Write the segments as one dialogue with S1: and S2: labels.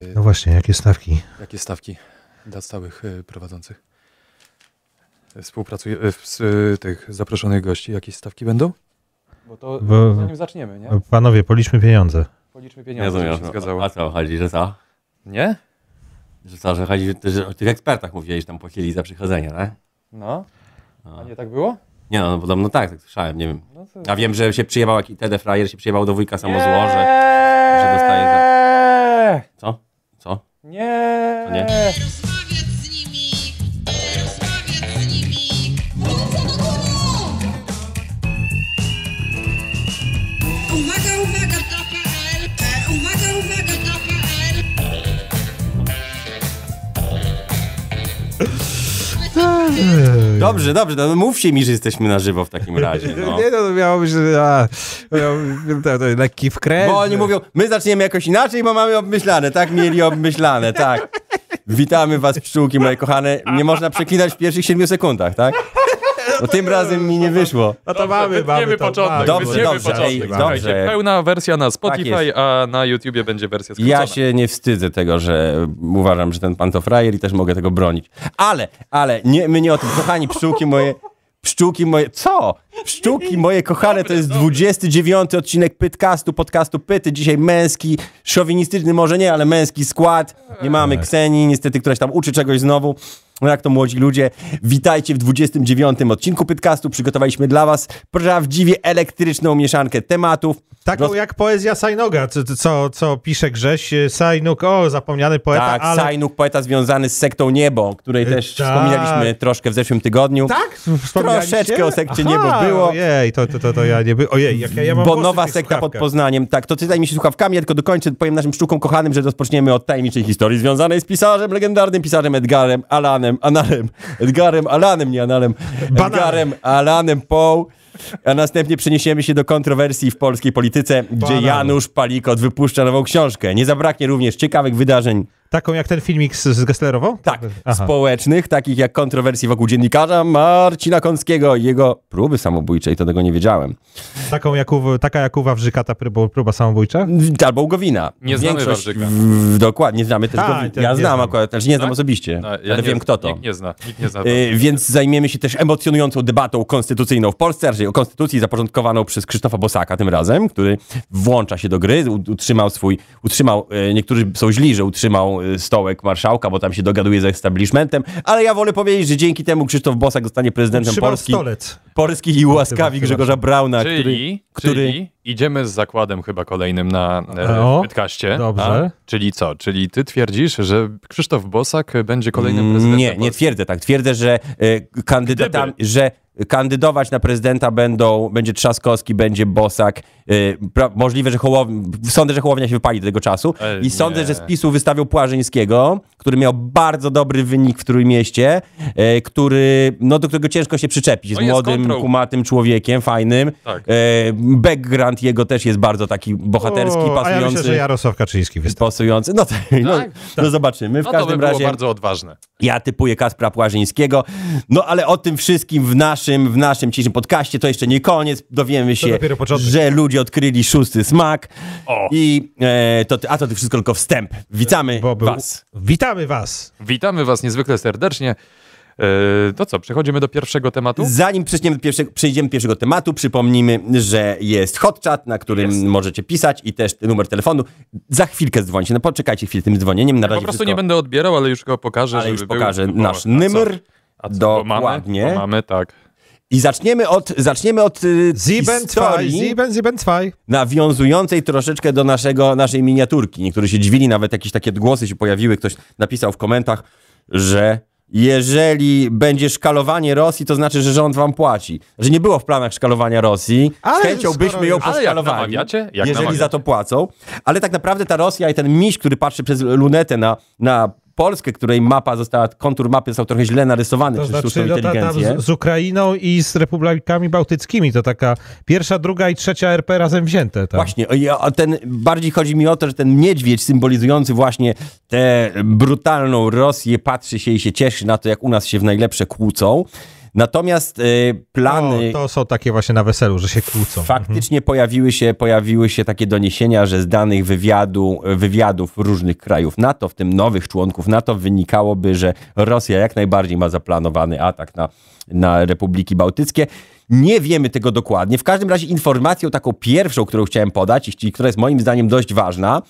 S1: No właśnie, jakie stawki?
S2: Jakie stawki dla stałych y, prowadzących? Współpracuje y, w- z y, tych zaproszonych gości. Jakie stawki będą? Bo to
S1: Bo-
S2: zanim zaczniemy, nie?
S1: No, Panowie, policzmy pieniądze.
S2: Policzmy
S3: Nie
S2: pieniądze, żeby się
S3: rozumiem.
S2: zgadzało.
S3: A co chodzi, że co?
S2: Nie?
S3: Że co, że chodzi, że, że o tych ekspertach mówili, że tam płacili za przychodzenie, tak?
S2: No.
S3: No.
S2: A nie tak było?
S3: Nie no, no podobno tak, tak słyszałem, nie wiem.
S2: No to...
S3: A wiem, że się przyjebał jakiś Tede Frajer, się przyjebał do wujka
S2: Nie!
S3: samozłoże. że dostaje Co? Co?
S2: Nie!
S3: To nie?
S4: Rozmawiać z nimi! Rozmawiać z nimi! Ręce do góry! Uwaga, uwaga, TPL! E, Uwaga, uwaga, TPL!
S3: Dobrze, dobrze, no mówcie mi, że jesteśmy na żywo w takim razie, no.
S1: Nie, no to miało być a, miało, to, to, lekki wkręt.
S3: Bo oni mówią, my zaczniemy jakoś inaczej, bo mamy obmyślane, tak? Mieli obmyślane, tak. Witamy was, pszczółki moje kochane. Nie można przeklinać w pierwszych siedmiu sekundach, tak? Bo tym razem mi nie wyszło.
S1: No to mamy, mamy
S5: Wytniemy
S1: to,
S5: początek.
S3: Dobrze,
S5: wytniemy
S3: dobrze,
S5: Tak, początek.
S3: ej,
S5: Słuchajcie,
S3: dobrze.
S5: Pełna wersja
S2: Tak
S5: na Spotify,
S3: jest.
S5: a na YouTubie będzie wersja skrócona.
S3: Ja się nie wstydzę tego, że uważam, że ten pan to frajer i też mogę tego bronić. Ale, ale, nie, my nie o tym. Kochani, pszczółki moje, pszczółki moje, co? Pszczółki moje kochane, to jest 29 odcinek Pytcastu, podcastu Pyty. Dzisiaj męski, szowinistyczny może nie, ale męski skład. Nie mamy Ksenii, niestety, któraś tam uczy czegoś znowu. No jak to młodzi ludzie, witajcie w 29 odcinku Pytcastu. Przygotowaliśmy dla was prawdziwie elektryczną mieszankę tematów.
S1: Taką
S3: Roz-
S1: jak poezja Sajnoga, co, co, co pisze Grześ. e, Sajnuk, o, zapomniany poeta,
S3: Tak,
S1: ale...
S3: Sajnuk, poeta związany z sektą Niebo, o której też
S1: tak.
S3: wspominaliśmy troszkę w zeszłym tygodniu.
S1: Tak? Wspomnieliście?
S3: Troszeczkę o sekcie
S1: Aha,
S3: niebo było.
S1: Ojej, to, to, to, to ja nie by... Ojej, jak ja, ja mam
S3: Bo
S1: włosy w
S3: nowa
S1: tych
S3: sekta pod
S1: słuchawkach.
S3: Poznaniem, tak, to czytaj mi się słuchawkami, ja tylko dokończę, powiem naszym sztukom kochanym, że rozpoczniemy od tajemniczej historii związanej z pisarzem, legendarnym pisarzem Edgarem Alanem, Analem, Edgarem Alanem, nie Analem,
S1: Bananem.
S3: Edgarem Alanem Poe, a następnie przeniesiemy się do kontrowersji w polskiej polityce, gdzie
S1: Bananem.
S3: Janusz Palikot wypuszcza nową książkę. Nie zabraknie również ciekawych wydarzeń
S1: Taką jak ten filmik z, z Gesslerową?
S3: Tak,
S1: Aha.
S3: społecznych, takich jak kontrowersji wokół dziennikarza Marcina Kąckiego i jego próby samobójczej, to tego nie wiedziałem.
S1: Taką jak u, taka jak u Wawrzyka ta próba, próba samobójcza?
S3: Albo Ługowina.
S5: Nie znamy
S3: Większość
S5: Wawrzyka.
S3: w- w- Dokładnie, znamy też
S1: Tak,
S3: Gowina.
S1: tak,
S3: Ja
S1: nie
S3: znam
S1: znam.
S3: akurat, znaczy nie znam
S5: Tak?
S3: osobiście,
S5: No, ja
S3: ale
S5: nie
S3: wiem kto to.
S5: Nikt nie zna, nikt nie zna.
S3: Y, Więc zajmiemy się też emocjonującą debatą konstytucyjną w Polsce, raczej o konstytucji zaporządkowaną przez Krzysztofa Bosaka tym razem, który włącza się do gry, u- utrzymał swój, utrzymał, y, niektórzy są źli, że utrzymał y, stołek marszałka, bo tam się dogaduje z establishmentem, ale ja wolę powiedzieć, że dzięki temu Krzysztof Bosak zostanie prezydentem
S1: Trzymał
S3: Polski,
S1: stolec.
S3: Polski i łaskawi
S1: Chyba, chyba.
S3: Grzegorza Brauna,
S5: czyli,
S3: który-
S5: czyli idziemy z zakładem chyba kolejnym na
S1: O,
S5: e, podcaście.
S1: Dobrze.
S5: Czyli co? Czyli ty twierdzisz, że Krzysztof Bosak będzie kolejnym
S3: który...
S5: prezydentem
S3: Nie, nie
S5: Polski?
S3: twierdzę tak, twierdzę, że, y, kandydatam, że kandydować na prezydenta będą, będzie Trzaskowski, będzie Bosak, y, pra, możliwe, że Hołownia, sądzę, że Hołownia się wypali do tego czasu
S5: E,
S3: i sądzę,
S5: nie.
S3: że z PiSu wystawią Płażyńskiego, który miał bardzo dobry wynik w Trójmieście, y, który, no do którego ciężko się przyczepić, jest,
S5: No jest
S3: młodym,
S5: kontrą.
S3: kumatym człowiekiem, fajnym,
S5: Tak.
S3: Y, background jego też jest bardzo taki bohaterski,
S1: O,
S3: pasujący.
S1: A ja myślę, że Jarosław Kaczyński wystąpi.
S3: Pasujący. No, tak, no, no zobaczymy. W
S5: No to by
S3: każdym
S5: było
S3: razie
S5: bardzo odważne.
S3: ja typuję Kaspra Płażyńskiego. No ale o tym wszystkim w naszym, w naszym dzisiejszym podcaście to jeszcze nie koniec. Dowiemy się,
S1: dopiero początek.
S3: że ludzie odkryli szósty smak.
S5: O.
S3: I e, to, ty- a to ty wszystko tylko wstęp. Witamy
S1: Bo był...
S3: was.
S1: Witamy was!
S5: Witamy was niezwykle serdecznie. E, to co, przechodzimy do pierwszego tematu?
S3: Zanim przejdziemy do, pierwszego, przejdziemy do pierwszego tematu, przypomnijmy, że jest hot chat, na którym możecie pisać i też numer telefonu. Za chwilkę dzwonicie. No poczekajcie chwilę tym dzwonieniem. Na razie
S5: Po prostu
S3: wszystko,
S5: nie będę odbierał, ale już go pokażę,
S3: ale
S5: żeby
S3: już
S5: był-
S3: pokażę
S5: O, a
S3: nasz
S5: co?
S3: numer.
S5: A co, bo
S3: Dokładnie.
S5: Mamy, bo mamy, tak.
S3: I zaczniemy od, zaczniemy od y,
S1: Sieben zwei,
S3: historii
S1: sieben, sieben zwei.
S3: nawiązującej troszeczkę do naszego, naszej miniaturki. Niektórzy się dziwili, nawet jakieś takie głosy się pojawiły. Ktoś napisał w komentach, że jeżeli będzie szkalowanie Rosji, to znaczy, że rząd wam płaci. Że nie było w planach szkalowania Rosji.
S1: Ale
S3: Ale chęcią
S1: skoro
S3: byśmy ją
S1: już-
S5: Ale jak
S3: przeskalowali,
S5: namawiacie, jak
S3: jeżeli
S5: namawiacie.
S3: za to płacą. Ale tak naprawdę ta Rosja i ten miś, który patrzy przez lunetę na, na Polskę, której mapa została, kontur mapy został trochę źle narysowany
S1: To
S3: przez sztuczną
S1: znaczy no, ta, tam
S3: inteligencję.
S1: z, z Ukrainą i z republikami bałtyckimi. To taka pierwsza, druga i trzecia RP razem wzięte. tak. Tam.
S3: Właśnie, o- ja- o ten, bardziej chodzi mi o to, że ten niedźwiedź symbolizujący właśnie tę brutalną Rosję patrzy się i się cieszy na to, jak u nas się w najlepsze kłócą. Natomiast y,
S1: O,
S3: plany
S1: to są takie właśnie na weselu, że się kłócą.
S3: Faktycznie pojawiły, się, pojawiły się takie doniesienia, że z danych wywiadu, wywiadów różnych krajów NATO, w tym nowych członków NATO, wynikałoby, że Rosja jak najbardziej ma zaplanowany atak na, na Republiki Bałtyckie. Nie wiemy tego dokładnie. W każdym razie informacją taką pierwszą, którą chciałem podać, i chci- która jest moim zdaniem dość ważna,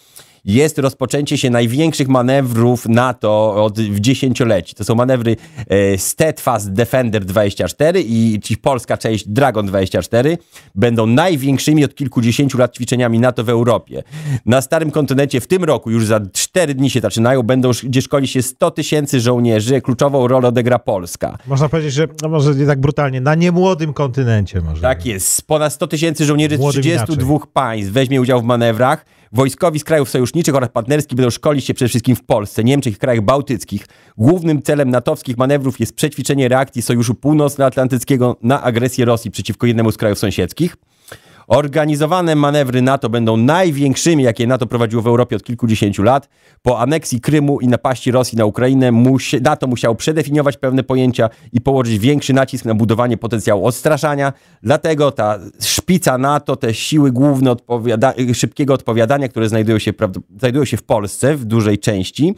S3: jest rozpoczęcie się największych manewrów NATO od w dziesięcioleci. To są manewry e, Steadfast Defender 24 i czyli polska część Dragon 24 będą największymi od kilkudziesięciu lat ćwiczeniami NATO w Europie. Na starym kontynencie w tym roku, już za cztery dni się zaczynają, będą, sz- gdzie szkoli się 100 tysięcy żołnierzy, kluczową rolę odegra Polska.
S1: Można powiedzieć, że no może nie tak brutalnie, na niemłodym kontynencie może.
S3: Tak jest. Ponad 100 tysięcy żołnierzy
S1: Młodym
S3: 32 państw weźmie udział w manewrach. Wojskowi z krajów sojuszniczych oraz partnerskich będą szkolić się przede wszystkim w Polsce, Niemczech i krajach bałtyckich. Głównym celem natowskich manewrów jest przećwiczenie reakcji Sojuszu Północnoatlantyckiego na agresję Rosji przeciwko jednemu z krajów sąsiedzkich. Organizowane manewry NATO będą największymi, jakie NATO prowadziło w Europie od kilkudziesięciu lat. Po aneksji Krymu i napaści Rosji na Ukrainę musi, NATO musiało przedefiniować pewne pojęcia i położyć większy nacisk na budowanie potencjału odstraszania. Dlatego ta szpica NATO, te siły główne odpowiada szybkiego odpowiadania, które znajdują się, prawd- znajdują się w Polsce w dużej części,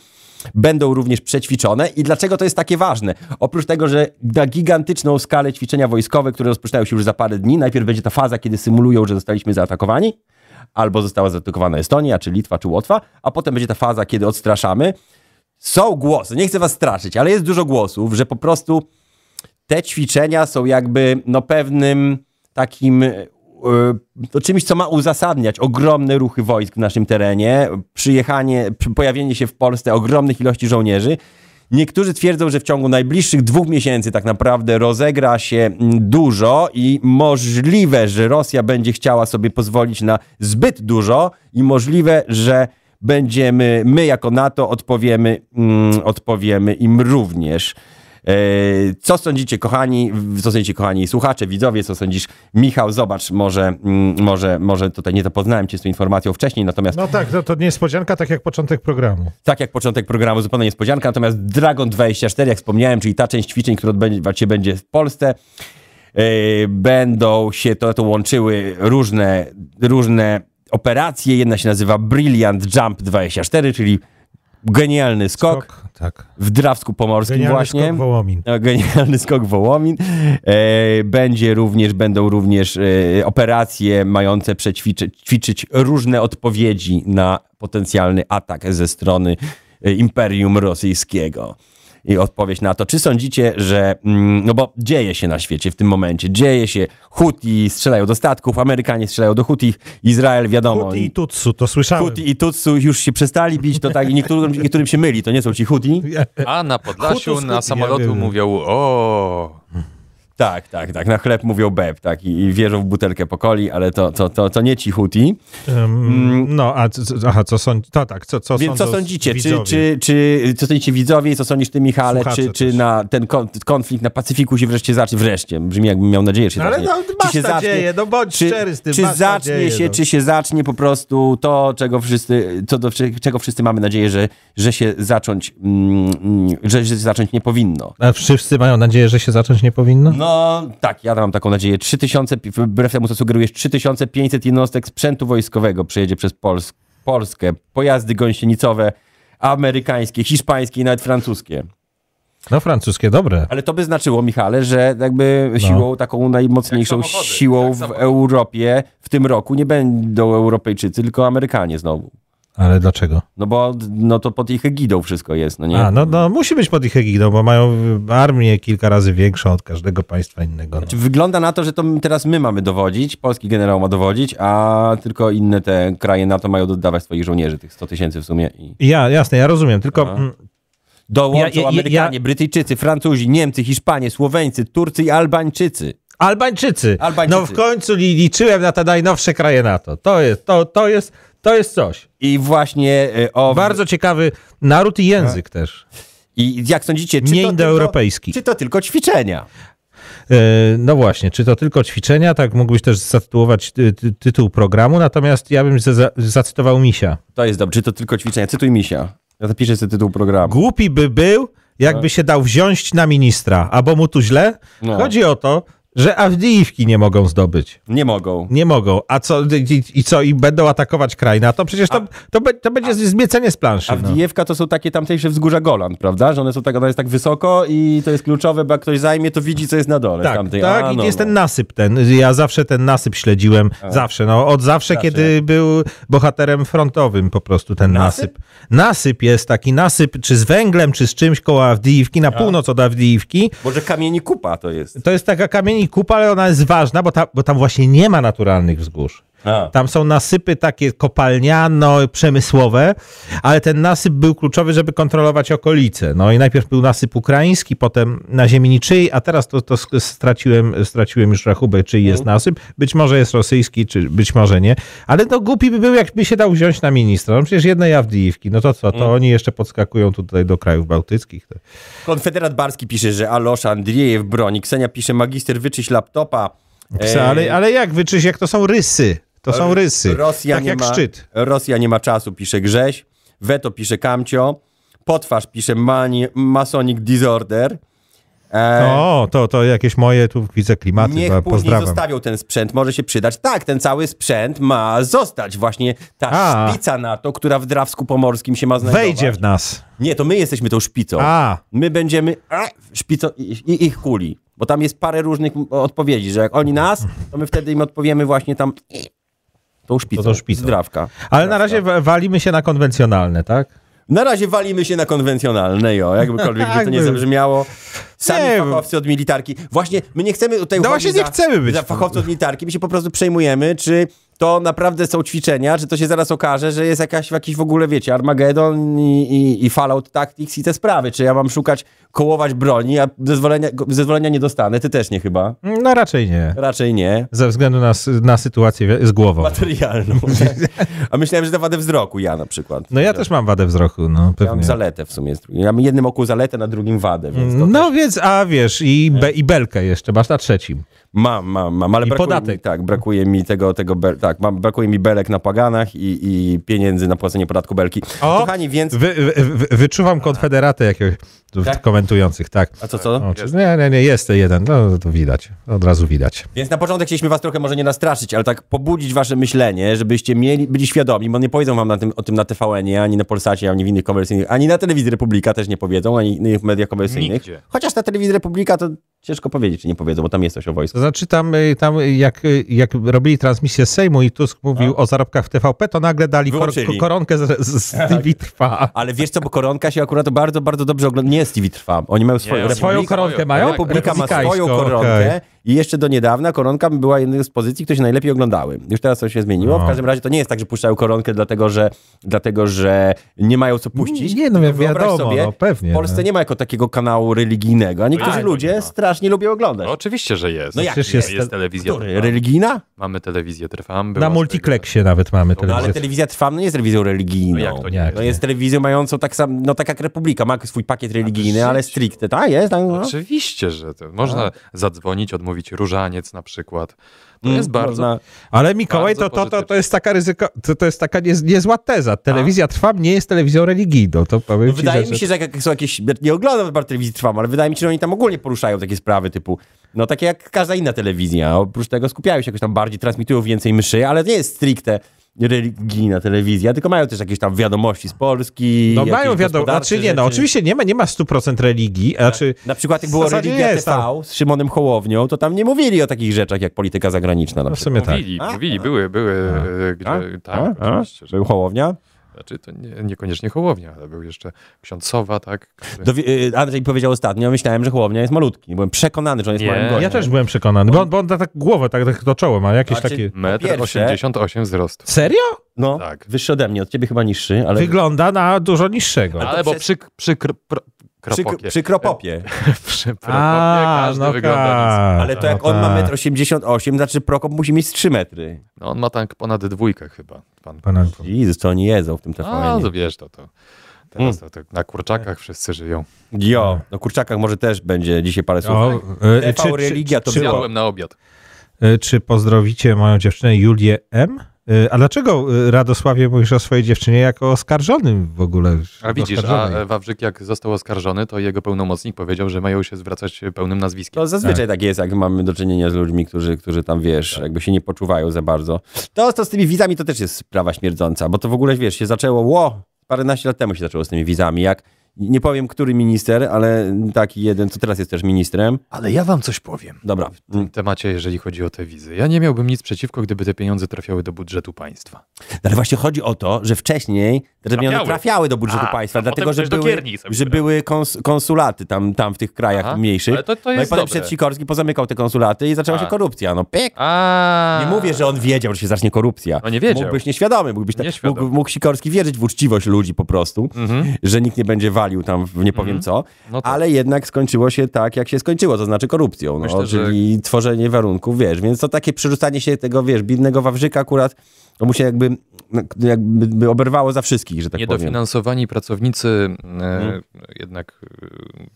S3: będą również przećwiczone. I dlaczego to jest takie ważne? Oprócz tego, że na gigantyczną skalę ćwiczenia wojskowe, które rozpoczynają się już za parę dni, najpierw będzie ta faza, kiedy symulują, że zostaliśmy zaatakowani, albo została zaatakowana Estonia, czy Litwa, czy Łotwa, a potem będzie ta faza, kiedy odstraszamy. Są głosy, nie chcę was straszyć, ale jest dużo głosów, że po prostu te ćwiczenia są jakby no pewnym takim y, to czymś, co ma uzasadniać ogromne ruchy wojsk w naszym terenie, przyjechanie, p- pojawienie się w Polsce ogromnych ilości żołnierzy. Niektórzy twierdzą, że w ciągu najbliższych dwóch miesięcy tak naprawdę rozegra się mm, dużo i możliwe, że Rosja będzie chciała sobie pozwolić na zbyt dużo i możliwe, że będziemy my jako NATO odpowiemy, mm, odpowiemy im również. Eee, Co sądzicie, kochani? W- Co sądzicie, kochani słuchacze, widzowie? Co sądzisz, Michał? Zobacz, może, mm, może, może tutaj nie zapoznałem cię z tą informacją wcześniej, natomiast
S1: No tak, no to niespodzianka, tak jak początek programu.
S3: tak jak początek programu, zupełna niespodzianka, natomiast Dragon 24, jak wspomniałem, czyli ta część ćwiczeń, która odbywać się będzie w Polsce, yy, będą się to, to łączyły różne, różne operacje. Jedna się nazywa Brilliant Jump 24, czyli genialny skok,
S1: Skok, tak.
S3: w Drawsku Pomorskim
S1: Genialny
S3: właśnie.
S1: skok Wołomin.
S3: No, Genialny skok Wołomin. E, będzie również, będą również e, operacje mające przećwiczyć ćwiczyć różne odpowiedzi na potencjalny atak ze strony e, Imperium Rosyjskiego. I odpowiedź na to, czy sądzicie, że. Mm, no bo dzieje się na świecie w tym momencie. Dzieje się. Huti strzelają do statków, Amerykanie strzelają do Hutich, Izrael wiadomo.
S1: Huti i Tutsu, to słyszałem.
S3: Huti i Tutsu już się przestali bić, to tak. I niektórym, niektórym się myli, to nie są ci Huti.
S5: A na Podlasiu
S1: Hutus,
S5: na
S1: Hutus, ja
S5: samolotu
S1: wiem.
S5: mówią o.
S3: Tak, tak, tak. Na chleb mówią beb, tak. I, i wierzą w butelkę po coli, ale to, to, to, to nie ci huti.
S1: Ym, no, a c- c- aha, co sądzi... To tak, co, co
S3: Mm. Więc co
S1: sądzą
S3: sądzicie? Czy,
S1: widzowie?
S3: czy, czy, co sądzicie widzowie? Co sądzisz ty, Michale?
S1: Słuchacze
S3: Czy, czy
S1: też.
S3: na ten kon- konflikt na Pacyfiku się wreszcie zacznie? Wreszcie. Brzmi jakbym miał nadzieję, że się
S1: No, ale
S3: zacznie.
S1: no, masz nadzieję, no bądź szczery z tym,
S3: Czy
S1: masz
S3: zacznie
S1: nadzieję,
S3: się,
S1: no.
S3: czy się zacznie po prostu to, czego wszyscy, co do cze- czego wszyscy mamy nadzieję, że, że się zacząć, mm, mm, że się zacząć nie powinno?
S1: A wszyscy mają nadzieję, że się zacząć nie powinno?
S3: No tak, ja mam taką nadzieję. 3000, pi- wbrew temu co sugerujesz, 3500 jednostek sprzętu wojskowego przejedzie przez Pols Polskę. Pojazdy gąsienicowe, amerykańskie, hiszpańskie i nawet francuskie.
S1: No, francuskie, dobre.
S3: Ale to by znaczyło, Michale, że jakby siłą, taką najmocniejszą
S5: No. Jak samochody,
S3: siłą
S5: jak
S3: w
S5: samochody.
S3: Europie w tym roku nie będą Europejczycy, tylko Amerykanie znowu.
S1: Ale dlaczego?
S3: No bo no to pod ich egidą wszystko jest, no nie?
S1: A, no, no musi być pod ich egidą, bo mają armię kilka razy większą od każdego państwa innego. No.
S3: Czy wygląda na to, że to m- teraz my mamy dowodzić, polski generał ma dowodzić, a tylko inne te kraje NATO mają dodawać swoich żołnierzy, tych 100 tysięcy w sumie. I
S1: Ja, jasne, ja rozumiem,
S3: No.
S1: tylko mm,
S3: dołączą
S1: Ja- ja- ja-
S3: Amerykanie, Brytyjczycy, Francuzi, Niemcy, Hiszpanie, Słoweńcy, Turcy i Albańczycy.
S1: Albańczycy.
S3: Albańczycy.
S1: No w końcu li, liczyłem na te najnowsze kraje NATO. To jest, to, to jest, to jest coś.
S3: I właśnie y, o...
S1: Bardzo ciekawy naród i
S3: Tak.
S1: język też.
S3: I jak sądzicie, czy
S1: Mniej
S3: to, tylko,
S1: indoeuropejski.
S3: czy to tylko ćwiczenia?
S1: E, no właśnie, czy to tylko ćwiczenia? Tak mógłbyś też zatytułować ty, ty, tytuł programu, natomiast ja bym za- za, zacytował misia.
S3: To jest dobrze, czy to tylko ćwiczenia? Cytuj misia. Ja zapiszę sobie tytuł programu.
S1: Głupi by był, jakby się dał wziąć na ministra, albo mu tu źle.
S3: Tak. No.
S1: Chodzi o to, że Awdijiwki nie mogą zdobyć.
S3: Nie mogą.
S1: Nie mogą. A co, i, i co, i będą atakować kraj na to? Przecież to, to, be, to będzie zmiecenie z planszy.
S3: A
S1: no.
S3: Wdijewka to są takie tamtejsze wzgórza Golan, prawda? Że one są tak, ona jest tak wysoko i to jest kluczowe, bo jak ktoś zajmie, to widzi, co jest na dole.
S1: Tak,
S3: tamtej.
S1: tak
S3: A,
S1: i
S3: no,
S1: jest
S3: no. Tak.
S1: ten nasyp ten. Ja zawsze ten nasyp śledziłem. Zawsze, no od zawsze, kiedy był bohaterem frontowym po prostu ten nasyp.
S3: Nasyp?
S1: Nasyp jest taki nasyp, czy z węglem, czy z czymś koło Awdijiwki, na północ od Awdijiwki.
S3: Może kamieni kupa to jest.
S1: To jest taka kamieni kupa, ale ona jest ważna, bo, ta, bo tam właśnie nie ma naturalnych wzgórz.
S3: A.
S1: Tam są nasypy takie kopalniano-przemysłowe, ale ten nasyp był kluczowy, żeby kontrolować okolice. No i najpierw był nasyp ukraiński, potem na ziemi niczyj, a teraz to, to sk- straciłem, straciłem już rachubę, czyj jest nasyp. Być może jest rosyjski, czy być może nie. Ale to głupi by był, jakby się dał wziąć na ministra. No przecież jednej Awdijiwki, no to co, to oni jeszcze podskakują tutaj do krajów bałtyckich.
S3: Konfederat Barski pisze, że Alosz Andriejew broni. Ksenia pisze, magister wyczyś laptopa. E,
S1: Psa, ale, ale jak wyczyś, jak to są rysy? To są rysy.
S3: Rosja
S1: tak
S3: nie
S1: jak
S3: ma,
S1: szczyt.
S3: Rosja nie ma czasu, pisze Grześ. Weto pisze Kamcio. Potwarz pisze mani, Masonic Disorder. E,
S1: O, No, to, to jakieś moje tu widzę klimaty.
S3: Niech
S1: pa-
S3: później
S1: no, Pozdrawiam.
S3: zostawią ten sprzęt, może się przydać. Tak, ten cały sprzęt ma zostać. Właśnie ta
S1: A.
S3: szpica NATO, która w Drawsku Pomorskim się ma znajdować.
S1: Wejdzie w nas.
S3: Nie, to my jesteśmy tą szpicą.
S1: A,
S3: My będziemy a, szpico i, i ich kuli. Bo tam jest parę różnych m- odpowiedzi, że jak oni nas, to my wtedy im odpowiemy właśnie tam tą szpicą.
S1: To tą szpicą.
S3: Zdrawka.
S1: ale na razie wa- walimy się na konwencjonalne, tak?
S3: Na razie walimy się na konwencjonalne, jo, jakbykolwiek by to nie
S1: Jakby.
S3: zabrzmiało. Sami
S1: Nie. No
S3: fachowcy od militarki. Właśnie, my nie chcemy tutaj uchodzić
S1: właśnie nie
S3: za,
S1: chcemy być.
S3: za fachowcy od militarki, my się po prostu przejmujemy, czy to naprawdę są ćwiczenia, czy to się zaraz okaże, że jest jakaś, jakiś w ogóle, wiecie, Armagedon i, i, i Fallout Tactics i te sprawy, czy ja mam szukać, kołować broni, a zezwolenia, go- zezwolenia nie dostanę, ty też nie chyba,
S1: No raczej nie.
S3: raczej nie.
S1: Ze względu na, s- na sytuację wi- z głową.
S3: Materialną. A myślałem, że to wadę wzroku ja na przykład.
S1: No ja też mam wadę wzroku, no
S3: Ja mam
S1: pewnie.
S3: zaletę w sumie. Ja mam jednym oku zaletę, na drugim wadę, więc to
S1: No więc, a wiesz, i, be, i belkę jeszcze masz na trzecim.
S3: Mam, mam, mam, ale
S1: I
S3: brakuje
S1: podatek.
S3: mi, tak, brakuje mi tego, tego, bel, tak, mam, brakuje mi belek na paganach i, i pieniędzy na płacenie podatku belki.
S1: O!
S3: Kochani, więc...
S1: Wy, wy, wy, wyczuwam konfederatę jakiegoś w-
S3: Tak?
S1: komentujących, tak.
S3: A co, co?
S1: O, czy, nie, nie, nie, jest jeden, no to widać, od razu widać.
S3: Więc na początek chcieliśmy was trochę może nie nastraszyć, ale tak pobudzić wasze myślenie, żebyście mieli, byli świadomi, bo nie powiedzą wam na tym, o tym na TVN-ie, ani na Polsacie, ani w innych komercyjnych, ani na Telewizji Republika też nie powiedzą, ani w innych mediach komercyjnych.
S5: Nigdzie.
S3: Chociaż na Telewizji Republika to ciężko powiedzieć, czy nie powiedzą, bo tam jest coś o wojsku.
S1: To znaczy tam, y, tam y, jak, y, jak robili transmisję z Sejmu i Tusk mówił o zarobkach w TVP, to nagle dali kor
S3: No. Wyłączyli. Tak.
S1: koronkę z, z, z TV Trwa.
S3: Ale wiesz co, bo koronka się akurat bardzo, bardzo dobrze ogląda. Nie jest TV Trwam, oni mają swoją
S5: oni
S3: Republikę.
S1: Swoją
S5: Republika-
S1: koronkę mają?
S3: Republika tak, ma
S1: Republikańską,
S3: swoją koronkę
S1: Tak, okej.
S3: i jeszcze do niedawna koronka była jedną z pozycji, które się najlepiej oglądały. Już teraz coś się zmieniło.
S1: No.
S3: W każdym razie to nie jest tak, że puszczają koronkę dlatego, że, dlatego, że nie mają co puścić.
S1: Nie, no wi-
S3: Wyobraź
S1: wiadomo,
S3: sobie,
S1: no, pewnie,
S3: W Polsce
S1: no.
S3: nie ma jako takiego kanału religijnego, a niektórzy
S5: A, no
S3: ludzie
S5: nie ma.
S3: strasznie lubią oglądać.
S5: No, oczywiście, że jest.
S3: No jak
S1: Przecież
S5: Przecież
S1: jest
S5: jest,
S1: te-
S5: telewizja
S3: Który?
S5: Trwam.
S3: Religijna?
S5: Mamy telewizję Trwam. była
S1: Na
S5: z
S1: multiplexie nawet mamy
S5: No,
S3: No ale
S1: telewizję.
S3: telewizja trwa, no nie jest telewizją religijną.
S5: No jak to nie?
S1: Jak
S3: No
S1: nie?
S3: jest telewizją mającą tak sam, no tak jak Republika, ma swój pakiet religijny,
S5: życie.
S3: ale stricte, tak jest, tak, no. Tak.
S5: Oczywiście, że to. Można zadzwonić, odmówić różaniec na przykład. To jest bardzo...
S3: Mm, Można-
S1: Ale Mikołaj, to,
S5: Bardzo
S1: to, to, to
S5: pozytywnie.
S1: jest taka ryzyko, to, to jest taka nie, niezła teza. Telewizja Trwam nie jest telewizją religijną, to powiem
S3: No
S1: ci,
S3: wydaje
S1: że,
S3: mi się, że jak- jak są jakieś. ja Nie oglądam bardzo telewizji trwam, ale wydaje mi się, że oni tam ogólnie poruszają takie sprawy typu. No takie jak każda inna telewizja. Oprócz tego skupiają się jakoś tam bardziej, transmitują więcej mszy, ale to nie jest stricte religijna telewizja, tylko mają też jakieś tam wiadomości z Polski.
S1: No
S3: jakieś
S1: mają wiadomo,
S3: gospodarcze
S1: znaczy nie, no
S3: rzeczy. Tak,
S1: oczywiście nie ma, nie ma 100% religii, znaczy...
S3: Na przykład jak
S1: W
S3: było
S1: zasadzie
S3: Religia
S1: jest,
S3: TV z Szymonem Hołownią, to tam nie mówili o takich rzeczach jak polityka zagraniczna na
S1: No w
S3: przykład.
S1: sumie tak.
S5: Mówili, mówili, były, były, e, gdzie, tak,
S3: A?
S5: oczywiście, że
S3: Był Hołownia?
S5: Znaczy, to nie, niekoniecznie Hołownia, ale był jeszcze ksiądz Sowa, tak? który-
S3: Dowi- y, Andrzej powiedział ostatnio, myślałem, że Hołownia jest malutki. Byłem przekonany, że on jest
S5: Nie.
S3: małym
S5: Ja
S3: gościem.
S1: Ja też byłem przekonany, bo on, bo on da tak głowę, tak, tak do czoła ma, jakieś
S3: Znaczy-
S1: takie...
S3: Po
S5: Metr
S3: pierwsze-
S5: 88 wzrostu.
S1: Serio?
S3: No,
S5: Tak.
S3: wyższy ode mnie, od ciebie chyba niższy, ale...
S1: Wygląda na dużo niższego.
S5: Ale bo
S3: przez-
S5: przy, przy, kr, pro,
S3: Przy,
S5: kropopie.
S3: przy Kropopie.
S5: przy kropopie każdy wygląda nic.
S1: tak,
S3: no Ale to jak
S1: no
S3: on ma
S1: tak.
S3: 1,88 m, znaczy Prokop musi mieć 3 metry.
S5: No, on ma tak ponad dwójkę chyba, pan.
S1: Pana-
S3: Jezus, co oni jedzą w tym
S5: A,
S3: TVN-ie.
S5: to wiesz, to
S3: Hmm.
S5: to. Teraz to, to na kurczakach wszyscy żyją.
S3: Jo, no kurczakach może też będzie dzisiaj parę słów.
S1: O, e,
S3: TV religia to
S1: czy,
S3: było.
S5: Zjadłem na obiad.
S1: e, czy pozdrowicie moją dziewczynę Julię M? Y, A dlaczego y, Radosławie mówisz o swojej dziewczynie jako oskarżonym w ogóle?
S5: A widzisz, a
S1: Oskarżonej.
S5: e, Wawrzyk jak został oskarżony, to jego pełnomocnik powiedział, że mają się zwracać e, pełnym nazwiskiem.
S3: To zazwyczaj tak. jest, jak mamy do czynienia z ludźmi, którzy, którzy tam, wiesz, jakby się nie poczuwają za bardzo. To, to z tymi wizami to też jest sprawa śmierdząca, bo to w ogóle, wiesz, się zaczęło, ło, paręnaście lat temu się zaczęło z tymi wizami, jak, nie powiem, który minister, ale taki jeden, co teraz jest też ministrem.
S5: Ale ja wam coś powiem.
S3: Dobra,
S5: W temacie, jeżeli chodzi o te wizy. Ja nie miałbym nic przeciwko, gdyby te pieniądze trafiały do budżetu państwa.
S3: No Ale właśnie chodzi o to, że wcześniej te trafiały,
S5: Trafiały.
S3: trafiały do budżetu
S5: A,
S3: państwa,
S5: a
S3: dlatego
S5: potem
S3: że
S5: też do
S3: były,
S5: Kierni sobie
S3: że
S5: trafiały.
S3: były kons, konsulaty tam, tam w tych krajach
S5: Aha,
S3: mniejszych.
S5: ale to- to
S3: no i
S5: jest
S3: potem
S5: dobre.
S3: Sikorski pozamykał te konsulaty i zaczęła
S5: A.
S3: się korupcja. No pyk!
S5: A.
S3: Nie mówię, że on wiedział, że się zacznie korupcja.
S5: No nie wiedział.
S3: Mógł być nieświadomy, mógł być tak,
S5: Nieświadomy. Mhm.
S3: mógł, mógł Sikorski wierzyć w uczciwość ludzi po prostu, że nikt nie będzie walił tam w nie powiem co,
S5: No tak.
S3: ale jednak skończyło się tak, jak się skończyło, to znaczy korupcją, no,
S5: Myślę, że-
S3: czyli tworzenie warunków, wiesz, więc to takie przerzucanie się tego, wiesz, biednego Wawrzyka akurat, to mu się jakby, no, jakby by oberwało za wszystkich, że tak powiem.
S5: Niedofinansowani pracownicy e,
S3: Mhm.
S5: jednak e,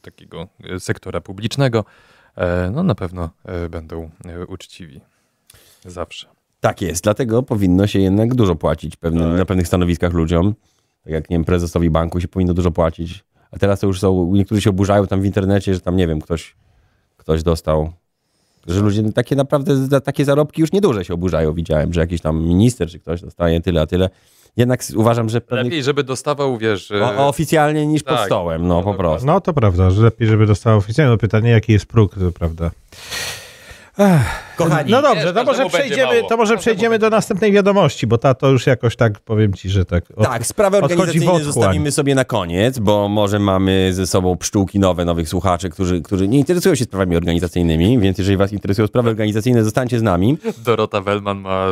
S5: takiego e, sektora publicznego, e, no na pewno e, będą e, uczciwi. Zawsze.
S3: Tak jest, dlatego powinno się jednak dużo płacić pewnym,
S5: Tak.
S3: na pewnych stanowiskach ludziom. Tak jak, nie wiem, prezesowi banku się powinno dużo płacić. A teraz to już są, niektórzy się oburzają tam w internecie, że tam, nie wiem, ktoś, ktoś dostał. Że ludzie takie naprawdę, za takie zarobki już nieduże się oburzają. Widziałem, że jakiś tam minister czy ktoś dostaje tyle, a tyle. Jednak s- uważam, że pewnie
S5: Lepiej, żeby dostawał, wiesz... e,
S3: o, oficjalnie niż pod
S5: tak.
S3: stołem, no po
S5: dokładnie.
S3: prostu.
S1: No to prawda, że lepiej, żeby dostała oficjalne pytanie, jaki jest próg, to prawda.
S3: Kochani,
S1: No
S5: Wiesz,
S1: dobrze, to
S5: każdemu
S1: może
S5: będzie
S1: przejdziemy,
S5: mało.
S1: to może przejdziemy do następnej wiadomości, bo ta to już jakoś tak powiem ci, że tak. od-
S3: Tak, sprawy
S1: odchodzi w
S3: organizacyjne
S1: otchłań.
S3: zostawimy sobie na koniec, bo może mamy ze sobą pszczółki nowe, nowych słuchaczy, którzy, którzy nie interesują się sprawami organizacyjnymi, więc jeżeli was interesują sprawy organizacyjne, zostańcie z nami,
S5: Y, Dorota Wellman ma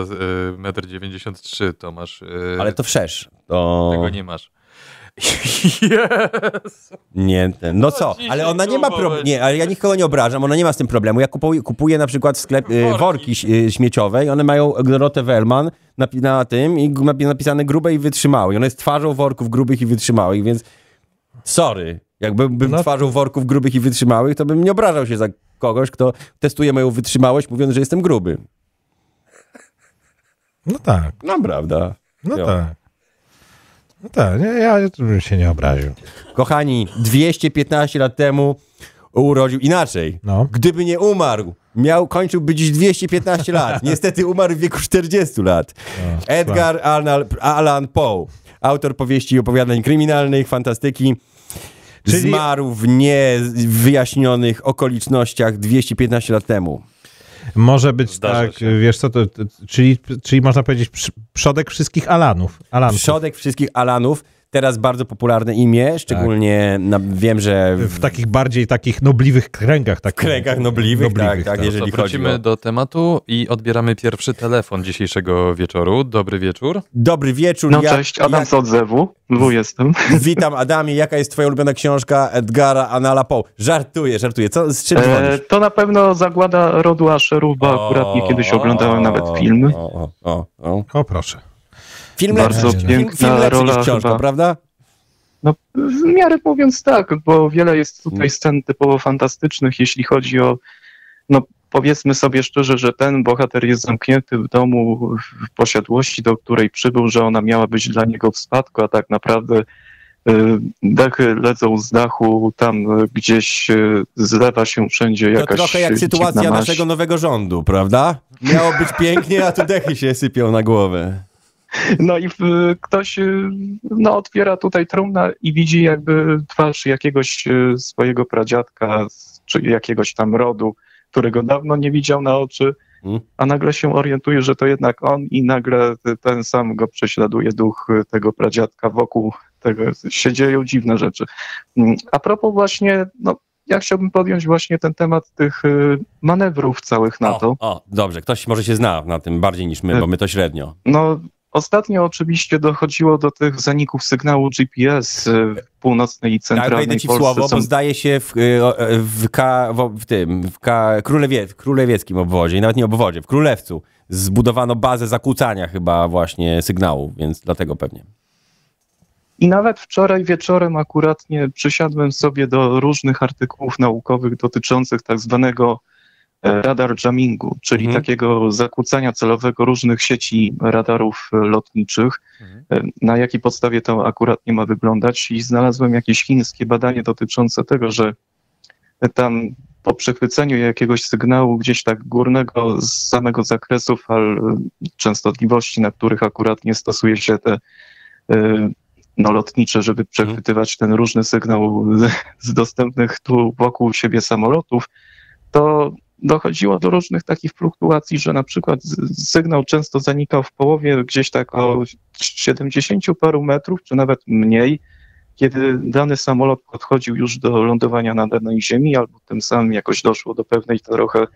S5: e, 1,93 m, Tomasz. e,
S3: ale to wszerz. To...
S5: Tego nie masz.
S3: Nie, ten- no co,
S5: ci
S3: ale
S5: się
S3: ona nie ma
S5: próbować.
S3: problemu, nie, ale ja nikogo nie obrażam, ona nie ma z tym problemu. Ja kupuję, kupuję na przykład w sklep y,
S5: Worki.
S3: worki ś- y, śmieciowe i one mają Dorotę Wellman na, na tym i g- napisane grube i wytrzymałe. I ona jest twarzą worków grubych i wytrzymałych, więc sorry. Jakbym bym
S1: No.
S3: twarzą worków grubych i wytrzymałych, to bym nie obrażał się za kogoś, kto testuje moją wytrzymałość, mówiąc, że jestem gruby.
S1: No tak,
S3: No prawda.
S1: no
S3: Jo.
S1: tak. No tak, nie, ja tu bym się nie obraził.
S3: Kochani, 215 lat temu urodził inaczej.
S1: No.
S3: Gdyby nie umarł, miał, kończyłby dziś 215 lat. Niestety umarł w wieku 40 lat. Edgar Allan, Allan Poe, autor powieści i opowiadań kryminalnych, fantastyki.
S1: Czyli-
S3: Zmarł w niewyjaśnionych okolicznościach 215 lat temu.
S1: Może być
S5: Zdarza
S1: tak,
S5: się.
S1: wiesz co, to, to, czyli, czyli można powiedzieć przy- przodek wszystkich Alanów. Alanów.
S3: Przodek wszystkich Alanów, teraz bardzo popularne imię, szczególnie na, wiem, że w
S1: w takich bardziej takich nobliwych kręgach. tak Takich,
S3: kręgach nobliwych, tak, tak,
S5: To
S3: jeżeli chodzi
S5: wrócimy
S3: o...
S5: do tematu i odbieramy pierwszy telefon dzisiejszego wieczoru. Dobry wieczór.
S3: Dobry wieczór.
S6: No
S3: ja-
S6: cześć, Adam
S3: ja-
S6: z odzewu. Dwu jestem.
S3: Witam Adamie, jaka jest twoja ulubiona książka Edgara Anala Poe? Żartuję, żartuję. Co, z czym
S6: E,
S3: dzwonisz?
S6: to na pewno zagłada rodu Asheruba. Akurat kiedyś oglądałem nawet film.
S3: O, o, o, o.
S1: O proszę.
S3: Film
S6: Bardzo
S3: lepszy, film, film
S6: piękna
S3: lepszy niż
S6: rola
S3: książka,
S6: chyba.
S3: prawda?
S6: No, w miarę mówiąc tak, bo wiele jest tutaj scen typowo fantastycznych, jeśli chodzi o. No, powiedzmy sobie szczerze, że ten bohater jest zamknięty w domu, w posiadłości, do której przybył, że ona miała być dla niego w spadku, a tak naprawdę e, dachy lecą z dachu, tam e, gdzieś e, zlewa się wszędzie
S3: To
S6: jakaś.
S3: trochę jak
S6: dziwna
S3: sytuacja
S6: maść.
S3: naszego nowego rządu, prawda? Miało być pięknie, a tu dechy się sypią na głowę.
S6: No i y, ktoś y, no, otwiera tutaj trumnę i widzi jakby twarz jakiegoś y, swojego pradziadka z- czy jakiegoś tam rodu, którego dawno nie widział na oczy,
S3: Mm.
S6: a nagle się orientuje, że to jednak on i nagle t- ten sam go prześladuje duch y, tego pradziadka wokół tego. Się dzieją dziwne rzeczy. Mm, A propos właśnie, no ja chciałbym podjąć właśnie ten temat tych y, manewrów całych NATO.
S3: O, o, dobrze, ktoś może się zna na tym bardziej niż my, bo my to średnio.
S6: No, ostatnio oczywiście dochodziło do tych zaników sygnału GPS y, w północnej i
S3: Tak,
S6: centralnej
S3: wejdę ci w
S6: Polsce.
S3: słowo,
S6: są...
S3: bo zdaje się w, y, o, e, w, K, w, w tym, w K, Królewie, w królewieckim obwodzie, i nawet nie obwodzie, w Królewcu zbudowano bazę zakłócania chyba właśnie sygnału, więc dlatego pewnie.
S6: I nawet wczoraj wieczorem akuratnie przysiadłem sobie do różnych artykułów naukowych dotyczących tak zwanego e, radar jammingu, czyli
S3: Mhm.
S6: takiego zakłócania celowego różnych sieci radarów e, lotniczych.
S5: Mhm.
S6: E, Na jakiej podstawie to akurat nie ma wyglądać i znalazłem jakieś chińskie badanie dotyczące tego, że tam po przechwyceniu jakiegoś sygnału gdzieś tak górnego z samego zakresu fal e, częstotliwości, na których akurat nie stosuje się te e, no, lotnicze, żeby przechwytywać ten różny sygnał z- z dostępnych tu wokół siebie samolotów, to dochodziło do różnych takich fluktuacji, że na przykład z- sygnał często zanikał w połowie gdzieś tak o 70 paru metrów, czy nawet mniej, kiedy dany samolot podchodził już do lądowania na danej ziemi, albo tym samym jakoś doszło do pewnej trochę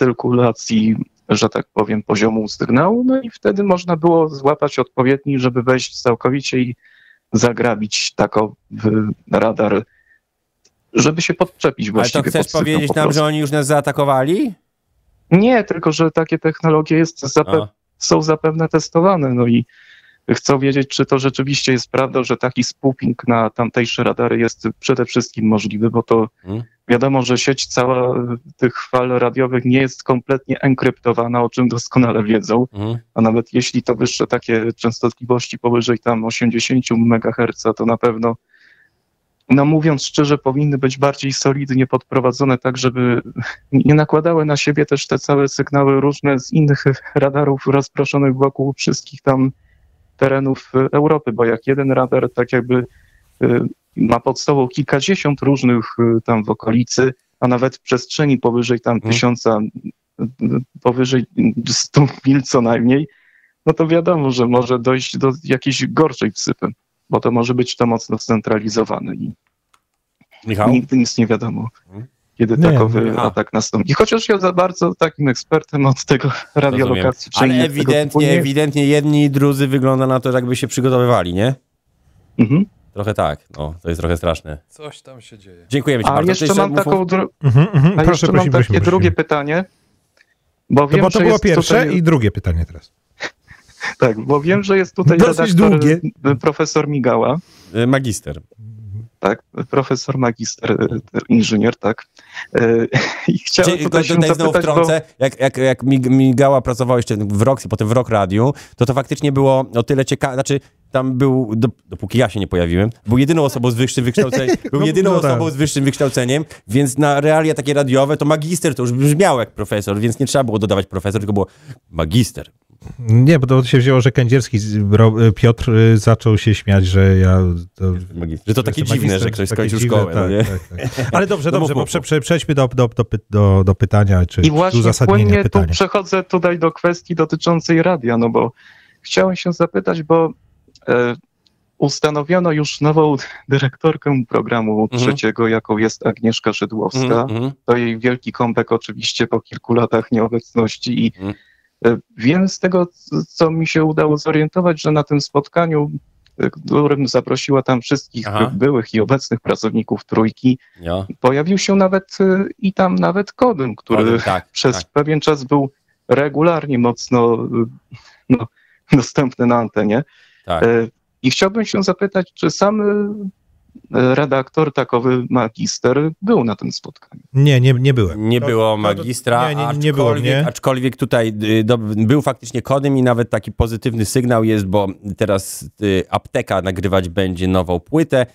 S6: recyrkulacji, że tak powiem, poziomu sygnału, no i wtedy można było złapać odpowiedni, żeby wejść całkowicie i zagrabić taką radar, żeby się podczepić
S3: Ale
S6: właściwie
S3: to chcesz
S6: pod sygnał
S3: powiedzieć
S6: po
S3: nam,
S6: prostu.
S3: że oni już nas zaatakowali?
S6: Nie, tylko że takie technologie jest zape-
S3: A.
S6: są zapewne testowane. No i chcą wiedzieć, czy to rzeczywiście jest prawda, że taki spooping na tamtejsze radary jest przede wszystkim możliwy, bo to
S3: Mhm.
S6: wiadomo, że sieć cała y, tych fal radiowych nie jest kompletnie enkryptowana, o czym doskonale wiedzą.
S3: Mhm.
S6: A nawet jeśli to wyższe takie częstotliwości powyżej tam 80 MHz, to na pewno, no mówiąc szczerze, powinny być bardziej solidnie podprowadzone, tak żeby nie nakładały na siebie też te całe sygnały różne z innych radarów rozproszonych wokół wszystkich tam terenów y, Europy, bo jak jeden radar tak jakby y, ma pod sobą kilkadziesiąt różnych y, tam w okolicy, a nawet przestrzeni powyżej tam
S3: Mhm.
S6: tysiąca, y, y, powyżej y, 100 mil co najmniej, no to wiadomo, że może dojść do jakiejś gorszej wsypy, bo to może być to mocno scentralizowane i
S3: Michał?
S6: Nigdy nic nie wiadomo,
S3: Mhm.
S6: kiedy
S1: Nie,
S6: takowy
S3: nie.
S6: atak nastąpi. Chociaż ja za bardzo takim ekspertem od tego
S3: Rozumiem.
S6: radiolokacji czy
S3: Ale
S6: innych tego typu
S3: ewidentnie,
S6: nie-
S3: ewidentnie jedni i drudzy wygląda na to, jakby się przygotowywali, nie?
S6: Mhm.
S3: Trochę tak, no, to jest trochę straszne.
S5: Coś tam się dzieje.
S3: Dziękujemy ci
S6: A
S3: bardzo.
S6: jeszcze
S3: Ty
S6: mam
S3: jeszcze-
S6: taką dru-
S1: Mhm, mhm.
S6: a
S1: Proszę,
S6: jeszcze
S1: prosimy,
S6: mam takie
S1: prosimy,
S6: drugie
S1: prosimy.
S6: pytanie, bo
S1: To,
S6: wiem,
S1: bo to
S6: że
S1: było
S6: jest
S1: pierwsze
S6: tutaj,
S1: i drugie pytanie teraz.
S6: tak, bo wiem, że jest tutaj
S1: Dosyć
S6: redaktor,
S1: długie.
S6: y, profesor Migała,
S3: Y, Magister.
S6: tak, profesor magister, y, inżynier, tak. Y, I chciałem
S3: Czy,
S6: tutaj się
S3: tutaj znowu
S6: zapytać, bo
S3: wtrącę, jak, jak, jak mig- Migała pracowała jeszcze w Roxy, potem w Rock Radiu, to to faktycznie było o tyle ciekawe, znaczy tam był, dop- dopóki ja się nie pojawiłem, był jedyną osobą z wyższym wykształceniem, był
S1: No,
S3: jedyną
S1: no tak.
S3: osobą z wyższym wykształceniem, więc na realia takie radiowe to magister to już brzmiało jak profesor, więc nie trzeba było dodawać profesor, tylko było magister.
S1: Nie, bo to się wzięło, że Kędzierski, z- Ro- y, Piotr y, zaczął się śmiać, że ja... To,
S3: Że to takie
S1: jestem
S3: dziwne,
S1: magistrem,
S3: że ktoś
S1: takie
S3: skończył
S1: dziwne,
S3: szkołę, no nie?
S1: tak, tak, tak. Ale dobrze,
S3: No mów,
S1: dobrze, bo
S3: mów,
S1: prze,
S3: mów.
S1: prze, przejdźmy do, do, do, py- do, do pytania, czy,
S6: I
S1: czy
S6: właśnie
S1: uzasadnienia
S6: płynnie tu
S1: pytania.
S6: przechodzę tutaj do kwestii dotyczącej radia, no bo chciałem się zapytać, bo e, ustanowiono już nową dyrektorkę programu
S3: Mhm.
S6: trzeciego, jaką jest Agnieszka Szydłowska.
S3: Mhm, mhm.
S6: To jej wielki comeback oczywiście po kilku latach nieobecności i
S3: Mhm.
S6: e, wiem z tego, c- co mi się udało zorientować, że na tym spotkaniu, e, którym zaprosiła tam wszystkich
S3: Aha.
S6: byłych i obecnych pracowników Trójki,
S3: Ja.
S6: pojawił się nawet e, i tam nawet Kodym, który
S3: Powiem Tak,
S6: przez
S3: tak.
S6: pewien czas był regularnie mocno y, no, dostępny na antenie.
S3: Tak.
S6: E, I chciałbym się zapytać, czy sam y, redaktor takowy magister był na tym spotkaniu?
S1: Nie, nie, nie byłem.
S3: Nie
S1: To-
S3: było
S1: to-
S3: magistra,
S1: Nie, nie, nie, nie było
S3: aczkolwiek,
S1: mnie.
S3: aczkolwiek tutaj y, do, był faktycznie kodem i nawet taki pozytywny sygnał jest, bo teraz y, apteka nagrywać będzie nową płytę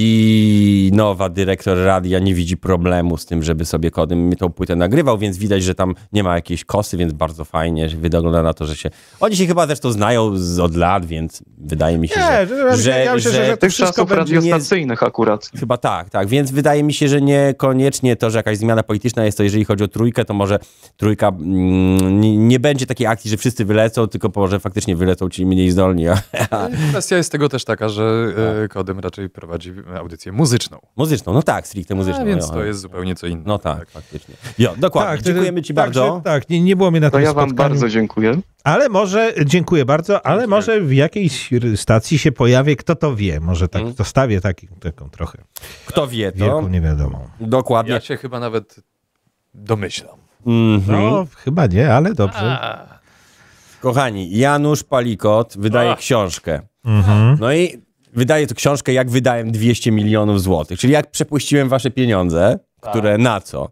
S3: i nowa dyrektor radia nie widzi problemu z tym, żeby sobie kodem tą płytę nagrywał, więc widać, że tam nie ma jakiejś kosy, więc bardzo fajnie, że wygląda na to, że się... Oni się chyba zresztą znają z, od lat, więc wydaje mi się, że...
S1: Nie, że,
S3: że-
S1: że, ja myślę,
S3: że
S1: że, że to
S6: Tych
S1: wszystko
S6: czasów
S1: będzie...
S3: nie-
S6: radiostacyjnych akurat.
S3: Chyba tak, tak. Więc wydaje mi się, że niekoniecznie to, że jakaś zmiana polityczna jest, to jeżeli chodzi o trójkę, to może trójka mm, nie, nie będzie takiej akcji, że wszyscy wylecą, tylko może faktycznie wylecą ci mniej zdolni. A,
S5: No Kwestia jest tego też taka, że e, Kodem raczej prowadzi audycję muzyczną.
S3: muzyczną, no tak, stricte muzyczną.
S5: A, więc
S3: no,
S5: to jest zupełnie co innego.
S3: No tak, faktycznie. Jo, dokładnie.
S1: to-
S3: Dziękujemy ci
S1: tak,
S3: bardzo.
S1: że- Tak, nie, nie było mnie na
S6: To
S1: tym
S6: ja wam
S1: spotkaniu.
S6: bardzo dziękuję.
S1: Ale może, dziękuję bardzo, ale może w jakiejś r- stacji się pojawi, kto to wie, może tak,
S3: Mm.
S1: to stawię taki, taką trochę
S3: Kto wie to?
S1: wielką niewiadomą.
S3: Dokładnie.
S5: Ja się chyba nawet domyślam.
S3: Mhm.
S1: No, chyba nie, ale dobrze.
S3: Kochani, Janusz Palikot wydaje książkę.
S1: Mhm.
S3: No i wydaje tu książkę, jak wydałem 200 milionów złotych, czyli jak przepuściłem wasze pieniądze, które na co.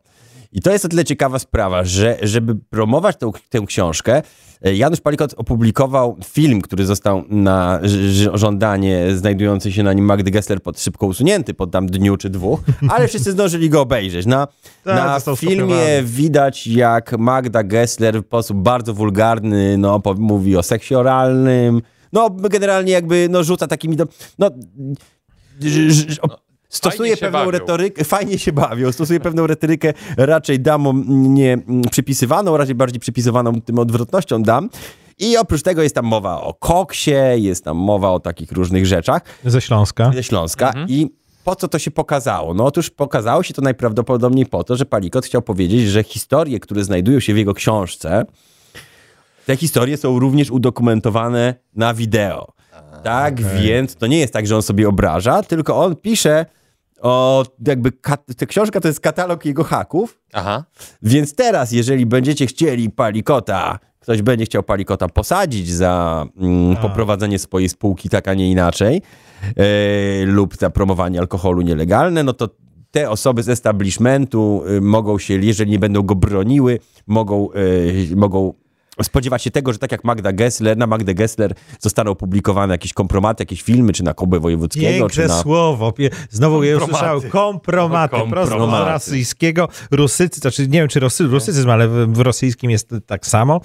S3: I to jest o tyle ciekawa sprawa, że żeby promować tą, tę książkę, e, Janusz Palikot opublikował film, który został na ż- ż- żądanie znajdującej się na nim Magdy Gessler pod, szybko usunięty po tam dniu czy dwóch, ale wszyscy zdążyli go obejrzeć. Na,
S1: Tak,
S3: na
S1: został
S3: filmie
S1: skopiowany.
S3: widać, jak Magda Gessler w sposób bardzo wulgarny no, po- mówi o seksie oralnym, no generalnie jakby no, rzuca takimi... Do... No, ż- ż- o- Stosuje
S5: fajnie się
S3: pewną
S5: bawią.
S3: retorykę, fajnie się bawią, stosuje pewną retorykę raczej damom nie mm, przypisywaną, raczej bardziej przypisywaną tym odwrotnością dam. I oprócz tego jest tam mowa o koksie, jest tam mowa o takich różnych rzeczach
S1: Ze Śląska.
S3: ze Śląska i po co to się pokazało? No otóż pokazało się to najprawdopodobniej po to, że Palikot chciał powiedzieć, że historie, które znajdują się w jego książce, te historie są również udokumentowane na wideo. Tak, więc to nie jest tak, że on sobie obraża, tylko on pisze o jakby, kat- ta książka to jest katalog jego haków,
S5: Aha.
S3: więc teraz, jeżeli będziecie chcieli palikota, ktoś będzie chciał palikota posadzić za mm,
S5: Tak.
S1: A.
S3: poprowadzenie swojej spółki tak, a nie inaczej, e, lub za promowanie alkoholu nielegalne, no to te osoby z establishmentu y, mogą się, jeżeli nie będą go broniły, mogą, y, mogą spodziewać się tego, że tak jak Magda Gessler, na Magdę Gessler zostaną opublikowane jakieś kompromaty, jakieś filmy, czy na Kobę Wojewódzkiego,
S1: Piękne
S3: czy na...
S1: słowo. Pie- Znowu ja usłyszałem kompromaty, prosto z
S3: Kompromaty.
S1: rosyjskiego. Rusycy, znaczy nie wiem czy rosy, rusycyzm, ale w, w rosyjskim jest tak samo.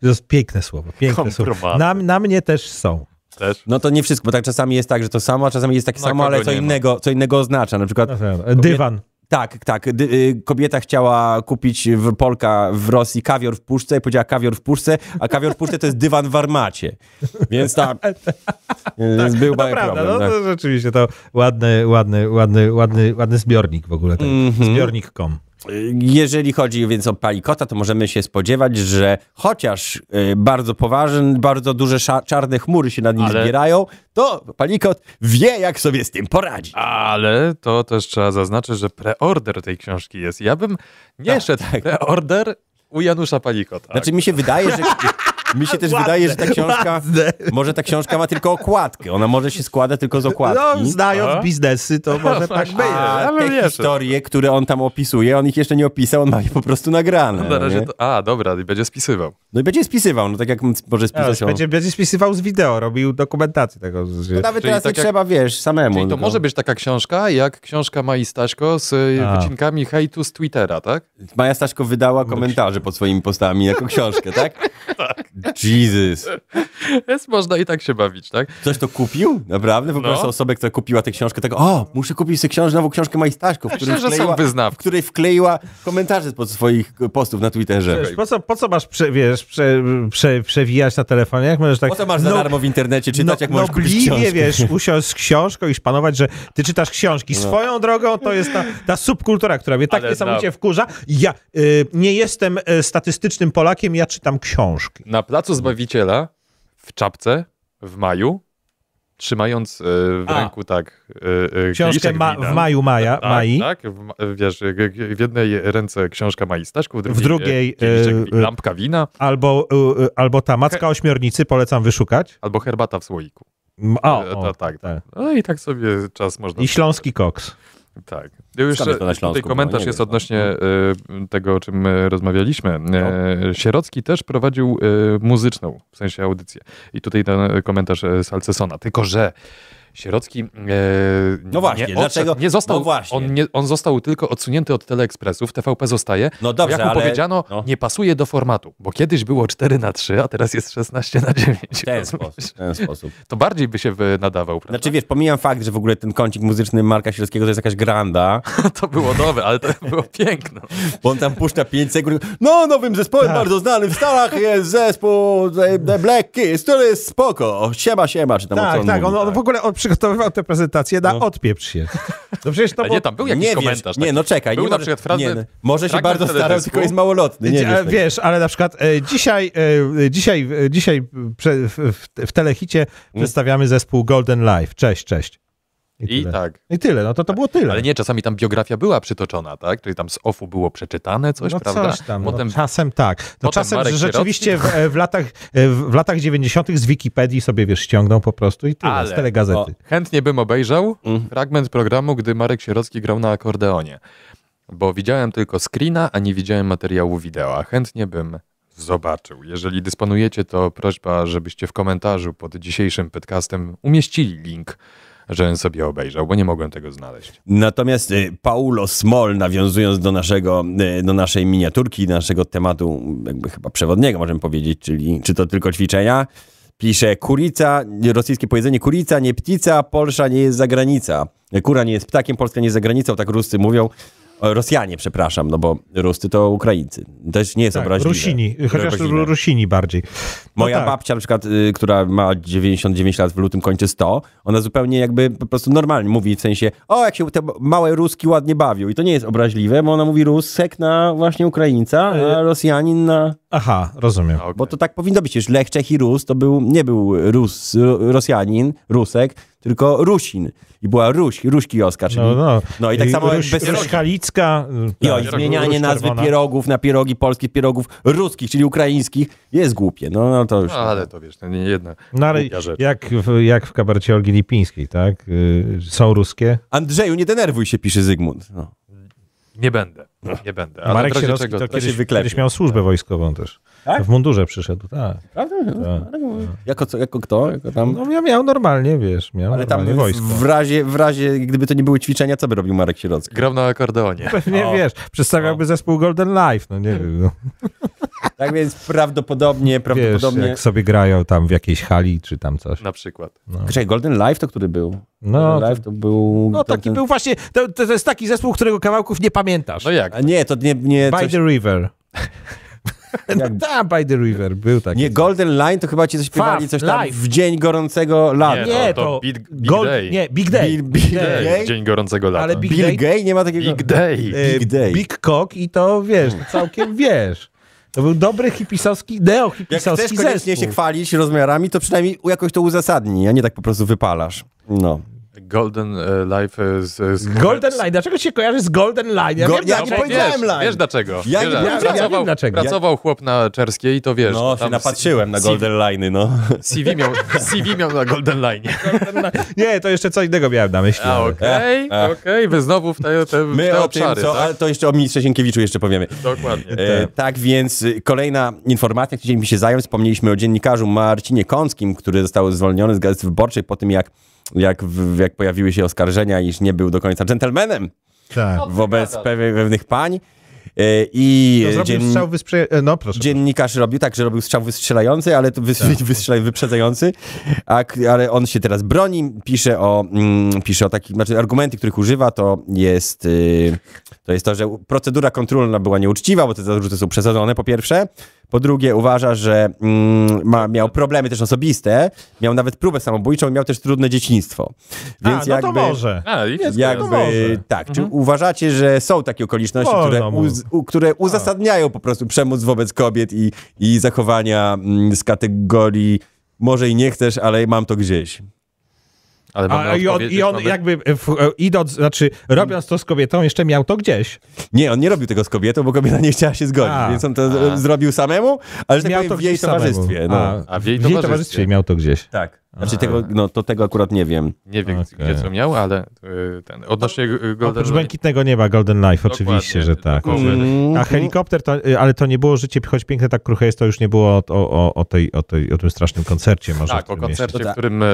S1: To jest piękne słowo, piękne słowo.
S5: Kompromaty.
S1: Na, na mnie też są.
S5: Też.
S3: No to nie wszystko, bo tak czasami jest tak, że to samo, a czasami jest takie
S5: Na
S3: samo, ale
S5: kogo
S3: co
S5: nie ma.
S3: innego, co innego oznacza. Na przykład
S1: Na pewno. Dywan.
S3: Tak, tak. Dy, y, kobieta chciała kupić w Polka w Rosji kawior w puszce i powiedziała kawior w puszce, a kawior w puszce to jest dywan w armacie. Więc tam więc był
S1: Tak, To
S3: mały
S1: prawda, no
S3: problem. tak.
S1: to rzeczywiście to ładny, ładny, ładny, ładny, ładny zbiornik w ogóle. Ten.
S3: Mhm.
S1: Zbiornik.com.
S3: Y, Jeżeli chodzi więc o palikota, to możemy się spodziewać, że chociaż y, bardzo poważny, bardzo duże sza- czarne chmury się nad nim
S5: Ale-
S3: zbierają, to palikot wie, jak sobie z tym poradzić.
S5: Ale to też trzeba zaznaczyć, że preorder tej książki jest. Ja bym nie szedł tak. preorder u Janusza Palikota.
S3: Znaczy mi się wydaje, że... Mi się też wydaje, że ta książka... Może ta książka ma tylko okładkę. Ona może się składa tylko z okładki.
S1: No, znając
S5: Aha.
S1: biznesy, to może tak być.
S5: Ja
S3: No A
S5: bym
S3: te
S5: jeszcze.
S3: historie, które on tam opisuje, on ich jeszcze nie opisał, on ma je po prostu nagrane.
S5: na razie
S3: nie?
S5: to, a, dobra, i będzie spisywał.
S3: No i będzie spisywał, no tak jak m- może spisać on.
S1: Będzie, będzie spisywał z wideo, robił dokumentację tego.
S3: To nawet
S5: Czyli
S3: teraz
S5: tak
S3: nie
S5: jak-
S3: trzeba, wiesz, samemu.
S5: Czyli to
S3: tylko-
S5: może być taka książka, jak książka Mai Staśko z y,
S1: A.
S5: wycinkami hejtu z Twittera, tak?
S3: Maja Staszko wydała komentarze pod swoimi postami jako książkę, tak? Jesus.
S5: Jest, można i tak się bawić, tak?
S3: Ktoś to kupił? Naprawdę? Po
S5: No.
S3: prostu osobę, która kupiła tę książkę, tak o, muszę kupić sobie książ- nową książkę Maji Staszko, w której,
S5: Myślę, że są
S3: wkleiła, w
S5: wyznawki.
S3: której wkleiła komentarze pod swoich postów na Twitterze.
S1: Wiesz, po, co, po co masz, prze, wiesz, prze, prze, przewijać na telefonie? Jak możesz tak...
S3: Po co masz za
S1: no-
S3: darmo w internecie czytać, jak
S5: no
S3: możesz kupić
S1: nobliwie,
S3: książkę?
S1: wiesz, usiąść z książką i szpanować, że ty czytasz
S3: No.
S1: książki. Swoją drogą to jest ta, ta subkultura, która mnie tak
S5: Ale
S1: niesamowicie wkurza. Ja y, nie jestem y, statystycznym Polakiem, ja czytam książki.
S5: Na Placu Zbawiciela w czapce w maju, trzymając y, w
S1: A.
S5: ręku tak y, y,
S1: Książkę
S3: tak
S5: kieliszek
S1: ma,
S5: wina.
S1: w maju maja,
S5: tak,
S1: mai.
S5: Tak, w, ma- wiesz, y, y, w jednej ręce książka Mai Staszku, w drugiej,
S1: W drugiej,
S5: y, kieliszek
S1: y,
S5: wi-
S1: y,
S5: lampka wina
S3: tak.
S1: Albo, y, y, albo ta Macka Ośmiornicy, polecam wyszukać.
S5: albo herbata w słoiku.
S3: Mm,
S1: M- O,
S3: e,
S5: Y,
S1: o,
S5: to tak, tak. No i tak sobie czas można...
S1: I Śląski Koks.
S5: Tak. Ja Już
S3: Skąd jest to na
S5: e,
S3: Śląsku?
S5: tutaj komentarz
S3: No, nie
S5: jest
S3: wiem. Mhm. No.
S5: odnośnie e, tego, o czym e, rozmawialiśmy. E, Sierocki też prowadził e, muzyczną, w sensie audycję. I tutaj ten e, komentarz e, Salcesona. Tylko, że Sierocki e,
S3: No właśnie,
S5: nie,
S3: dlaczego-
S5: nie został,
S3: no właśnie.
S5: On, nie, on został tylko odsunięty od Teleekspresów, TVP zostaje.
S3: No dobrze,
S5: jak mu
S3: ale-
S5: powiedziano,
S3: no.
S5: nie pasuje do formatu, bo kiedyś było 4 na 3 a teraz jest 16 na 9
S3: W ten sposób, w ten sposób.
S5: To bardziej by się e, nadawał, prawda?
S3: Znaczy wiesz, pomijam fakt, że w ogóle ten kącik muzyczny Marka Środowskiego to jest jakaś granda,
S5: to było nowe, ale to było piękne.
S3: bo on tam puszcza 5 sekund. No, nowym zespołem
S5: Tak.
S3: bardzo znanym w Stanach jest zespół The, the Black Keys, który jest spoko. Siema, siema, czy tam o no co
S1: Tak,
S3: on
S1: tak,
S3: mówi,
S1: on, on w ogóle on przygotowywał tę prezentację na odpieprz się. No przecież to
S5: A
S1: było
S5: nie, tam był jakiś
S3: nie wiesz,
S5: komentarz.
S3: nie,
S5: taki.
S3: no czekaj.
S5: Był
S3: nie
S5: na
S3: może-
S5: przykład fragment,
S3: nie, no, Może się
S5: fragment
S3: bardzo starał,
S5: teledysku.
S3: tylko jest małolotny. Nie,
S1: Gdzie-
S3: wiesz, no
S1: a, wiesz, ale na przykład e, dzisiaj, e, dzisiaj, e, dzisiaj prze, w, w, w telehicie
S3: Mm.
S1: przedstawiamy zespół Golden Life. Cześć, cześć.
S5: I
S1: tyle.
S5: tak.
S1: I tyle, no to to było tyle.
S5: Ale nie, czasami tam biografia była przytoczona, tak? Czyli tam z OFU było przeczytane coś,
S1: no
S5: prawda?
S1: coś tam,
S5: Potem
S1: no, czasem tak. No
S5: potem
S1: czasem
S5: Marek
S1: rzeczywiście w, e, w latach e, w latach 90. z Wikipedii sobie wiesz, ściągnął po prostu i tyle,
S5: Ale-
S1: z telegazety.
S3: o. Mm.
S5: chętnie bym obejrzał fragment programu, gdy Marek Sierocki grał na akordeonie. bo widziałem tylko screena, a nie widziałem materiału wideo, a chętnie bym zobaczył. Jeżeli dysponujecie, to prośba, żebyście w komentarzu pod dzisiejszym podcastem umieścili link, żebym sobie obejrzał, bo nie mogłem tego znaleźć.
S3: Natomiast y, Paulo Smol, nawiązując do, naszego, y, do naszej miniaturki, naszego tematu jakby chyba przewodniego, możemy powiedzieć, czyli czy to tylko ćwiczenia, pisze kurica, rosyjskie powiedzenie kurica, nie ptica, Polsza nie jest za granica. Kura nie jest ptakiem, Polska nie jest za granicą, tak Ruscy mówią. O, Rosjanie, przepraszam, no bo Ruscy to Ukraińcy. Też nie jest
S1: Tak,
S3: obraźliwe.
S1: Rusini, chociaż
S3: Obraźliwe.
S1: Rusini bardziej. No
S3: Moja
S1: tak.
S3: babcia, na przykład, y, która ma 99 lat, w lutym kończy 100, ona zupełnie jakby po prostu normalnie mówi w sensie, o jak się te małe Ruski ładnie bawią. I to nie jest obraźliwe, bo ona mówi Rusek na właśnie Ukraińca,
S1: Y.
S3: a Rosjanin na...
S1: Aha, rozumiem.
S5: A, okej.
S3: Bo to tak powinno być. Już Lech, Czech i Rus to był, nie był Rus, Ro- Rosjanin, Rusek, tylko Rusin. I była Ruś, Ruś Kioska, czyli...
S1: No,
S3: No,
S1: no.
S3: i tak samo
S1: Ruś,
S3: bez...
S1: Ruś Kalicka.
S3: I
S1: tak,
S3: oj,
S1: Ruś
S3: zmienianie nazwy
S1: Czerwona.
S3: pierogów na pierogi polskich, pierogów ruskich, czyli ukraińskich, jest głupie. No, no to już...
S5: No, ale to wiesz, to nie jedna
S1: No ale
S5: głupia rzecz.
S1: jak w, jak w kabarecie Olgi Lipińskiej, tak? Y, Są ruskie.
S3: Andrzeju, nie denerwuj się, pisze Zygmunt. No.
S5: Nie będę, nie będę. Ale
S1: Marek
S5: w razie
S1: Sierowski
S5: czego-
S1: to
S3: się
S1: kiedyś,
S3: wyklepie.
S1: kiedyś miał służbę wojskową też.
S3: Tak?
S1: W mundurze przyszedł, tak.
S3: Prawda?
S1: Tak.
S3: Jako, co, jako kto? Jako tam?
S1: No ja miał normalnie, wiesz, miał
S3: ale tam
S1: normalnie
S3: w,
S1: wojsko.
S3: w, razie, w razie, gdyby to nie były ćwiczenia, co by robił Marek Sierocki?
S5: Grał na akordeonie.
S1: Pewnie,
S3: O.
S1: wiesz, przedstawiałby zespół Golden Life, no nie wiem. No.
S3: Tak więc prawdopodobnie,
S1: Wiesz,
S3: prawdopodobnie...
S1: jak sobie grają tam w jakiejś hali czy tam coś.
S5: Na przykład.
S3: Czekaj, Golden Life to który był?
S1: No,
S3: Golden Life to był...
S1: no
S3: to-
S1: taki
S3: to-
S1: był właśnie, to, to to jest taki zespół, którego kawałków nie pamiętasz.
S5: No jak?
S3: A nie, to nie... Nie,
S1: by
S3: coś,
S1: the River. no
S3: Jak-
S1: tak, By the River, był taki.
S3: nie Golden Line to chyba ci coś śpiewali,
S1: Faf,
S3: coś tam
S1: Life.
S3: w dzień gorącego lata.
S5: Nie,
S1: nie,
S5: no, to-
S1: to,
S5: to Big- Big Day.
S1: Nie, Big Day.
S3: Bill, Bill
S1: Day.
S3: Gay?
S5: Dzień gorącego lata.
S1: Ale Big Day.
S3: Bill Gay? Nie ma takiego...
S5: Big Day.
S1: E,
S3: Big Day.
S1: Big Cock i to wiesz, to całkiem wiesz. To był dobry hipisowski,
S3: Jak chcesz
S1: neo-hipisowski
S3: koniecznie
S1: zespół.
S3: się chwalić rozmiarami, to przynajmniej jakoś to uzasadnij, a nie tak po prostu wypalasz. No.
S5: Golden e, Life e, z... z
S1: Golden Line, dlaczego się kojarzy z Golden Line? Ja
S3: Go-
S1: wiem, no,
S3: ja
S1: dlaczego.
S3: nie powiedziałem
S5: wiesz,
S3: line.
S5: wiesz dlaczego?
S3: Ja nie
S5: Wiesz,
S3: powiedziałem.
S1: Ja
S5: pracował,
S1: wiem dlaczego.
S5: pracował chłop na czerskiej, to wiesz.
S3: No, się
S5: tam
S3: napatrzyłem na
S5: C-
S3: Golden Line'y, no.
S5: CV miał, CV miał na Golden Line.
S1: Nie, to jeszcze co innego miałem na myśli.
S5: A
S1: ale-
S5: okej,
S3: E, e.
S5: okej, wy znowu w te, te, w
S3: My
S5: te
S3: o tym,
S5: obszary,
S3: co,
S5: tak?
S3: ale to jeszcze o ministrze Sienkiewiczu jeszcze powiemy.
S5: Dokładnie.
S3: E, tak więc y, kolejna informacja, której mi się zajął. Wspomnieliśmy o dziennikarzu Marcinie Kąckim, który został zwolniony z Gazety Wyborczej po tym, jak, jak, w, jak pojawiły się oskarżenia, iż nie był do końca dżentelmenem
S1: Tak.
S3: wobec pew- pewnych pań. E, I
S1: To
S3: dzien-
S1: zrobił strzał wysprze... e, No proszę. Tak,
S3: dziennikarz robił tak, że robił strzał wystrzelający, ale to wys- wystrzelaj, wyprzedzający, a, k- ale on się teraz broni, pisze o, mm, pisze o takich, znaczy argumenty, których używa, to jest, y, to jest to, że u- procedura kontrolna była nieuczciwa, bo te zarzuty są przesadzone po pierwsze, po drugie uważa, że mm, ma, miał problemy też osobiste, miał nawet próbę samobójczą i miał też trudne dzieciństwo. Więc
S1: A, no
S3: jakby,
S1: to może.
S5: A, i wszystko
S1: jak-
S5: jest.
S1: to może.
S3: jakby, tak, czy uważacie, że są takie okoliczności,
S1: Wolno Tak.
S3: które,
S1: mu.
S3: uz, u, które uzasadniają po prostu przemoc wobec kobiet i, i zachowania mm, z kategorii może i nie chcesz, ale mam to gdzieś.
S5: Ale mamy
S1: A, i on,
S5: odpowiedzieć,
S1: i on
S5: mamy-
S1: jakby w, e, idąc, znaczy robiąc to z kobietą, jeszcze miał to gdzieś.
S3: Nie, on nie robił tego z kobietą, bo kobieta nie chciała się zgodzić,
S1: A.
S3: więc on to zrobił samemu, ale że tak
S1: miał
S3: powiem,
S1: to
S3: w jej
S1: gdzieś samemu.
S3: towarzystwie. No.
S5: A w jej towarzystwie.
S1: miał to gdzieś.
S3: Tak. Znaczy tego, no, to tego akurat nie wiem.
S5: Nie wiem,
S1: Okej.
S5: gdzie co miał, ale y, ten, odnośnie y, Golden
S1: Oprócz
S5: Line.
S1: błękitnego nieba, Golden Life,
S5: Dokładnie,
S1: oczywiście, że tak.
S5: dokładnie.
S3: Mhm. Mm.
S1: A helikopter, to, y, ale to nie było życie, choć piękne, tak kruche jest, to już nie było o, o, o, tej, o, tej, o tym strasznym koncercie. Może w
S5: Tak,
S1: tym
S5: o
S1: mieście.
S5: koncercie,
S3: To tak.
S5: w którym e,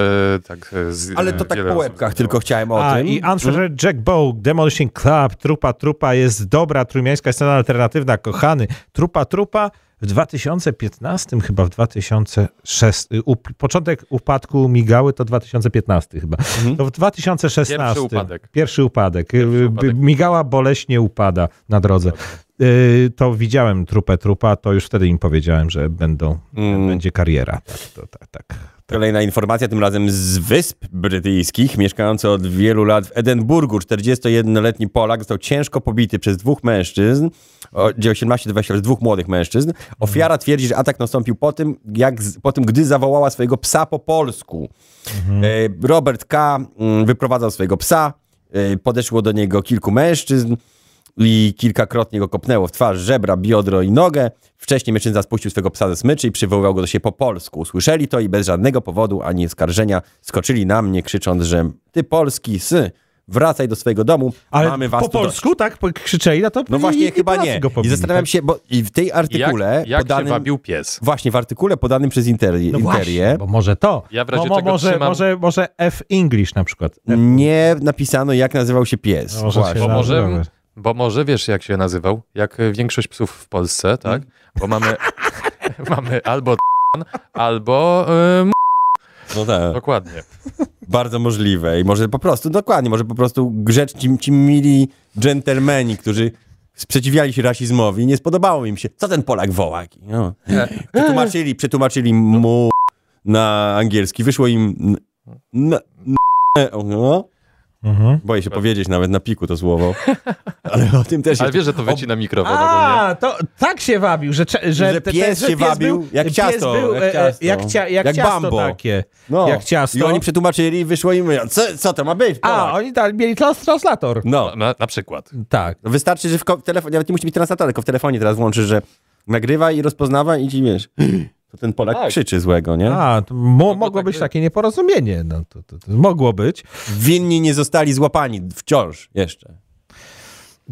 S5: tak e, z,
S3: Ale to
S5: e,
S3: tak
S5: wiele
S3: po
S5: osób
S3: łebkach
S5: zginęło.
S3: tylko chciałem o
S1: A,
S3: tym. Mhm.
S1: i Unfettered Jack Bow, Demolition Club, Trupa Trupa jest dobra, trójmiańska scena alternatywna, kochany. Trupa Trupa w 2015, chyba w 2006, y, up, początek upadku migały to 2015 chyba,
S3: Mhm.
S1: to w 2016.
S5: Pierwszy upadek.
S1: Pierwszy upadek. Y,
S5: upadek.
S1: Migała boleśnie upada na drodze. Y, To widziałem trupę trupa, to już wtedy im powiedziałem, że będą,
S3: Mm.
S1: będzie kariera. Tak, to, tak, tak.
S3: Kolejna informacja, tym razem z Wysp Brytyjskich. Mieszkający od wielu lat w Edynburgu 41-letni Polak został ciężko pobity przez dwóch mężczyzn, o, gdzie 18-20 lat, dwóch młodych mężczyzn. Ofiara twierdzi, że atak nastąpił po tym, jak, z- po tym gdy zawołała swojego psa po polsku.
S1: Mhm.
S3: E, Robert K. mm, wyprowadzał swojego psa, e, podeszło do niego kilku mężczyzn i kilkakrotnie go kopnęło w twarz, żebra, biodro i nogę. Wcześniej mężczyzna spuścił swego psa ze smyczy i przywoływał go do siebie po polsku. Usłyszeli to i bez żadnego powodu ani skarżenia skoczyli na mnie, krzycząc, że ty polski sy, wracaj do swojego domu,
S1: Ale
S3: mamy was
S1: po
S3: tu dość.
S1: polsku, tak? Po- Krzyczeli na to?
S3: No
S1: i-
S3: właśnie,
S1: i
S3: chyba
S1: Polacy
S3: nie.
S1: Go
S3: I
S1: pobili,
S3: zastanawiam
S1: tak?
S3: się, bo i w tej artykule
S5: jak jak się
S3: podanym...
S5: wabił pies?
S3: Właśnie, w artykule podanym przez interi-
S1: No
S3: interię
S1: właśnie, bo może to.
S5: Ja w razie
S1: Mo- mo-
S5: czego
S1: może,
S5: trzymam-
S1: może, może F English na przykład. F-
S3: nie napisano, jak nazywał się pies.
S1: No, może się
S3: Właśnie.
S5: Bo
S1: No,
S5: może,
S1: dobra.
S5: bo może wiesz, jak się nazywał? Jak y, większość psów w Polsce, tak?
S3: Mhm.
S5: Bo mamy, mamy albo albo ym,
S3: No tak,
S5: dokładnie.
S3: bardzo możliwe. I może po prostu, dokładnie, może po prostu grzeczni, ci mili dżentelmeni, którzy sprzeciwiali się rasizmowi, nie spodobało im się. Co ten Polak woła? No. Przetłumaczyli, przetłumaczyli mu na angielski. Wyszło im... n- n- n- no.
S1: Mhm.
S3: Boję się powiedzieć nawet na piku to słowo. Ale o tym też
S5: Ale
S3: jest.
S5: wiesz, że to wycina mikrofon ogólnie.
S1: A, to tak się wabił, że, cze- że,
S3: Że
S1: te- te-
S3: pies się wabił jak
S1: pies
S3: ciasto,
S1: był,
S3: jak
S1: e, e,
S3: ciasto.
S1: Jak, cia, jak,
S3: Jak
S1: ciasto
S3: Bambo.
S1: takie.
S3: No.
S1: Jak ciasto.
S3: I oni przetłumaczyli, wyszło im, mówią, co, co to ma być?
S1: A,
S3: Polak?
S1: oni tam mieli tras- translator.
S3: No,
S5: Na, na przykład.
S1: Tak.
S3: wystarczy, że w ko- telefonie, nawet nie musi mieć translatora, tylko w telefonie teraz włączysz, że nagrywa i rozpoznawa i ci wiesz, to ten Polak krzyczy złego, nie?
S1: A, to mo, mogło
S5: tak
S1: być
S5: być.
S1: takie nieporozumienie. No, to, to, to mogło być.
S3: Winni nie zostali złapani wciąż jeszcze.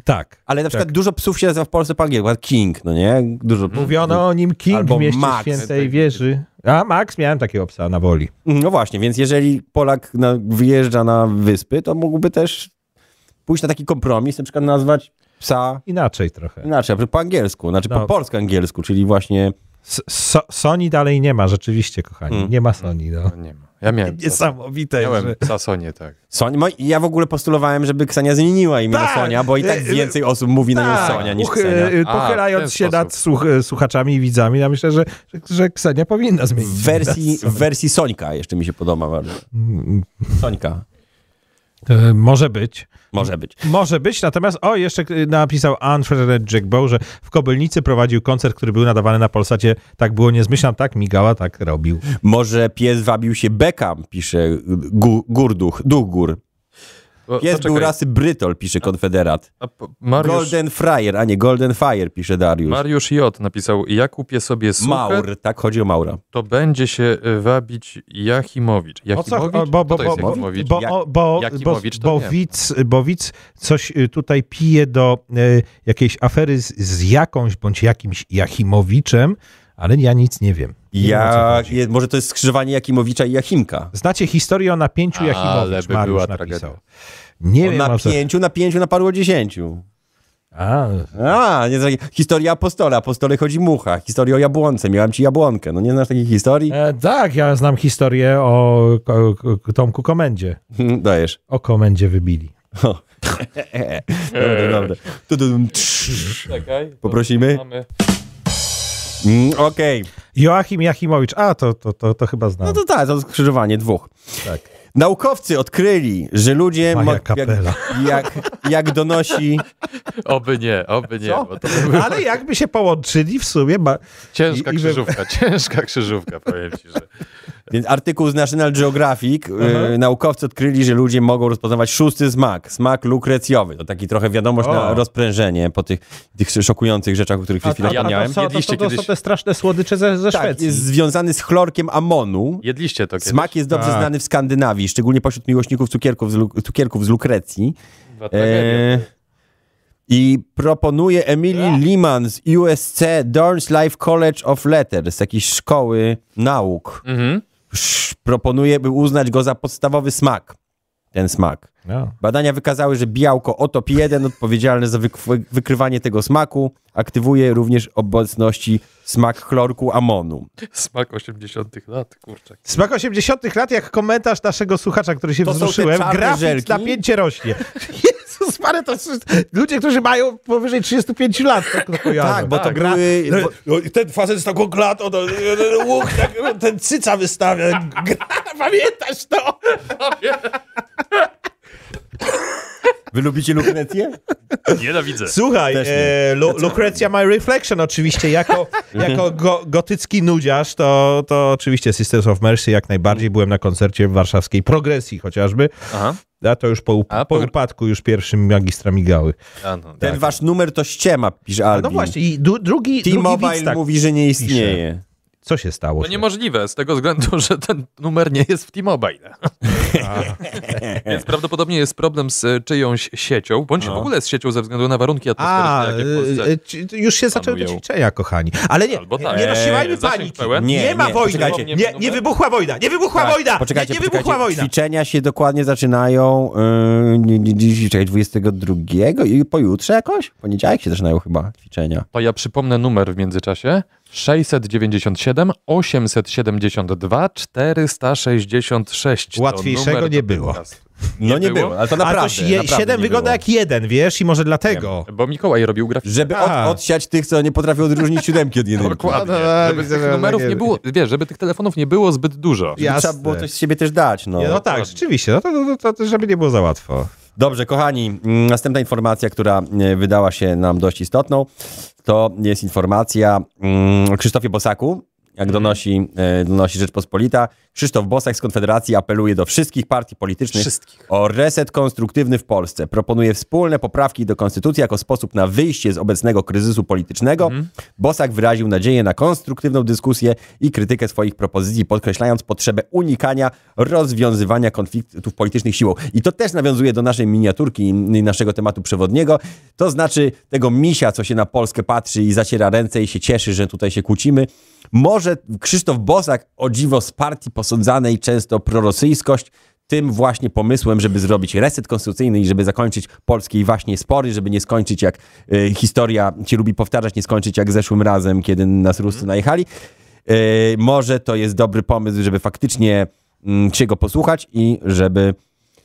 S1: Tak.
S3: Ale na przykład
S1: Tak.
S3: dużo psów się nazywa w Polsce po angielsku, na King, no nie? Dużo
S1: Mówiono o nim King
S3: Albo
S1: w mieście
S3: Max.
S5: Tak,
S1: Świętej Wieży. A, Max, miałem takiego psa na woli.
S3: No właśnie, więc jeżeli Polak na, wyjeżdża na wyspy, to mógłby też pójść na taki kompromis, na przykład nazwać psa
S1: Inaczej trochę.
S3: inaczej, na przykład po angielsku, znaczy
S1: No.
S3: po polsko-angielsku, czyli właśnie
S1: S- So, Sony dalej nie ma, rzeczywiście, kochani.
S5: Hmm.
S3: Mm.
S1: Nie ma Sony, no.
S5: No nie ma. Ja miałem.
S1: Niesamowite,
S5: Miałem
S1: że...
S5: Sasonie, tak.
S3: Sonia. Mo- Ja w ogóle postulowałem, żeby Ksenia zmieniła imię
S1: Tak!
S3: na Sonia, bo i tak
S1: E, e,
S3: więcej osób mówi na nią
S1: Tak,
S3: Sonia niż
S1: uch-
S3: Ksenia.
S1: y,
S5: A,
S1: Pochylając
S5: w ten
S1: się nad słuch- y, słuchaczami i widzami, ja myślę, że, że, że Ksenia powinna zmienić.
S3: W wersji,
S1: nazwę.
S3: w wersji Sonika jeszcze mi się podoba bardzo.
S1: y, Mm,
S3: Sonika.
S1: e, Może być.
S3: Może być.
S1: Może być, natomiast o, jeszcze y, napisał Alfred Jack Bow, że w Kobylnicy prowadził koncert, który był nadawany na Polsacie. Tak było, nie zmyślam, tak migała, tak robił.
S3: Może pies wabił się Beckham, pisze gu, Gurduch, Duch Gór.
S5: Bo-
S3: Pies
S5: poczekaj,
S3: był rasy Brytol, pisze Konfederat.
S5: a po- Mariusz,
S3: Golden Fryer, a nie Golden Fire, pisze Dariusz.
S5: Mariusz J. napisał, ja kupię sobie suchę,
S3: Maur, tak, chodzi o Maura.
S5: to będzie się y, wabić Jachimowicz.
S1: O
S5: Jachimowicz?
S1: co? o, Bo, bo,
S5: to jest
S1: bo, bo,
S5: Jachimowicz?
S1: bo,
S3: Jak-
S1: o, bo, bo,
S5: Jakimowicz, to
S1: bo,
S5: nie.
S1: widz, bo widz coś y, tutaj pije do y, jakiejś afery z, z jakąś bądź jakimś Jakimowiczem, ale ja nic nie wiem. Nie wiem, o co
S3: Ja,
S1: chodzi.
S3: je, może to jest skrzyżowanie Jakimowicza i Jachimka.
S1: Znacie historię o napięciu
S5: Ale
S1: Jakimowicz,
S5: by
S1: Mariusz
S5: była
S1: napisał.
S5: tragedia.
S1: Nie wiem,
S3: Na
S1: o co...
S3: pięciu, na pięciu naparło dziesięciu.
S1: A,
S3: A, nie znasz, historia apostola, apostole chodzi mucha, historia o jabłonce, miałem ci jabłonkę, no nie znasz takiej historii?
S1: e, tak, ja znam historię o, ko- ko- Tomku Komendzie.
S3: Hmm, Dajesz.
S1: O Komendzie wybili. E.
S3: Dobra, dobra. Tu, tu, dum, trz.
S5: Czekaj,
S3: Poprosimy?
S5: mamy...
S3: Mm, Okej.
S1: Joachim Jachimowicz, a to, to, to, to chyba znam.
S3: No to tak, to skrzyżowanie dwóch.
S1: Tak.
S3: Naukowcy odkryli, że ludzie...
S1: Maja
S3: mo-
S1: Kapela.
S3: jak, jak, jak donosi...
S5: Oby nie, oby nie, bo to by była
S1: Ale jakby się połączyli w sumie, ma...
S5: ciężka
S1: I- i-
S5: krzyżówka, ciężka krzyżówka, powiem ci, że...
S3: Więc artykuł z National Geographic. Yy, naukowcy odkryli, że ludzie mogą rozpoznawać szósty smak. Smak lukrecjowy. To taki trochę wiadomość
S1: O.
S3: na rozprężenie po tych, tych szokujących rzeczach, o których przed chwilą
S5: ja-
S3: wspomniałem.
S1: to, to,
S5: Jedliście
S1: to, to są
S5: kiedyś-
S1: te straszne słodycze ze, ze
S3: Tak,
S1: Szwecji.
S3: jest związany z chlorkiem amonu.
S5: Jedliście to kiedyś?
S3: Smak jest dobrze
S1: Tak.
S3: znany w Skandynawii, szczególnie pośród miłośników cukierków z, lu- cukierków z lukrecji.
S5: Dwa tragedie.
S1: Eee.
S3: E, I proponuje
S1: Tak.
S3: Emily Liman z USC Dorns Life College of Letters, jakiejś szkoły nauk.
S5: Mhm.
S3: Sz- proponuje, by uznać go za podstawowy smak. Ten smak.
S1: No.
S3: Badania wykazały, że białko otop 1 odpowiedzialne za wyk- wykrywanie tego smaku aktywuje również obecności smak chlorku amonu.
S5: Smak 80 lat, kurczak.
S1: Smak 80 lat, jak komentarz naszego słuchacza, który się
S3: To są te
S1: wzruszyłem.
S3: czarne
S1: Grafik
S3: żelki?
S1: napięcie rośnie. Jezus, parę to są ludzie, którzy mają powyżej 35 lat. Tak, to kojarzą.
S3: Tak, bo to były... Bo,
S1: No i Ten facet z taką klatą, no, ten łuk, tak, ten cyca wystawia. Gra- Pamiętasz to?
S3: wy lubicie lukrecję?
S1: Tak.
S5: Nienawidzę.
S1: Słuchaj,
S3: Też nie.
S1: e, Lu- Lucretia My Reflection oczywiście, jako, jako go, gotycki nudziarz, to, to oczywiście Sisters of Mercy jak najbardziej. Byłem na koncercie w warszawskiej progresji chociażby,
S5: Aha.
S1: a to już po, up-
S5: A,
S1: po
S5: progr-
S1: upadku już pierwszym magistra migały.
S5: A no,
S3: Ten wasz numer to ściema, pisze Albin.
S1: No właśnie, i du, drugi, drugi widz
S3: T-Mobile
S1: tak
S3: mówi, że nie istnieje.
S1: Co się stało?
S5: To niemożliwe z tego względu, że ten numer nie jest w T-Mobile. Więc prawdopodobnie jest problem z e, czyjąś siecią, bądź w ogóle z siecią ze względu na warunki
S1: No. A,
S5: atmosferyczne, jakie w Polsce.
S1: y, y, ci- już się zaczęły te
S5: panują.
S1: ćwiczenia, kochani. Ale nie,
S5: Albo tak.
S1: nie rozsiewajmy
S5: Eee, zasięg
S1: paniki.
S5: pełen?
S1: Nie,
S3: Nie,
S1: ma
S3: nie,
S1: wojny.
S3: poczekajcie.
S1: Nie, nie,
S5: Nie,
S1: wybuchła wojna, nie wybuchła
S3: Tak,
S1: wojna!
S3: Poczekajcie,
S1: nie, nie
S3: poczekajcie.
S1: wybuchła wojna!
S3: Ćwiczenia się dokładnie zaczynają yy, nie- nie- nie- czekaj, 22 i pojutrze jakoś? Poniedziałek się zaczynają chyba ćwiczenia.
S5: To ja przypomnę numer w międzyczasie. 697 872 466. To
S1: Łatwiejszego
S5: numer
S1: nie
S5: do
S1: było.
S5: podcastu.
S3: No nie było, ale to naprawdę.
S1: A to je,
S3: naprawdę
S1: siedem
S3: nie
S1: wygląda
S3: było.
S1: jak jeden, wiesz, i może dlatego.
S5: Bo Mikołaj robił grafikę.
S3: Żeby od,
S1: A.
S3: odsiać tych, co nie potrafią odróżnić siódemki od jedynki.
S5: Dokładnie.
S1: No, no,
S5: Żeby tych
S1: no,
S5: numerów
S1: nie
S5: nie było, wiesz, żeby tych telefonów nie było zbyt dużo.
S1: Jasne.
S3: Trzeba było coś z siebie też dać. No.
S1: Nie, no tak, rzeczywiście, no to, to, to, to żeby nie było za łatwo.
S3: Dobrze, kochani, mm, następna informacja, która e, wydała się nam dość istotną, to jest informacja mm, o Krzysztofie Bosaku. Jak donosi, e, donosi Rzeczpospolita, Krzysztof Bosak z Konfederacji apeluje do wszystkich partii politycznych
S5: Wszystkich.
S3: o reset konstruktywny w Polsce. Proponuje wspólne poprawki do konstytucji jako sposób na wyjście z obecnego kryzysu politycznego. Bosak wyraził nadzieję na konstruktywną dyskusję i krytykę swoich propozycji, podkreślając potrzebę unikania rozwiązywania konfliktów politycznych siłą. I to też nawiązuje do naszej miniaturki i i naszego tematu przewodniego, to znaczy tego misia, co się na Polskę patrzy i zaciera ręce i się cieszy, że tutaj się kłócimy. Może Krzysztof Bosak, o dziwo z partii posądzanej często o prorosyjskość, tym właśnie pomysłem, żeby zrobić reset konstytucyjny i żeby zakończyć polskie i właśnie spory, żeby nie skończyć jak e, historia ci lubi powtarzać, nie skończyć jak zeszłym razem, kiedy nas Ruscy najechali. E, może to jest dobry pomysł, żeby faktycznie mm, się go posłuchać i żeby,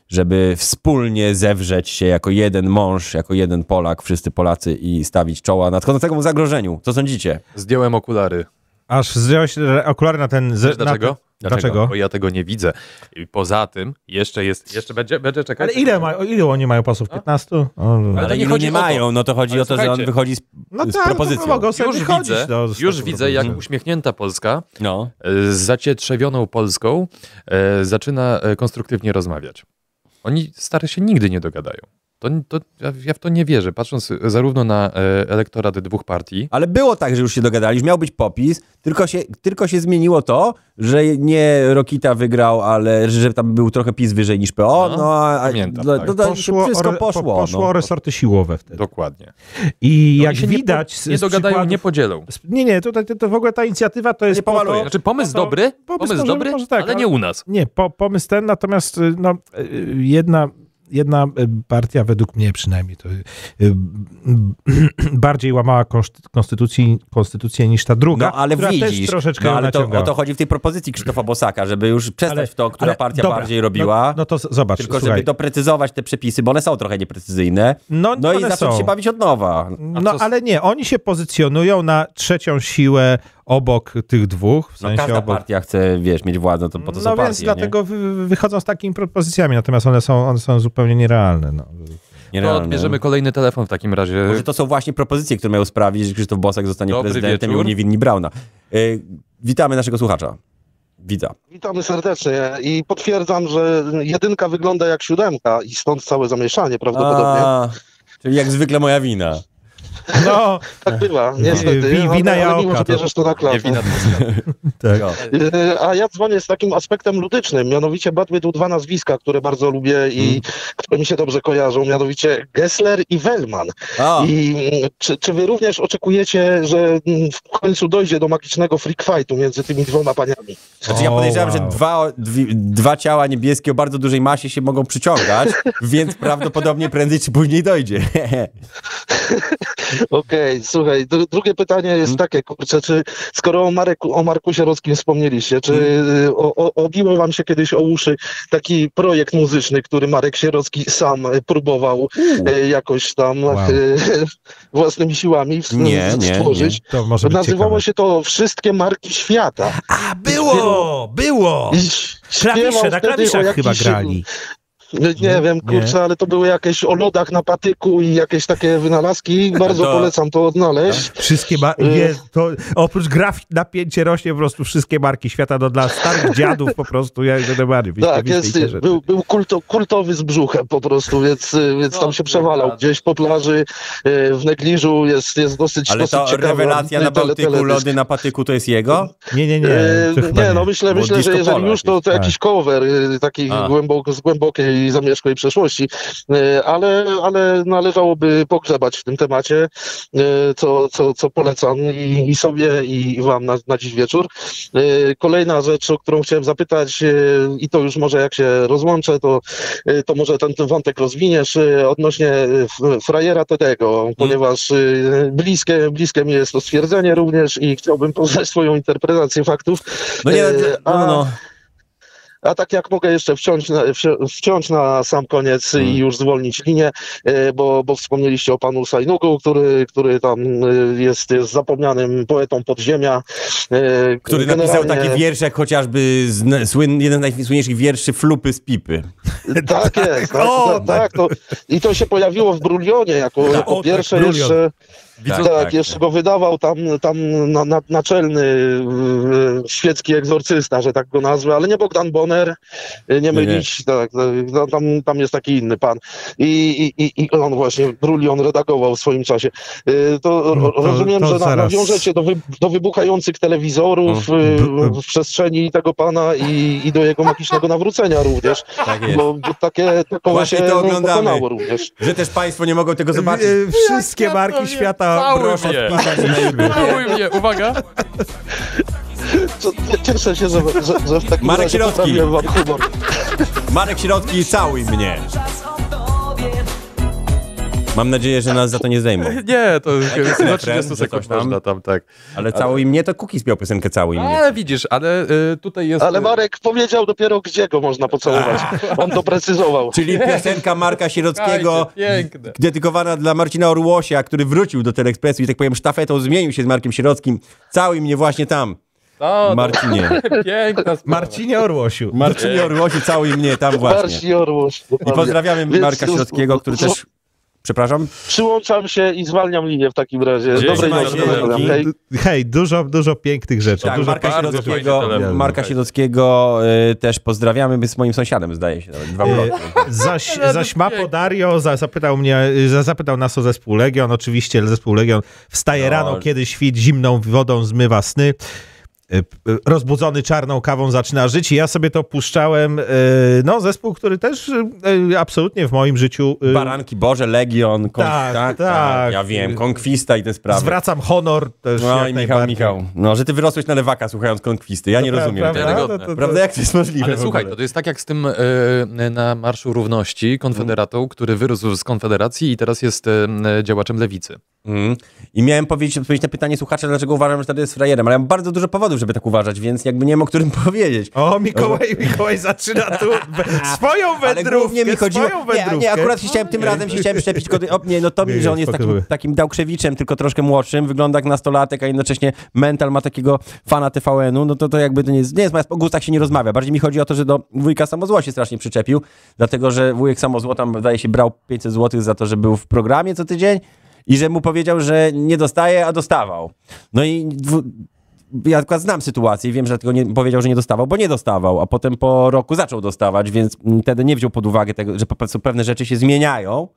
S3: żeby wspólnie zewrzeć się jako jeden mąż, jako jeden Polak, wszyscy Polacy i stawić czoła nadchodzącemu zagrożeniu. Co sądzicie?
S5: Zdjąłem okulary.
S1: Aż zdjąłeś re- okulary na ten... Z,
S5: Wiesz
S1: Znaczy, na
S5: dlaczego?
S1: Ten, dlaczego?
S5: Bo ja tego nie widzę. I Poza tym jeszcze jest, jeszcze będzie, będzie czekać.
S1: Ale ile, ma, o ile oni mają pasów? 15? O,
S5: Ale to nie
S3: ilu
S5: chodzi o to.
S3: no to chodzi
S5: Ale
S3: o to, że on
S5: słuchajcie.
S3: wychodzi z,
S1: no
S3: z
S1: tak,
S3: propozycją.
S1: No, mogą sobie
S5: Już
S1: wychodzić,
S5: widzę,
S1: no, z
S5: już
S1: taką
S5: widzę, jak
S1: propozycją.
S5: uśmiechnięta Polska
S3: no.
S5: e, z zacietrzewioną Polską e, zaczyna e, konstruktywnie rozmawiać. Oni stare się nigdy nie dogadają. To, to, ja- ja w to nie wierzę, patrząc zarówno na e, elektorat dwóch partii,
S3: Ale było tak, że już się dogadali, już miał być popis, tylko się, tylko się zmieniło to, że nie Rokita wygrał, ale że tam był trochę PiS wyżej niż PO, no,
S5: No,
S3: a
S5: pamiętam,
S3: no,
S5: tak.
S3: no, to
S1: Poszło,
S3: wszystko
S1: o re-
S3: poszło.
S1: po- poszło
S3: no.
S1: o resorty siłowe wtedy.
S5: dokładnie.
S1: I
S5: Oni
S1: jak
S5: się
S1: widać...
S5: nie, po, nie
S1: z
S5: dogadają,
S1: przykładów-
S5: nie podzielą.
S1: z- Nie, nie, tutaj to, to w ogóle ta inicjatywa to jest
S3: Nie
S1: po
S3: pomaluję.
S1: to-
S5: Znaczy pomysł
S1: po to-
S5: dobry,
S1: pomysł
S5: pomysł
S1: może-
S5: dobry,
S1: może tak,
S5: ale
S1: ale-
S5: nie u nas.
S1: Nie, po, pomysł ten, natomiast y, no, y, jedna, jedna y, partia, według mnie przynajmniej, to y, y, bardziej łamała konszt- konstytucję, konstytucję niż ta druga,
S3: No ale
S1: która też
S3: widzisz,
S1: troszeczkę
S3: no,
S1: ją
S3: ale to, o
S1: naciągała.
S3: to chodzi w tej propozycji Krzysztofa Bosaka, żeby już przestać
S1: Ale-
S3: w to, która
S1: ale-
S3: partia
S1: dobra,
S3: bardziej robiła,
S1: No, no to z- zobacz,
S3: tylko
S1: słuchaj.
S3: żeby doprecyzować te przepisy, bo one są trochę nieprecyzyjne.
S1: No,
S3: No i
S1: one
S3: zacząć
S1: są.
S3: się bawić od nowa.
S1: No
S5: co z-
S1: ale nie, oni się pozycjonują na trzecią siłę obok tych dwóch, w
S3: No,
S1: sensie
S3: każda
S1: obok
S3: partia chce, wiesz, mieć władzę, to po to są
S1: no
S3: partie,
S1: więc
S3: nie?
S1: dlatego wy, wychodzą z takimi propozycjami, natomiast one są, one są zupełnie nierealne. No.
S5: To
S3: Nierealne. no.
S5: odbierzemy kolejny telefon w takim razie.
S3: Może to są właśnie propozycje, które mają sprawić, że Krzysztof Bosak zostanie
S5: Dobry
S3: prezydentem
S5: wieczór.
S3: i uniewinni Brauna. Y, witamy naszego słuchacza. Widza.
S7: Witamy serdecznie i potwierdzam, że jedynka wygląda jak siódemka i stąd całe zamieszanie prawdopodobnie.
S3: A, czyli jak zwykle moja wina.
S1: No,
S7: Tak bywa, niestety.
S1: wi-
S7: ale-
S1: wina
S7: ale
S1: jałka
S7: mimo, że
S1: to-
S7: bierzesz to na
S5: Nie
S7: klatę.
S5: wina
S1: tak.
S3: No.
S7: Yy, A ja dzwonię z takim aspektem ludycznym, mianowicie padły tu dwa nazwiska, które bardzo lubię i
S1: Mm.
S7: które mi się dobrze kojarzą, mianowicie Gessler i Wellman.
S3: A,
S7: I mm, czy, czy wy również oczekujecie, że mm, w końcu dojdzie do magicznego freak fightu między tymi dwoma paniami?
S3: znaczy ja
S1: O,
S3: podejrzewam,
S1: wow.
S3: że dwa, dwi, dwa ciała niebieskie o bardzo dużej masie się mogą przyciągać, więc prawdopodobnie prędzej czy później dojdzie.
S7: Okej, słuchaj, dru- drugie pytanie jest takie, kurczę, czy skoro o, Mareku, o Markusie Rockim wspomnieliście, czy y, o, o, obiło wam się kiedyś o uszy taki projekt muzyczny, który Marek Sierocki sam y, próbował y, jakoś tam
S1: Wow.
S7: y, własnymi siłami w,
S3: Nie, nie,
S7: stworzyć?
S1: To może być
S7: Nazywało
S1: ciekawe.
S7: się to Wszystkie Marki Świata.
S1: A, było! Było!
S7: I ś- śpiewał
S1: Klawisze, na
S7: wtedy o
S1: klawiszach
S7: jakichś- No
S1: chyba grali.
S7: Nie,
S1: Nie?
S7: nie wiem, kurczę, ale to były jakieś o lodach na patyku i jakieś takie wynalazki. Bardzo
S3: To-
S7: polecam to odnaleźć.
S1: Wszystkie ma-
S7: Y.
S1: je, to oprócz grafik napięcie rośnie po prostu wszystkie marki świata, no dla starych dziadów po prostu, jak do demary.
S7: Tak, jest, był, był kulto, kultowy z brzuchem po prostu, więc, y, więc tam się przewalał gdzieś po plaży y, w negliżu, jest, jest dosyć,
S3: Ale
S7: dosyć
S3: to
S7: ciekawa
S3: rewelacja na
S7: tele-
S3: Bałtyku,
S7: no, teledysk.
S3: lody na patyku to jest jego?
S1: Nie, nie, nie.
S7: E,
S1: to chyba
S7: Nie, no myślę,
S3: Bo
S7: myślę
S3: disco
S7: że jeżeli
S3: polo
S7: już, to, to
S1: jakieś,
S7: jakiś cover e, taki
S3: A.
S7: głęboko, z głębokiej, zamierzchłej przeszłości, E, ale, ale należałoby pogrzebać w tym temacie, e, co, co, co polecam i, i sobie, i wam na, na dziś wieczór. E, Kolejna rzecz, o którą chciałem zapytać, e, i to już może jak się rozłączę, to, e, to może ten, ten wątek rozwiniesz e, odnośnie e, f- frajera Tedego,
S3: Mhm.
S7: ponieważ e, bliskie, bliskie mi jest to stwierdzenie również i chciałbym poznać swoją interpretację faktów.
S3: No nie,
S7: E,
S3: no,
S7: a-
S3: no.
S7: A tak jak mogę jeszcze wciąć na, wsi- wciąć na sam koniec
S3: Mhm.
S7: i już zwolnić linię, e, bo, bo wspomnieliście o panu Sajnugu, który, który tam e, jest, jest zapomnianym poetą podziemia. e,
S3: Który napisał
S7: generalnie-
S3: taki wiersz, jak chociażby zna- słyn, jeden z najsłynniejszych wierszy Flupy z Pipy.
S7: Tak jest, tak,
S3: o,
S7: tak, tak to, i to się pojawiło w Brulionie jako,
S3: Tak,
S7: jako
S1: o,
S7: pierwsze
S1: Brulion.
S7: jeszcze...
S3: Widzą-
S7: Tak, jeszcze go wydawał tam, tam na, na, naczelny e, świecki egzorcysta, że tak go nazwę, ale nie Bogdan Bonner, e, nie mylić, tak, e, no, tam, tam jest taki inny pan. I, i, i- i on właśnie, Brulion redagował w swoim czasie. E, To,
S1: No,
S7: ro-
S1: to-
S7: rozumiem,
S1: to
S7: że na,
S1: zaraz.
S7: nawiążecie do, wy, do wybuchających telewizorów e, w przestrzeni tego pana i, i do jego magicznego nawrócenia również,
S3: Tak jest.
S7: bo, bo takie to koło
S3: Właśnie
S7: się
S3: to
S7: no,
S3: oglądamy.
S7: pokonało również.
S3: Że też państwo nie mogą tego zobaczyć.
S7: y,
S1: E, Wszystkie marki świata
S5: Cały
S1: proszę
S5: mnie.
S1: wpisać na imię.
S5: Cały mnie, uwaga.
S7: Co- Cieszę się, że, że, że w takim
S3: Marek
S7: razie
S3: Sierocki.
S7: poprawiłem wam humor.
S3: Marek Środki, całuj mnie. Mam nadzieję, że nas za to nie zdejmą.
S5: Nie, to jest
S3: refren,
S5: do
S3: że
S5: 30 sekund
S3: coś tam?
S5: można tam, tak.
S3: Ale całuj mnie, to Kukiz miał piosenkę całuj mnie.
S5: Ale widzisz, ale y, tutaj jest...
S7: Ale
S5: y,
S7: Marek powiedział dopiero, gdzie go można pocałować. On doprecyzował.
S3: Czyli piosenka Marka Sierockiego,
S5: Słuchajcie, piękne.
S3: dedykowana dla Marcina Orłosia, który wrócił do Telekspresu i tak powiem sztafetą zmienił się z Markiem Sierockim. Całuj mnie właśnie tam,
S5: No, no,
S3: Marcinie.
S5: piękna sprawa.
S1: Marcinie Orłosiu.
S3: Marcinie Orłosiu, całuj mnie tam właśnie.
S7: Marcin Orłoś.
S3: I pozdrawiamy
S7: Więc-
S3: Marka Środkiego, który też... Przepraszam?
S7: Przyłączam się i zwalniam linię w takim razie.
S5: Dzięki,
S7: Dobrej
S3: Marcin,
S7: nocy. do
S3: dzięki.
S7: Hej.
S1: Hej, dużo, dużo pięknych rzeczy.
S3: Tak,
S1: No, dużo
S3: Marka
S5: bardzo
S3: Środowskiego,
S5: fajny telefon.
S3: Marka Środowskiego y, też pozdrawiamy, my z moim sąsiadem zdaje się nawet, dwa
S1: Y,
S3: bloki.
S1: Zaś, zaś Mapo Dario za, zapytał, mnie, za, zapytał nas o zespół Legion. Oczywiście zespół Legion wstaje
S3: No.
S1: rano, kiedy świt zimną wodą zmywa sny. Y, p- y, Rozbudzony czarną kawą zaczyna żyć i ja sobie to puszczałem. y, No, zespół, który też y, absolutnie w moim życiu y,
S3: Baranki Boże, Legion, konk-
S1: Tak,
S3: tak, tak,
S1: tak.
S3: ja wiem, Konkwista i te sprawy.
S1: zwracam honor też
S3: no
S1: jak
S3: i Michał,
S1: najbardziej.
S3: Michał, no, że ty wyrosłeś na lewaka słuchając Konkwisty, ja nie
S1: Pra-
S3: rozumiem
S1: Prawda, No
S3: tego.
S5: Wiarygodne.
S1: To- to- to-
S3: Prawda, jak to jest możliwe
S5: Ale
S3: w
S5: słuchaj,
S3: ogóle?
S5: to jest tak jak z tym e, na Marszu Równości konfederatą, który wyrósł z Konfederacji i teraz jest e, działaczem lewicy.
S3: Mm. I miałem powiedzieć, odpowiedzieć na pytanie słuchacza, dlaczego uważam, że wtedy jest frajerem, ale ja mam bardzo dużo powodów, żeby tak uważać, więc jakby nie wiem, o którym powiedzieć.
S1: O, Mikołaj, Mikołaj zaczyna tu we- swoją
S3: Ale
S1: wędrówkę,
S3: głównie mi chodziło...
S1: swoją
S3: Nie,
S1: wędrówkę. No
S3: nie, akurat się chciałem, tym razem się chciałem szczepić, tylko... O, nie, no to
S1: Nie,
S3: mi, że on jest
S1: spokojnie.
S3: takim, takim Dałkrzewiczem, tylko troszkę młodszym, wygląda jak nastolatek, a jednocześnie mental ma takiego fana TVN-u, no to to jakby to nie jest... Nie jest, o gustach się nie rozmawia. Bardziej mi chodzi o to, że do wujka Samozło się strasznie przyczepił, dlatego, że wujek Samozło tam, wydaje się, brał 500 zł za to, że był w programie co tydzień i że mu powiedział, że nie dostaje, a dostawał. No i... dwu- ja akurat znam sytuację i wiem, że dlatego nie, powiedział, że nie dostawał, bo nie dostawał, a potem po roku zaczął dostawać, więc mm, wtedy nie wziął pod uwagę tego, że po prostu pewne rzeczy się zmieniają,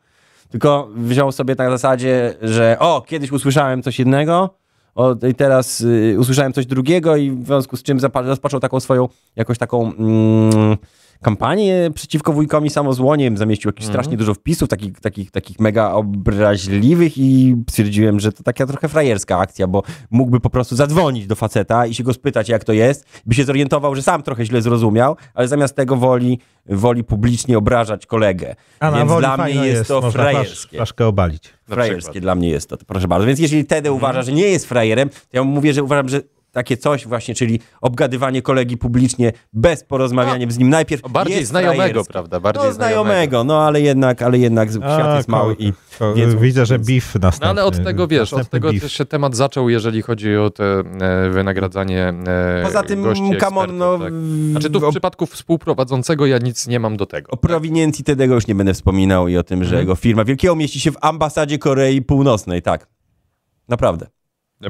S3: tylko wziął sobie tak na zasadzie, że o, kiedyś usłyszałem coś jednego, o, i teraz y, usłyszałem coś drugiego i w związku z czym zapa- rozpoczął taką swoją, jakąś taką mm, kampanię przeciwko wujkom i samozłoniem, zamieścił jakieś strasznie dużo wpisów, takich, takich, takich mega obraźliwych i stwierdziłem, że to taka trochę frajerska akcja, bo mógłby po prostu zadzwonić do faceta i się go spytać, jak to jest, by się zorientował, że sam trochę źle zrozumiał, ale zamiast tego woli, woli publicznie obrażać kolegę.
S1: A na
S3: Więc
S1: woli
S3: dla mnie
S1: fajno
S3: jest, to
S1: można flasz-
S3: frajerskie.
S1: Flaszkę obalić.
S5: przykład. Mhm.
S3: Frajerskie dla mnie jest to, to proszę bardzo. Więc jeśli Tedy uważa, że nie jest frajerem, to ja mu mówię, że uważam, że takie coś właśnie, czyli obgadywanie kolegi publicznie bez porozmawiania z nim najpierw.
S5: No, Bardziej
S3: jest
S5: znajomego,
S3: frajerstwo.
S5: prawda? Bardziej
S3: No znajomego, no ale jednak, ale jednak świat
S1: A,
S3: jest mały
S1: ko-
S3: i
S1: ko-
S3: wiedzą-
S1: y, Widzę, że beef następny.
S5: No ale od tego wiesz, od
S1: Tak, e, następny
S5: tego
S1: beef.
S5: też się temat zaczął, jeżeli chodzi o te e, wynagradzanie e,
S3: Poza tym,
S5: gości,
S3: come on,
S5: ekspertów,
S3: no,
S5: tak. Znaczy tu w
S3: o,
S5: przypadku współprowadzącego ja nic nie mam do
S3: o
S5: tego.
S3: prowiniencji Tedego już nie będę wspominał i o tym,
S5: Mhm.
S3: że jego firma Wielkiego mieści się w ambasadzie Korei Północnej, tak. Naprawdę.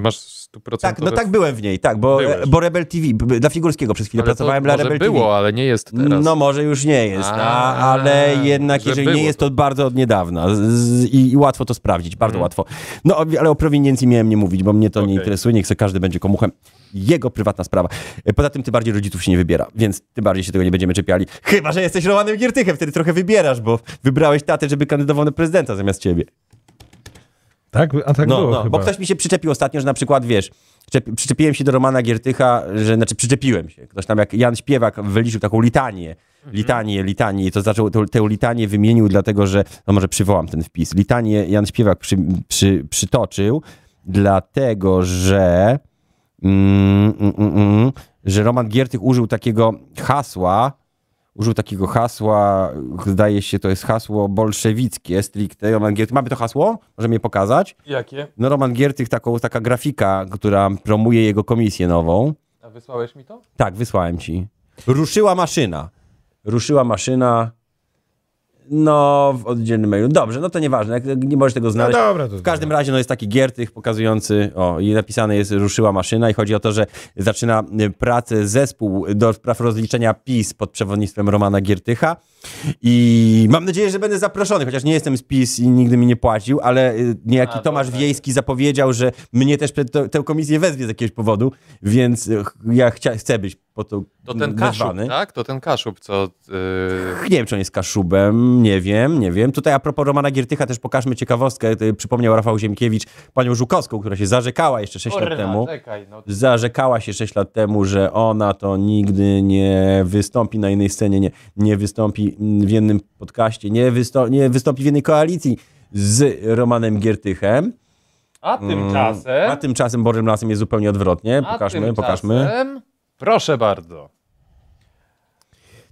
S5: Masz
S3: Tak,
S5: stuprocentowe...
S3: no tak byłem w niej, tak, bo,
S5: Byłeś.
S3: bo Rebel TV, b- b- dla Figurskiego przez chwilę
S5: ale to
S3: pracowałem dla
S5: może
S3: Rebel TV.
S5: było, ale nie jest teraz.
S3: No może już nie jest, a,
S5: A,
S3: ale jednak
S5: że
S3: jeżeli nie
S5: było
S3: jest to bardzo od niedawna z, z, i, i łatwo to sprawdzić, bardzo łatwo. No o- ale o prowiniencji miałem nie mówić, bo mnie to nie
S5: Mhm. Okej.
S3: interesuje, niech se każdy będzie komuchem. Jego prywatna sprawa. E, Poza tym ty bardziej rodziców się nie wybiera, więc ty bardziej się tego nie będziemy czepiali. Chyba, że jesteś Romanem Giertychem, wtedy trochę wybierasz, bo wybrałeś tatę, żeby kandydował na prezydenta zamiast ciebie.
S1: Tak, a tak
S3: No,
S1: było
S3: no
S1: chyba.
S3: bo ktoś mi się przyczepił ostatnio, że na przykład, wiesz, czep- przyczepiłem się do Romana Giertycha, że, znaczy przyczepiłem się. Ktoś tam, jak Jan Śpiewak wyliczył taką litanię,
S1: Mhm.
S3: litanię, litanię, i to zaczął, tę, tę litanię wymienił dlatego, że, no może przywołam ten wpis, litanię Jan Śpiewak przy, przy, przytoczył, dlatego, że mm, mm, mm, mm, że Roman Giertych użył takiego hasła, użył takiego hasła, zdaje się, to jest hasło bolszewickie stricte. Roman Giertych, mamy to hasło? Możemy je pokazać?
S5: Jakie?
S3: No Roman Giertych, taką, taka grafika, która promuje jego komisję nową.
S5: A wysłałeś mi to?
S3: Tak, wysłałem ci. Ruszyła maszyna. Ruszyła maszyna. No, w oddzielnym mailu. Dobrze, no to nieważne, jak nie możesz tego
S1: No
S3: znaleźć.
S1: dobra, to
S3: W każdym razie no jest taki Giertych pokazujący, o i napisane jest ruszyła maszyna i chodzi o to, że zaczyna y, pracę zespół do spraw rozliczenia PiS pod przewodnictwem Romana Giertycha i mam nadzieję, że będę zaproszony, chociaż nie jestem z PiS i nigdy mi nie płacił, ale y, niejaki
S5: A,
S3: Tomasz
S5: dobra.
S3: Wiejski zapowiedział, że mnie też przed to, tę komisję wezwie z jakiegoś powodu, więc y, ch- ja chcia, chcę być po to
S5: To ten kaszub,
S3: wezwany.
S5: tak? To ten kaszub, co... Yy...
S3: Tak, Nie wiem, czy on jest Kaszubem, nie wiem, nie wiem. Tutaj a propos Romana Giertycha też pokażmy ciekawostkę. Tutaj Przypomniał Rafał Ziemkiewicz panią Żukowską, która się zarzekała jeszcze 6 lat temu.
S5: czekaj, no.
S3: Zarzekała się 6 lat temu, że ona to nigdy nie wystąpi na innej scenie, nie, nie wystąpi w jednym podcaście, nie, wystą- nie wystąpi w jednej koalicji z Romanem Giertychem.
S5: A tymczasem...
S3: A tymczasem Borym Lasem jest zupełnie odwrotnie.
S5: a
S3: Pokażmy,
S5: tymczasem-
S3: pokażmy.
S5: Proszę bardzo.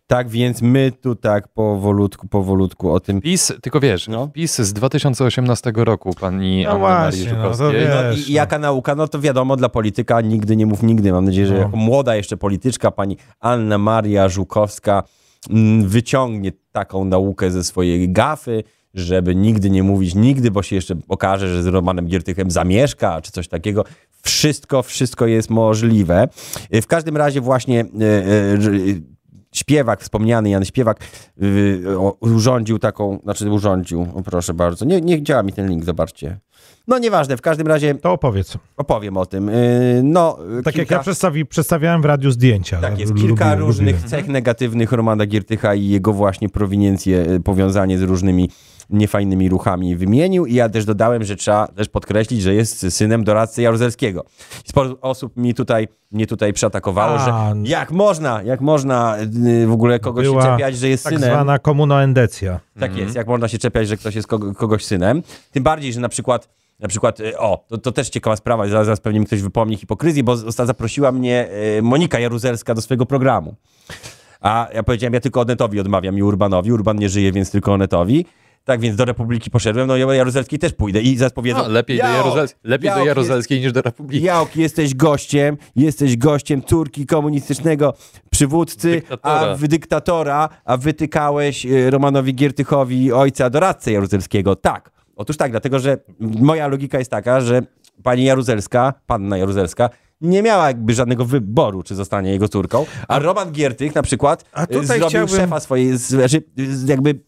S3: Tak więc my tu tak powolutku, powolutku o tym
S5: PiS, tylko wiesz,
S3: No.
S5: PiS z 2018 roku pani
S1: No
S5: Anny Marii
S1: właśnie, no to
S5: Żukowskiej.
S1: wiesz.
S3: No,
S1: Też,
S3: i, I jaka nauka? No to wiadomo, dla polityka nigdy nie mów nigdy. Mam nadzieję, że
S1: No.
S3: jako młoda jeszcze polityczka pani Anna Maria Żukowska mm, wyciągnie taką naukę ze swojej gafy, żeby nigdy nie mówić nigdy, bo się jeszcze okaże, że z Romanem Giertychem zamieszka, czy coś takiego. Wszystko, wszystko jest możliwe. Y, W każdym razie właśnie y, y, y, Śpiewak, wspomniany Jan Śpiewak, y, o- urządził taką, znaczy urządził, o proszę bardzo, nie, nie działa mi ten link, zobaczcie. No nieważne, w każdym razie
S1: To opowiedz.
S3: opowiem o tym. Yy, No, yy,
S1: Tak jak
S3: kilka,
S1: ja przedstawi, przedstawiałem w radiu zdjęcia.
S3: tak jest,
S1: Lu-
S3: kilka
S1: lubiłem,
S3: różnych
S1: lubiłem.
S3: cech negatywnych Romana Giertycha i jego właśnie prowiniencje, yy, powiązanie z różnymi niefajnymi ruchami wymienił i ja też dodałem, że trzeba też podkreślić, że jest synem doradcy Jaruzelskiego. Sporo osób mi tutaj, mnie tutaj przeatakowało,
S1: A,
S3: że jak można, jak można yy, w ogóle kogoś się
S1: Była
S3: czepiać, że jest
S1: Tak
S3: synem.
S1: zwana komunoendecja.
S3: Tak
S5: Mhm.
S3: jest, jak można się czepiać, że ktoś jest kogo, kogoś synem. Tym bardziej, że na przykład, na przykład y, o, to, to też ciekawa sprawa, zaraz, zaraz pewnie mi ktoś wypomni hipokryzji, bo zosta- zaprosiła mnie y, Monika Jaruzelska do swojego programu. A ja powiedziałem, ja tylko Onetowi odmawiam i Urbanowi. Urban nie żyje, więc tylko Onetowi. Tak więc do Republiki poszedłem, no i do Jaruzelskiej też pójdę i zaraz powiedzą...
S5: No, lepiej do,
S3: Jaok!
S5: Jaruzels- lepiej do
S3: Jaok jest-
S5: Jaruzelskiej niż do Republiki.
S3: Jaok, jesteś gościem, jesteś gościem Turki komunistycznego przywódcy,
S5: Dyktatora.
S3: a w dyktatora, a wytykałeś e, Romanowi Giertychowi ojca doradcę jaruzelskiego. Tak. Otóż tak, dlatego że moja logika jest taka, że pani Jaruzelska, panna Jaruzelska, nie miała jakby żadnego wyboru, czy zostanie jego córką, a Roman Giertych na przykład
S1: A
S3: e,
S1: tutaj
S3: zrobił
S1: chciałbym-
S3: szefa swojej, z- znaczy, z- jakby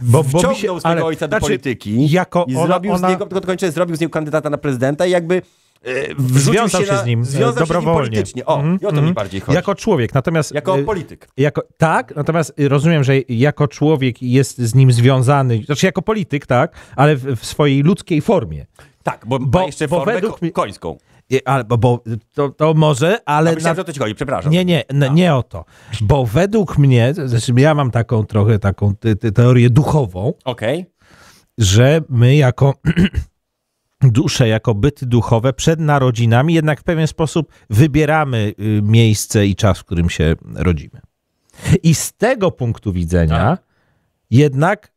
S1: Bo, bo mi
S3: wciągnął swojego ojca do
S1: znaczy,
S3: polityki
S1: Jako
S3: i
S1: ona,
S3: zrobił
S1: ona,
S3: z niego, tylko kończę, zrobił z niego kandydata na prezydenta i jakby e, wrzucił
S1: związał się,
S3: na,
S1: z nim
S3: związał
S1: e, dobrowolnie.
S3: Się z nim politycznie. O,
S1: Mhm,
S3: i o to mi
S1: mhm.
S3: bardziej chodzi. Jako,
S1: Jako człowiek, natomiast... y,
S3: polityk.
S1: Jako, tak, natomiast rozumiem, że jako człowiek jest z nim związany, znaczy jako polityk, tak, ale w, w swojej ludzkiej formie.
S3: Tak, bo,
S1: bo-
S3: ma jeszcze
S1: bo
S3: formę
S1: według
S3: ko-
S1: mi-
S3: końską.
S1: I- Albo, bo to, to może, ale...
S3: Ale myślałem,
S1: na-
S3: że o to No. ci chodzi, przepraszam.
S1: Nie, nie, n- nie o to. Bo według mnie, znaczy ja mam taką trochę taką ty, ty, teorię duchową,
S3: Okej.
S1: że my jako dusze jako byty duchowe przed narodzinami, jednak w pewien sposób wybieramy y, miejsce i czas, w którym się rodzimy. I z tego punktu widzenia jednak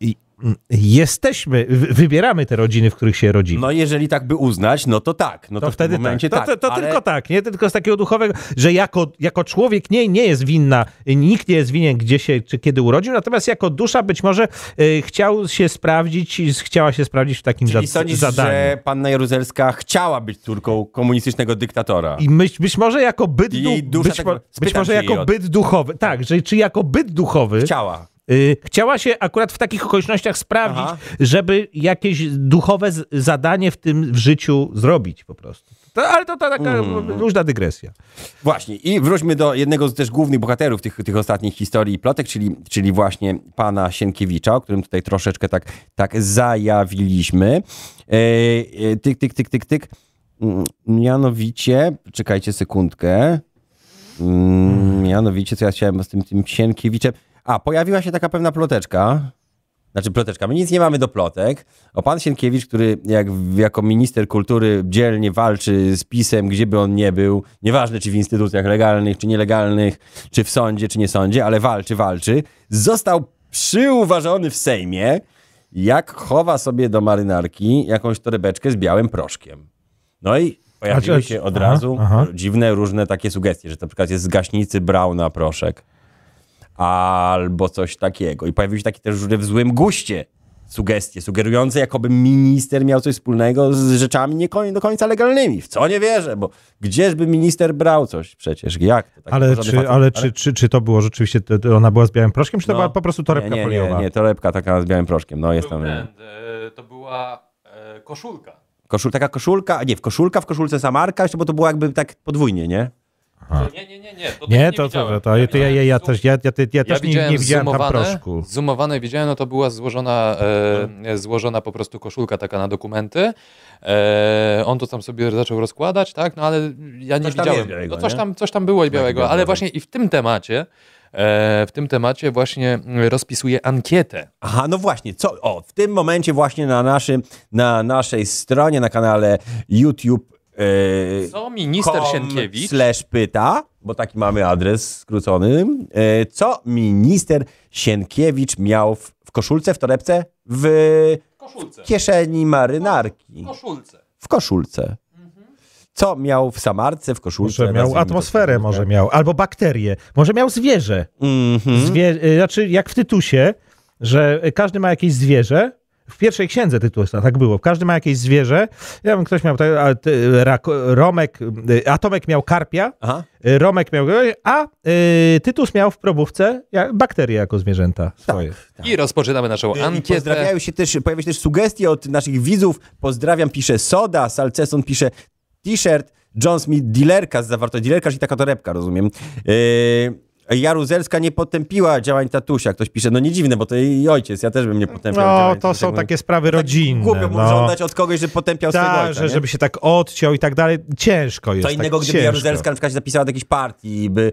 S1: i- m, jesteśmy, wy- wybieramy te rodziny, w których się rodzimy.
S3: No jeżeli tak by uznać, no to tak. No to,
S1: to,
S3: w
S1: wtedy
S3: tym momencie
S1: tak.
S3: tak.
S1: To, to, to
S3: ale-
S1: tylko tak, nie? Tylko z takiego duchowego, że jako, jako człowiek nie, nie jest winna, nikt nie jest winien, gdzie się czy kiedy urodził, natomiast jako dusza być może y, chciał się sprawdzić, i chciała się sprawdzić w takim
S3: Czyli
S1: tak za-
S3: sądzisz,
S1: zadaniu.
S3: że panna Jaruzelska chciała być córką komunistycznego dyktatora.
S1: I myśl, być może jako byt,
S3: I
S1: du-
S3: jej dusza
S1: być,
S3: tak-
S1: mo-
S3: spytam
S1: być może
S3: się jej
S1: jako
S3: o-
S1: byt duchowy, tak, że, czy jako byt duchowy
S3: Chciała.
S1: y, chciała się akurat w takich okolicznościach sprawdzić,
S3: Aha.
S1: żeby jakieś duchowe z- zadanie w tym w życiu zrobić po prostu. To, ale to, to taka
S3: Mm.
S1: luźna dygresja.
S3: Właśnie. I wróćmy do jednego z też głównych bohaterów tych, tych ostatnich historii i plotek, czyli, czyli właśnie pana Sienkiewicza, o którym tutaj troszeczkę tak, tak zajawiliśmy. E, e, tyk, tyk, tyk, tyk, tyk. Mm, Mianowicie, czekajcie sekundkę. Mm, Mianowicie, co ja chciałem z tym, tym Sienkiewiczem. A, pojawiła się taka pewna ploteczka. Znaczy ploteczka, my nic nie mamy do plotek. O pan Sienkiewicz, który jak, jako minister kultury dzielnie walczy z PiSem, gdzie by on nie był, nieważne czy w instytucjach legalnych, czy nielegalnych, czy w sądzie, czy nie sądzie, ale walczy, walczy, został przyuważony w Sejmie, jak chowa sobie do marynarki jakąś torebeczkę z białym proszkiem. No i
S1: A
S3: pojawiły
S1: czy-
S3: się od
S1: aha,
S3: razu
S1: aha.
S3: dziwne, różne takie sugestie, że na przykład jest z gaśnicy Brauna proszek albo coś takiego. I pojawiły się takie też różne w złym guście sugestie, sugerujące, jakoby minister miał coś wspólnego z rzeczami nie koń, do końca legalnymi. W co nie wierzę, bo gdzieżby minister brał coś przecież? Jak? To taki
S1: Ale,
S3: Tak, porządny
S1: czy,
S3: facet.
S1: ale czy, czy, czy to było rzeczywiście, to, to ona była z białym proszkiem, czy to
S3: No.
S1: była po prostu torebka
S3: nie, nie,
S1: foliowa?
S3: Nie, nie, torebka taka z białym proszkiem. No, jest
S8: Był
S3: tam...
S8: ten, e, to była e, koszulka.
S3: Koszul, taka koszulka, a nie, w koszulka, w koszulce samarka, jeszcze, bo to było jakby tak podwójnie, nie?
S8: To, nie, nie, nie, nie. To,
S1: Nie,
S8: nie
S1: to, to, to,
S8: widziałem.
S1: to ja, ja, ja, ja
S8: widziałem
S1: też, ja, ja, ja, ja też nie,
S5: widziałem
S1: nie widziałem tam
S5: zoomowane,
S1: proszku.
S5: Zoomowane widziałem, no to była złożona, e, złożona po prostu koszulka taka na dokumenty. E, on to tam sobie zaczął rozkładać, tak? No ale ja nie
S3: Coś tam
S5: widziałem.
S3: jest białego,
S5: no coś
S3: nie?
S5: tam, coś tam było i białego,
S3: białego.
S5: ale właśnie i w tym temacie, e, w tym temacie właśnie mm, rozpisuje ankietę.
S3: Aha, no właśnie, co? O, w tym momencie właśnie na, naszym, na naszej stronie, na kanale YouTube. Yy,
S5: Co minister
S3: com
S5: Sienkiewicz
S3: Slash pyta, bo taki mamy adres skrócony. E, Co minister Sienkiewicz miał w, w koszulce, w torebce, w
S8: Koszulce.
S3: kieszeni marynarki,
S8: Koszulce.
S3: w koszulce? Co miał w samarce, w koszulce?
S1: Może miał
S3: nazwijmy to
S1: atmosferę,
S3: koszulkę.
S1: może miał, albo bakterie, może miał zwierzę.
S3: Mhm.
S1: Zwie, y, znaczy, jak w Tytusie, że każdy ma jakieś zwierzę. W pierwszej księdze Tytusa tak było. Każdy ma jakieś zwierzę. Ja wiem, ktoś miał, tak, a, ty, rak, Romek, y, Atomek miał karpia,
S3: Aha.
S1: y, Romek miał, a y, Tytus miał w probówce ja- bakterie jako zwierzęta
S3: Tak,
S1: swoje.
S5: i rozpoczynamy naszą
S3: I
S5: ankietę.
S3: pozdrawiają się też, pojawiają się też sugestie od naszych widzów. Pozdrawiam, pisze Soda, Salceson pisze t-shirt, John Smith, dealerka z zawartością, dealerka, czyli taka torebka, rozumiem. Yy, Jaruzelska nie potępiła działań tatusia, ktoś pisze. No nie dziwne, bo to jej ojciec, ja też bym nie potępiał
S1: No,
S3: działań
S1: to
S3: tatusia.
S1: są takie sprawy
S3: Tak
S1: rodzinne.
S3: Głupio mu
S1: no.
S3: żądać od kogoś, że potępiał swego
S1: Tak,
S3: ojca,
S1: że,
S3: nie?
S1: żeby się tak odciął i tak dalej. Ciężko jest.
S3: Co innego,
S1: tak,
S3: gdyby
S1: ciężko.
S3: Jaruzelska na przykład się zapisała do jakiejś partii, i by, e,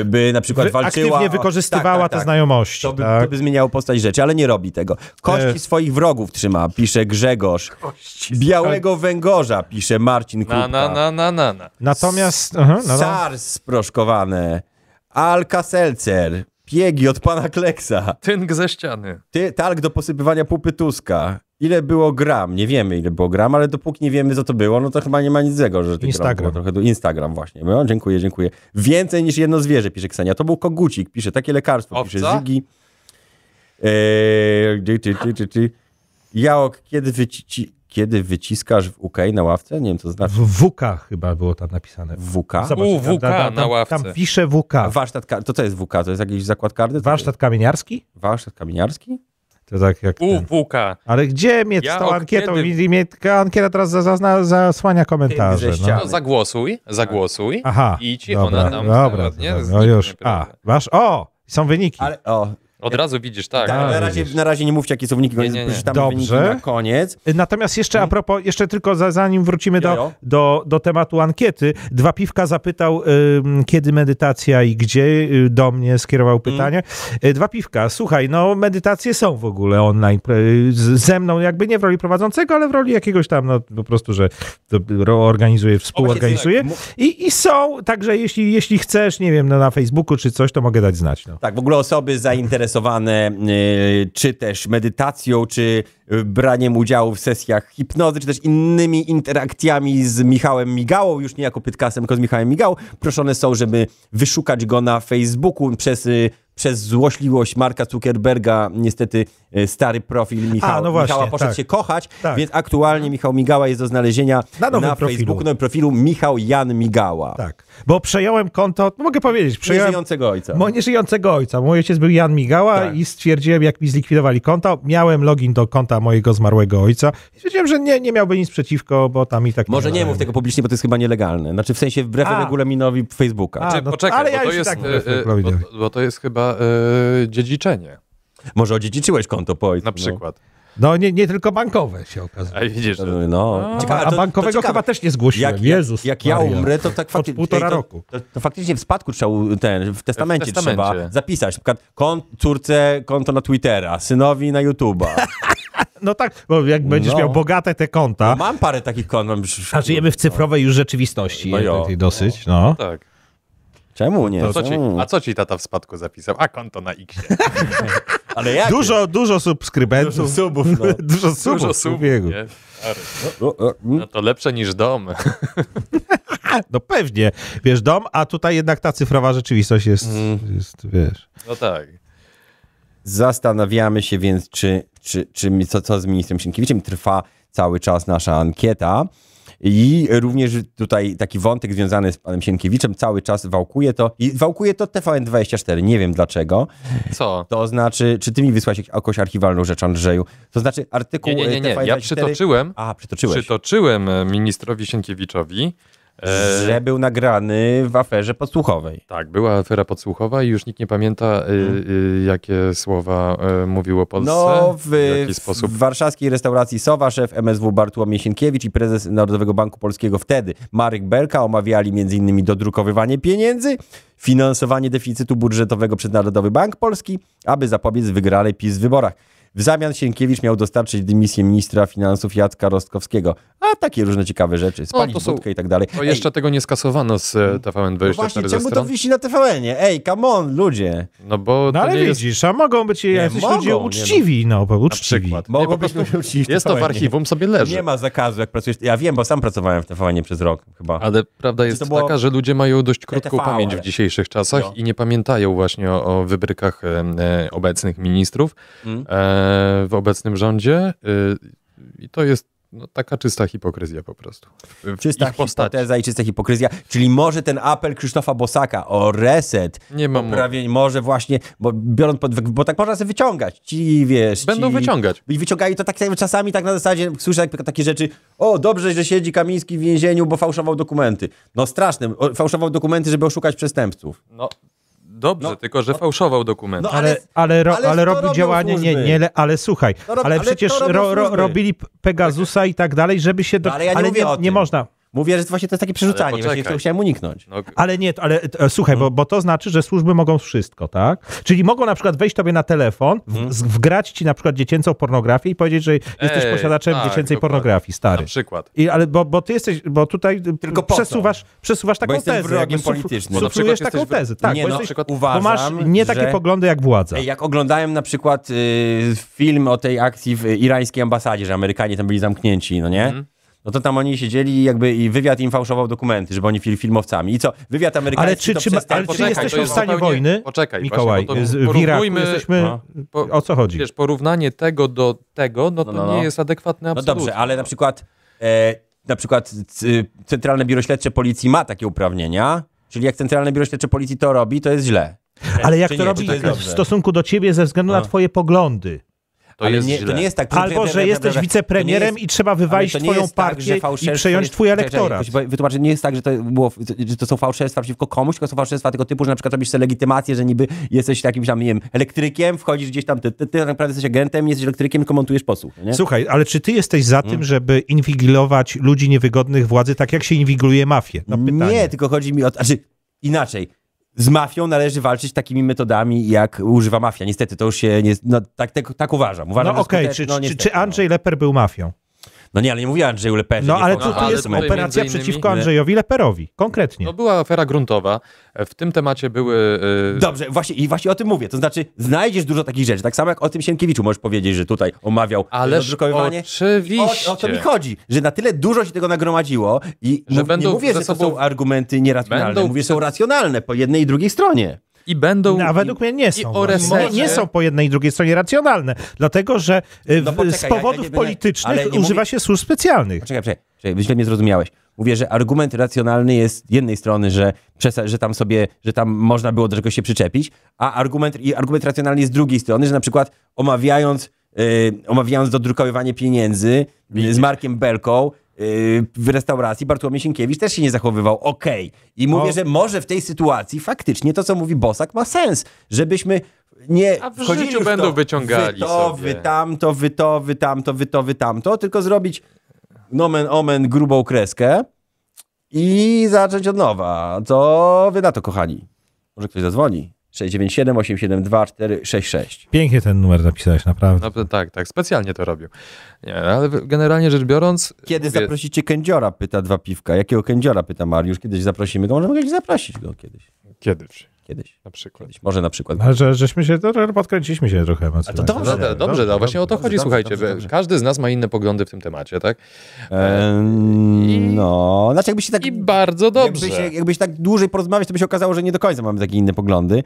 S1: Tak.
S3: by na przykład
S1: Wy-
S3: walczyła...
S1: Aktywnie
S3: o-
S1: wykorzystywała
S3: tak, tak,
S1: te
S3: tak.
S1: znajomości.
S3: To by,
S1: tak.
S3: to by zmieniało postać rzeczy, ale nie robi tego. Kości
S1: E.
S3: swoich wrogów trzyma, pisze Grzegorz. Białego węgorza, pisze Marcin
S5: Na,
S3: Kupka.
S5: na, na, na, na, na.
S1: Natomiast. Aha, no, no.
S3: Sars sproszkowane. Alka-Seltzer. Piegi od pana Kleksa.
S5: Tynk ze ściany.
S3: Ty, talk do posypywania pupy Tuska. Ile było gram? Nie wiemy, ile było gram, ale dopóki nie wiemy, co to było, no to chyba nie ma nic złego, że tych
S1: Instagram.
S3: Gram było trochę du- Instagram właśnie. No, dziękuję, dziękuję. Więcej niż jedno zwierzę, pisze Ksenia. To był kogucik, pisze. Takie lekarstwo, pisze
S5: Owca?
S3: Zygi. Eee, ty, ty, ty, ty, ty. Jaok, kiedy, wyci- kiedy wyciskasz w UK na ławce? Nie wiem, co znaczy
S1: W WK chyba było tam napisane.
S3: WK.
S1: Zobacz,
S5: U, WK
S1: tam,
S5: na ławce.
S1: Tam pisze WK.
S3: A warsztat, ka- to co jest WK? To jest jakiś zakład karny? To
S1: Warsztat kamieniarski?
S3: jest Warsztat kamieniarski?
S1: To tak jak. Ten.
S5: UWK.
S1: Ale gdzie mnie
S5: Ja
S1: z tą
S5: od
S1: ankietą?
S5: kiedy-
S1: i Mnie, ta ankieta teraz za- zazna, zasłania komentarze.
S3: Tym, że
S1: No.
S3: ściany.
S5: No zagłosuj, zagłosuj.
S1: Aha.
S5: I ci
S1: dobra,
S5: ona tam
S1: Dobra,
S5: ładnie
S1: dobra, no
S5: zniknie,
S1: już. A,
S5: prawda?
S1: wasz. O! Są wyniki.
S3: Ale, o,
S5: Od razu widzisz, tak.
S3: Tak, na, razie, na razie nie mówcie, jakie są wyniki,
S5: Nie,
S3: koniec,
S5: nie, nie.
S3: przeczytamy
S1: Dobrze.
S3: wyniki na koniec.
S1: Natomiast jeszcze a propos, jeszcze tylko za, zanim wrócimy do,
S3: Jojo.
S1: do, do tematu ankiety, Dwa Piwka zapytał, ym, kiedy medytacja i gdzie, y, do mnie skierował pytanie. Y, Dwa Piwka, słuchaj, no medytacje są w ogóle online, y, z- ze mną jakby nie w roli prowadzącego, ale w roli jakiegoś tam, no po prostu, że to ro- organizuje, współorganizuje
S3: tak, mu-
S1: I, i są, także jeśli, jeśli chcesz, nie wiem, no, na Facebooku czy coś, to mogę dać znać. No.
S3: Tak, w ogóle osoby zainteresowane y, czy też medytacją, czy y, braniem udziału w sesjach hipnozy, czy też innymi interakcjami z Michałem Migałą, już nie jako Pytkasem, tylko z Michałem Migałą, proszone są, żeby wyszukać go na Facebooku przez... Y, przez złośliwość Marka Zuckerberga, niestety y, stary profil Michała,
S1: no właśnie,
S3: Michała poszedł
S1: tak.
S3: się kochać,
S1: Tak.
S3: więc aktualnie Michał Migała jest do znalezienia
S1: Na
S3: na,
S1: nowym profilu.
S3: Facebooku, na profilu Michał Jan Migała.
S1: Tak, bo przejąłem konto, no, mogę powiedzieć, przejąłem
S3: Przejącego ojca.
S1: Mo, nieżyjącego ojca. Mój ojciec był Jan Migała
S3: Tak.
S1: i stwierdziłem, jak mi zlikwidowali konto, miałem login do konta mojego zmarłego ojca. I Stwierdziłem, że nie, nie miałby nic przeciwko, bo tam i tak...
S3: Może nie mów tego publicznie, bo to jest chyba nielegalne. Znaczy w sensie wbrew
S1: A.
S3: regulaminowi Facebooka.
S1: A,
S5: Czy,
S1: no,
S5: poczekaj,
S1: ale
S5: bo,
S1: ja
S5: to
S1: już
S5: jest,
S1: tak
S5: e,
S1: wbrew
S5: e,
S1: regulaminowi.
S5: bo, bo to jest chyba e, dziedziczenie
S3: Może odziedziczyłeś konto po ojcu. no.
S5: na przykład.
S1: No nie, nie tylko bankowe się okazuje.
S5: A widzisz,
S3: No,
S5: że
S3: no. Ciekawe,
S1: A
S3: to- to
S1: bankowego
S3: ciekawe.
S1: chyba też nie zgłosiłem.
S3: Jak,
S1: Jezus
S3: jak ja
S1: Maria.
S3: umrę, to tak faktycznie.
S1: półtora
S3: ej, to,
S1: roku.
S3: To, to faktycznie w spadku trzeba u- ten, w testamencie,
S5: W testamencie.
S3: trzeba zapisać. Na przykład kon, córce konto na Twittera, synowi na YouTube'a.
S1: No tak, bo jak będziesz
S3: No.
S1: miał bogate te konta,
S3: Mam parę takich kont. mam-
S1: a żyjemy w cyfrowej już rzeczywistości.
S3: No jo.
S1: takiej dosyć, no.
S5: tak.
S3: Czemu nie?
S5: Co ci,
S3: Czemu?
S5: a co ci tata w spadku zapisał? A konto na X.
S3: Ale jak?
S1: Dużo, dużo subskrybentów.
S3: Tak Dużo subów, no.
S1: Dużo subów.
S5: Dużo słów,
S1: człowieku.
S5: nie?
S3: O, o, mm.
S5: No to lepsze niż dom.
S1: No pewnie, wiesz, dom, a tutaj jednak ta cyfrowa rzeczywistość jest,
S3: Mm.
S1: jest wiesz...
S5: No tak.
S3: Zastanawiamy się więc, czy, czy, czy mi- co, co z ministrem Sienkiewiczem. Trwa cały czas nasza ankieta. I również tutaj taki wątek związany z panem Sienkiewiczem cały czas wałkuje to. I wałkuje to TVN24, nie wiem dlaczego.
S5: Co?
S3: To znaczy, czy ty mi wysłałeś jak- jakąś archiwalną rzecz, Andrzeju? To znaczy artykuł
S5: Nie, nie, nie, nie.
S3: TVN24...
S5: Ja przytoczyłem,
S3: A, przytoczyłeś.
S5: przytoczyłem e, ministrowi Sienkiewiczowi. e,
S3: Że był nagrany w aferze podsłuchowej.
S5: Tak, była afera podsłuchowa i już nikt nie pamięta, y, y, jakie słowa y, mówił o Polsce.
S3: Hmm. No, w,
S5: w jaki sposób.
S3: w warszawskiej restauracji Sowa szef MSW Bartłomiej Sienkiewicz i prezes Narodowego Banku Polskiego wtedy Marek Belka omawiali m.in. dodrukowywanie pieniędzy, finansowanie deficytu budżetowego przez Narodowy Bank Polski, aby zapobiec wygranej PiS w wyborach. W zamian Sienkiewicz miał dostarczyć dymisję ministra finansów Jacka Rostkowskiego. A takie różne ciekawe rzeczy, spalić
S5: No, to są-
S3: budkę i tak dalej.
S5: Bo
S3: Ej,
S5: No, jeszcze tego nie skasowano z e, TVN24
S3: no właśnie,
S5: ze
S3: czemu to
S5: stron.
S3: wisi na TVN-ie? Ej, come on, ludzie!
S5: No bo
S1: No
S5: to
S1: ale
S5: nie jest
S1: widzisz, a mogą być jacyś
S3: mogą,
S1: ludzie
S3: nie
S1: uczciwi, no, bo
S5: na
S1: uczciwi.
S5: przykład. Nie, po
S3: Mogą
S5: prostu
S3: być ludzie
S5: jest to w
S3: TVN-ie.
S5: archiwum, sobie leży.
S3: Nie ma zakazu, jak pracujesz. Ja wiem, bo sam pracowałem w TVN przez rok chyba.
S5: Ale prawda
S3: Znaczy, to
S5: jest
S3: było-
S5: taka, że ludzie mają dość krótką
S3: TV,
S5: pamięć w
S3: ale-
S5: dzisiejszych czasach
S3: No.
S5: i nie pamiętają właśnie o, o wybrykach e, e, obecnych ministrów
S3: Mm.
S5: e, w obecnym rządzie. e, I to jest no, taka czysta hipokryzja po prostu. W
S3: Czysta
S5: ich postaci.
S3: hipoteza i czysta hipokryzja. Czyli może ten apel Krzysztofa Bosaka o reset,
S5: Nie mam
S3: prawie może właśnie, bo biorąc pod, bo tak można sobie wyciągać. Ci wiesz.
S5: Będą
S3: ci,
S5: wyciągać.
S3: I wyciągali to tak samo czasami tak na zasadzie, słyszę tak, takie rzeczy, o dobrze, że siedzi Kamiński w więzieniu, bo fałszował dokumenty. No straszne, o, fałszował dokumenty, żeby oszukać przestępców.
S5: No, dobrze,
S3: No.
S5: tylko że fałszował dokumenty.
S3: No
S1: Ale, ale, ro, ale,
S3: ale to
S1: robił
S3: robią
S1: działanie, nie,
S3: służby.
S1: nie, le- ale słuchaj,
S3: To rob-
S1: ale
S3: ale
S1: przecież
S3: to robią
S1: ro, ro,
S3: służby.
S1: robili Pegasusa i tak dalej, żeby się... Do...
S3: No ale ja nie mówię
S1: nie,
S3: o tym.
S1: można.
S3: Mówię, że właśnie to jest takie przerzucanie, właśnie
S5: poczekaj.
S3: to chciałem uniknąć.
S5: No,
S1: Ale nie, ale e, słuchaj, bo, bo to znaczy, że służby mogą wszystko, tak? Czyli mogą na przykład wejść tobie na telefon,
S3: Mhm.
S1: w, z- wgrać ci na przykład dziecięcą pornografię i powiedzieć, że jesteś
S5: Ej,
S1: posiadaczem
S5: tak,
S1: dziecięcej
S5: dokładnie.
S1: pornografii,
S5: na
S1: stary.
S5: przykład.
S1: I, ale bo, bo ty jesteś, bo tutaj
S3: Tylko po co?
S1: przesuwasz, przesuwasz taką
S3: jestem
S1: tezę.
S3: wrogiem
S1: jakby sufl-
S3: politycznym. No
S5: Bo na
S1: Suflujesz
S5: przykład
S1: taką
S5: jesteś w-
S1: tezę, tak.
S3: nie,
S1: bo,
S3: no,
S1: jesteś, bo
S3: uważam,
S1: masz nie takie
S3: że-
S1: poglądy jak władza.
S3: Ej, Jak oglądałem na przykład y, film o tej akcji w irańskiej ambasadzie, że Amerykanie tam byli zamknięci, no nie?
S1: Mhm.
S3: No to tam oni siedzieli i jakby i wywiad im fałszował dokumenty, żeby oni byli filmowcami. I co? Wywiad amerykański
S1: Ale czy,
S3: to
S1: czy, ma- ale czy
S3: przestępstwo?
S5: Poczekaj, to
S1: jesteśmy w
S5: jest
S1: stanie
S5: zupełnie-
S1: wojny,
S5: poczekaj,
S1: Mikołaj,
S3: y,
S5: właśnie, bo to
S1: z- w Iraku
S5: porównujmy-
S1: jesteśmy,
S3: No.
S5: Po-
S1: o co chodzi?
S5: Wiesz, porównanie tego do tego, no to
S3: No, no, no.
S5: nie jest adekwatne
S3: No
S5: absolutnie.
S3: dobrze, ale na przykład e, na przykład c, Centralne Biuro Śledcze Policji ma takie uprawnienia, czyli jak Centralne Biuro Śledcze Policji to robi, to jest źle.
S1: ale jak
S3: czy
S1: to
S3: nie,
S1: robi
S3: czy to jest
S1: w
S3: dobrze?
S1: stosunku do ciebie ze względu na
S3: No.
S1: twoje poglądy?
S5: To jest
S3: nie,
S5: źle.
S3: to nie jest tak.
S1: Albo, że jesteś wicepremierem i trzeba wywalić twoją partię i przejąć twój elektorat.
S3: Wytłumaczę, nie jest tak, że to, było, że to są fałszerstwa przeciwko komuś, tylko są fałszerstwa tego typu, że na przykład robisz sobie legitymację, że niby jesteś jakimś tam, nie wiem, elektrykiem, wchodzisz gdzieś tam, ty, ty, ty tak naprawdę jesteś agentem, jesteś elektrykiem, tylko montujesz posłuch. Nie? Mm.
S1: Słuchaj, ale czy ty jesteś za tym, żeby inwigilować ludzi niewygodnych władzy, tak jak się inwigiluje mafię?
S3: Mm.
S1: No pytanie.
S3: Nie, tylko chodzi mi o. Znaczy, inaczej. Z mafią należy walczyć takimi metodami, jak używa mafia. Niestety, to już się nie. No, tak, tak, tak uważam. uważam
S1: no
S3: że
S1: okej,
S3: skutecz-
S1: czy,
S3: no,
S1: czy,
S3: niestety,
S1: czy Andrzej Leper był mafią?
S3: No, no nie, ale nie mówię Andrzeju Leperze.
S1: No
S3: nie
S1: ale
S3: powiem.
S1: to,
S5: no,
S1: tu
S5: ale
S1: jest
S5: tutaj między
S1: operacja
S5: innymi-
S1: przeciwko Andrzejowi Leperowi, konkretnie.
S5: No była afera gruntowa. W tym temacie były... y,
S3: Dobrze, właśnie, i właśnie o tym mówię. To znaczy, znajdziesz dużo takich rzeczy. Tak samo jak o tym Sienkiewiczu możesz powiedzieć, że tutaj omawiał
S5: Ależ
S3: zadrukowywanie.
S5: oczywiście.
S3: O, o to mi chodzi, że na tyle dużo się tego nagromadziło i
S5: Że
S3: mów,
S5: będą
S3: nie mówię,
S5: ze
S3: że to
S5: sobą-
S3: są argumenty nieracjonalne,
S5: będą-
S3: mówię, że są racjonalne po jednej i drugiej stronie.
S5: I będą...
S1: No, a według mnie nie są.
S5: o
S1: Mo-
S5: resecie-
S1: nie są po jednej i drugiej stronie racjonalne, dlatego że y,
S3: No
S1: w-
S3: poczekaj,
S1: z
S3: ja-
S1: powodów
S3: ja nie- ale
S1: politycznych
S3: nie mówię-
S1: używa się służb specjalnych.
S3: Poczekaj, poczekaj, poczekaj, źle mnie zrozumiałeś. Mówię, że argument racjonalny jest z jednej strony, że, przesa- że tam sobie, że tam można było do czegoś się przyczepić, a argument, i argument racjonalny jest z drugiej strony, że na przykład omawiając, yy, omawiając dodrukowywanie pieniędzy yy, z Markiem Belką yy, w restauracji Bartłomiej Sienkiewicz też się nie zachowywał okej. I mówię,
S1: O.
S3: że może w tej sytuacji faktycznie to, co mówi Bosak ma sens, żebyśmy nie
S5: A w
S3: wchodzili
S5: życiu
S3: już w
S5: będą
S3: to,
S5: wyciągali
S3: wy to,
S5: sobie.
S3: wy tamto, wy to, wy tamto, wy to, wy tamto, tylko zrobić nomen omen grubą kreskę i zacząć od nowa. Co wy na to, kochani? Może ktoś zadzwoni? 697 872 466.
S1: Pięknie ten numer napisałeś, naprawdę.
S5: No, tak, tak, specjalnie to robił. Nie, no, ale generalnie rzecz biorąc...
S3: Kiedy
S5: mówię,
S3: zaprosicie kędziora? Pyta dwa piwka. Jakiego kędziora? Pyta Mariusz. Kiedyś zaprosimy go? Może mogę zaprosić go kiedyś.
S5: Kiedyś,
S3: Kiedyś.
S5: na przykład.
S3: Kiedyś. Może na przykład.
S5: E,
S1: Ale że, żeśmy się, to, że podkręciliśmy się trochę emocjonalnie.
S3: dobrze.
S5: No, dobrze, dobrze, no, właśnie o to
S3: dobrze,
S5: chodzi,
S3: dobrze,
S5: słuchajcie.
S3: dobrze,
S5: wy-
S3: dobrze.
S5: Każdy z nas ma inne poglądy w tym temacie, tak?
S3: Ehm, E, no, znaczy jakby się tak...
S5: I bardzo dobrze.
S3: Jakby się, jakby się tak dłużej porozmawiać, to by się okazało, że nie do końca mamy takie inne poglądy.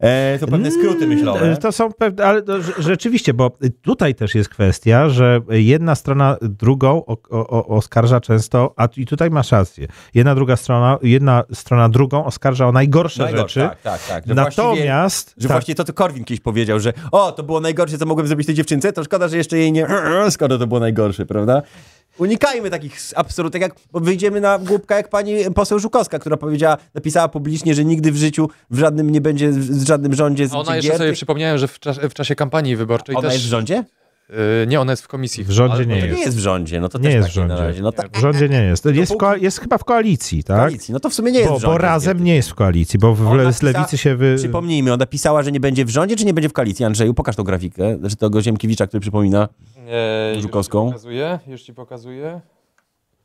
S3: E, to pewne skróty myślowe.
S5: e,
S1: Mm, To są pewne, ale to rze- rzeczywiście, bo tutaj też jest kwestia, że jedna strona drugą o, o, o, oskarża często, a i tutaj masz rację, jedna druga strona, jedna strona drugą oskarża o najgorsze rzeczy.
S3: Najgorsze, Tak, tak, tak. Że właściwie-
S1: Natomiast
S3: Że
S1: tak,
S3: właśnie to, to Korwin kiedyś powiedział, że o, to było najgorsze, co mogłem zrobić tej dziewczynce, to szkoda, że jeszcze jej nie... Skoro to było najgorsze, prawda? Unikajmy takich absolutek, jak bo wyjdziemy na głupka jak pani poseł Żukowska, która powiedziała, napisała publicznie, że nigdy w życiu w żadnym nie będzie, w z żadnym rządzie z
S5: A ona
S3: gier,
S5: jeszcze sobie
S3: tylko-
S5: przypomniałem, że w, czas, w czasie kampanii wyborczej
S3: Ona
S5: też...
S3: jest w rządzie?
S5: y, nie, ona jest w komisji.
S1: W rządzie
S5: ale-
S1: nie
S5: no
S3: To
S5: to
S1: jest.
S3: nie jest w rządzie, no to
S1: Nie
S3: też
S1: jest
S3: tak
S1: w rządzie.
S3: na razie. No tak,
S1: w rządzie nie jest. Jest, w koa- jest chyba w koalicji, tak?
S3: koalicji, no to w sumie nie jest
S1: bo,
S3: w rządzie.
S1: bo razem nie jest w koalicji, bo w,
S3: Ona tak
S1: z lewicy
S3: pisa-
S1: się
S5: Yy.
S1: wy...
S3: Przypomnijmy, ona pisała, że nie będzie w rządzie, czy nie będzie w koalicji? Andrzeju, pokaż tą grafikę, znaczy tego Ziemkiewicza, który przypomina.
S5: Eee, już ci
S3: Żukowską.
S5: Pokazuję, już ci pokazuję.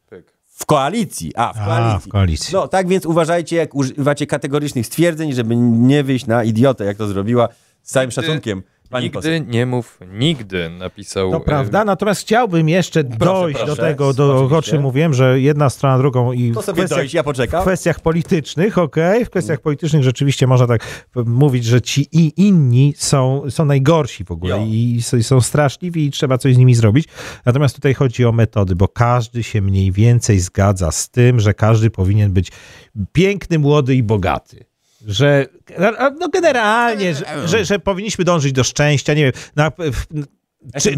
S5: Pyk.
S3: W koalicji. A, w
S1: A,
S3: koalicji.
S1: w koalicji.
S3: No, tak więc uważajcie, jak używacie kategorycznych stwierdzeń, żeby nie wyjść na idiotę, jak to zrobiła. Z całym szacunkiem, pani
S5: nigdy
S3: poseł.
S5: nie mów nigdy, napisał.
S1: To
S5: y,
S1: prawda, natomiast chciałbym jeszcze dojść
S3: e, proszę,
S1: do tego, do,
S3: oczywiście.
S1: o czym mówiłem, że jedna strona drugą i
S3: To
S1: w
S3: sobie Mhm.
S1: kwestiach,
S3: dojść, ja
S1: w
S3: poczekam.
S1: kwestiach politycznych, okej, w kwestiach politycznych rzeczywiście można tak p- mówić, że ci i inni są, są najgorsi w ogóle
S3: Jo.
S1: i s- są straszliwi i trzeba coś z nimi zrobić. Natomiast tutaj chodzi o metody, bo każdy się mniej więcej zgadza z tym, że każdy powinien być piękny, młody i bogaty. Że a- a- no generalnie, że, że, że powinniśmy dążyć do szczęścia, nie wiem, na, w,
S3: Czy,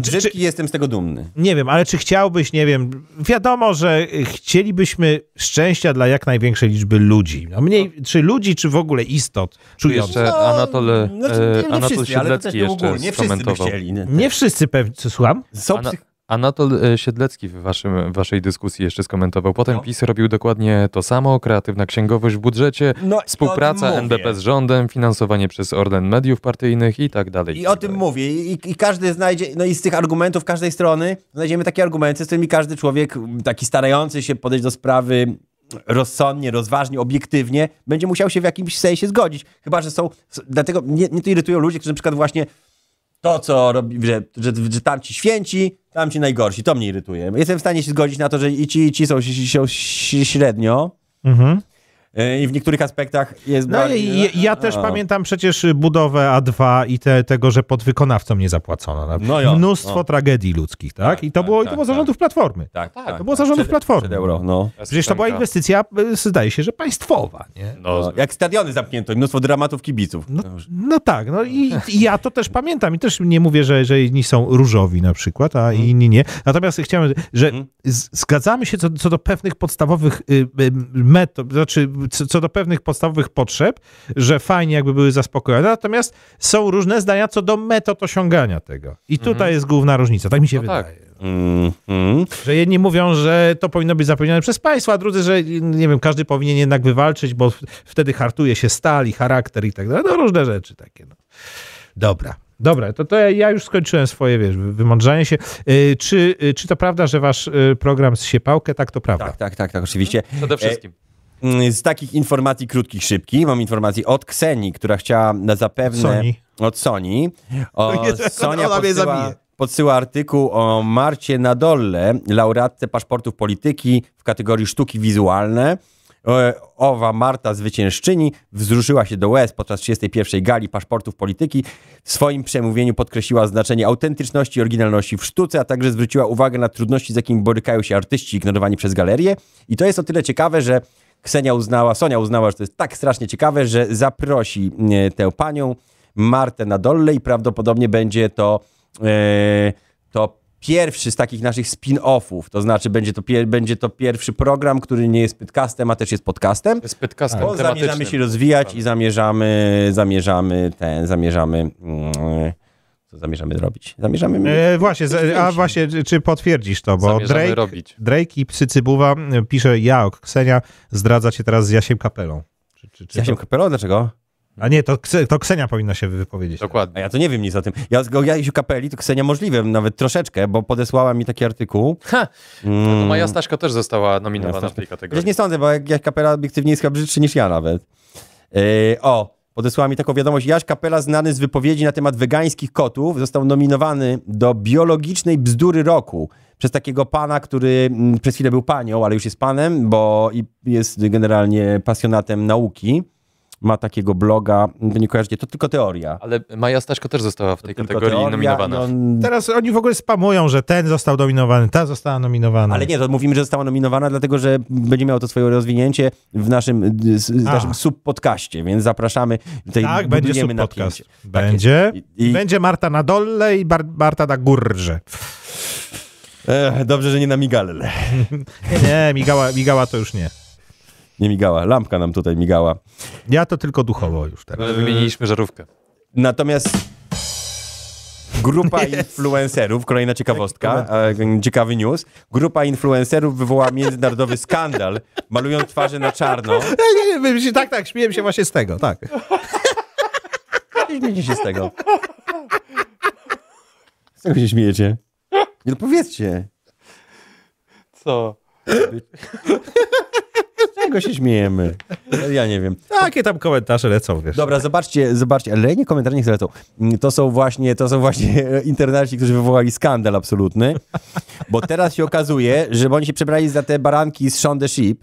S1: czy- czy- czy-
S3: jestem z tego dumny.
S1: nie wiem, ale czy chciałbyś, nie wiem, wiadomo, że chcielibyśmy szczęścia dla jak największej liczby ludzi. No mniej, czy ludzi, czy w ogóle istot czujących.
S5: Jeszcze Anatol, e,
S3: No, znaczy, nie, nie
S5: Anatol
S3: wszyscy, ale to też
S5: Siedlecki jeszcze
S3: nie ogólnie. Nie wszyscy by
S5: skomentował.
S3: chcieli. Nie,
S1: Nie wszyscy pewnie, co słucham?
S3: Są
S5: Ana-
S3: psych...
S5: Anatol e, Siedlecki w waszym, waszej dyskusji jeszcze skomentował. Potem
S3: No.
S5: PiS robił dokładnie to samo. Kreatywna księgowość w budżecie,
S3: No i o
S5: współpraca
S3: tym
S5: NBP
S3: mówię.
S5: z rządem, finansowanie przez Orden Mediów Partyjnych i tak dalej.
S3: I
S5: tak
S3: o tym
S5: dalej.
S3: mówię. I, I każdy znajdzie, no i z tych argumentów każdej strony znajdziemy takie argumenty, z którymi każdy człowiek m, taki starający się podejść do sprawy rozsądnie, rozważnie, obiektywnie, będzie musiał się w jakimś sensie zgodzić. Chyba, że są... s- Dlatego mnie, mnie to irytują ludzie, którzy na przykład właśnie to, co robi, że, że, że tamci święci, tamci najgorsi. To mnie irytuje. Jestem w stanie się zgodzić na to, że i ci, i ci są ś- ś- są ś- średnio,
S1: Mhm.
S3: e, i w niektórych aspektach jest
S1: No i
S3: bardziej-
S1: ja, ja też
S3: A.
S1: pamiętam przecież budowę A2 i te, tego, że podwykonawcom nie zapłacono.
S3: No jo,
S1: Mnóstwo
S3: o.
S1: tragedii ludzkich, tak?
S3: Tak,
S1: I to
S3: tak,
S1: było, i to
S3: tak,
S1: było
S3: tak.
S1: zarządów Platformy.
S3: Tak, tak.
S1: to było zarządów
S3: Przed-
S1: Platformy.
S3: Przed euro, no.
S1: Przecież to była
S5: Piosenka.
S1: inwestycja, y, zdaje się, że państwowa, nie?
S5: No,
S3: No, Jak stadiony zamknięto i mnóstwo dramatów kibiców.
S1: No, no tak, no i, i ja to też pamiętam i też nie mówię, że, że inni są różowi na przykład, a inni nie. Natomiast chciałem, że
S3: Mhm.
S1: z- zgadzamy się co, co do pewnych podstawowych y, y, metod, znaczy co, co do pewnych podstawowych potrzeb, że fajnie jakby były zaspokojone, natomiast są różne zdania co do metod osiągania tego. I tutaj jest główna różnica, tak mi się
S5: No
S1: wydaje.
S5: tak.
S3: Mm, mm.
S1: Że jedni mówią, że to powinno być zapewnione przez państwo, a drudzy, że nie wiem, każdy powinien jednak wywalczyć, bo w- wtedy hartuje się stal i charakter i tak dalej. No różne rzeczy takie. No. Dobra. Dobra, to, to ja już skończyłem swoje, wiesz, wy- wymądrzanie się. Yy, czy, yy, czy to prawda, że wasz yy, program zsie pałkę? Tak, to prawda.
S3: Tak, tak, tak, tak, oczywiście.
S5: przede wszystkim.
S3: Mm, Z takich informacji krótkich, szybkich, mam informację od Ksenii, która chciała na zapewne...
S1: Sony.
S3: Od Sony. O,
S1: Nie, to ona
S3: Sonia
S1: mnie
S3: podsyła,
S1: zabije.
S3: podsyła artykuł o Marcie Nadolle, laureatce paszportów polityki w kategorii sztuki wizualne. E, Owa Marta zwyciężczyni wzruszyła się do łez podczas 31. gali paszportów polityki. W swoim przemówieniu podkreśliła znaczenie autentyczności i oryginalności w sztuce, a także zwróciła uwagę na trudności, z jakimi borykają się artyści ignorowani przez galerię. I to jest o tyle ciekawe, że Ksenia uznała, Sonia uznała, że to jest tak strasznie ciekawe, że zaprosi e, tę panią Martę Nadolle i prawdopodobnie będzie to, e, to pierwszy z takich naszych spin-offów. To znaczy będzie to, pier, będzie to pierwszy program, który nie jest podcastem, a też jest podcastem.
S5: Jest podcastem
S3: Bo zamierzamy się rozwijać i zamierzamy, zamierzamy ten, zamierzamy... Mm, co zamierzamy zrobić? Zamierzamy...
S1: E, właśnie, z- a właśnie, czy- czy potwierdzisz to, bo
S5: Zamierzamy
S1: Drake,
S5: robić.
S1: Drake i Psy Cybuwa y, pisze, ja, ok, Ksenia, zdradza cię teraz z Jasiem Kapelą. Czy, czy, czy
S3: Ja się
S1: to,
S3: kapelo? Dlaczego?
S1: a nie, to, Kse- to Ksenia powinna się wypowiedzieć.
S3: A
S5: Dokładnie.
S3: ja to nie wiem nic o tym. Ja z ja się kapeli, to Ksenia możliwe, nawet troszeczkę, bo podesłała mi taki artykuł.
S5: Ha!
S3: Mm.
S5: No, moja Staszka też została nominowana
S3: Jasne.
S5: w tej
S3: Chociaż
S5: kategorii.
S3: nie sądzę, bo jak, jak kapela obiektywnie jest chyba brzydszy niż ja nawet. Yy, o, podesłała mi taką wiadomość. Jaś Kapela, znany z wypowiedzi na temat wegańskich kotów, został nominowany do biologicznej bzdury roku przez takiego pana, który mm, przez chwilę był panią, ale już jest panem, bo i jest generalnie pasjonatem nauki. Ma takiego bloga, wy nie kojarzycie, to tylko teoria.
S5: Ale Maja Staszko też została w tej
S3: Tylko
S5: kategorii
S3: teoria,
S5: nominowana.
S3: no,
S1: Teraz oni w ogóle spamują, że ten został nominowany, ta została nominowana.
S3: Ale nie, to mówimy, że została nominowana, dlatego że będzie miało to swoje rozwinięcie w naszym, z, z
S1: A.
S3: naszym subpodcaście, więc zapraszamy. Tutaj
S1: tak, będzie
S3: budujemy
S1: subpodcast.
S3: napięcie. Tak
S1: Będzie.
S3: jest. I- i-
S1: Będzie Marta na dole i Bar- Marta na górze.
S3: Ech, dobrze, że nie na migale.
S1: Nie, nie migała, migała to już nie.
S3: Nie migała, lampka nam tutaj migała.
S1: Ja to tylko duchowo już teraz.
S5: Ale wymieniliśmy żarówkę.
S3: Natomiast grupa influencerów, kolejna ciekawostka, e, ciekawy news. Grupa influencerów wywołała międzynarodowy skandal, malując twarze na czarno.
S1: Nie, nie, nie, tak, tak, śmieję się właśnie z tego, tak.
S3: Nie śmiejcie się z tego. Z tego się śmiejecie? Nie, no powiedzcie.
S8: Co?
S3: Z czego się śmiejemy? Ja nie wiem.
S1: Takie tam komentarze lecą, wiesz.
S3: Dobra, zobaczcie, zobaczcie, ale nie komentarze nie chcę to. To są właśnie, to są właśnie e, internaci, którzy wywołali skandal absolutny, bo teraz się okazuje, że oni się przebrali za te baranki z Shaun the Sheep,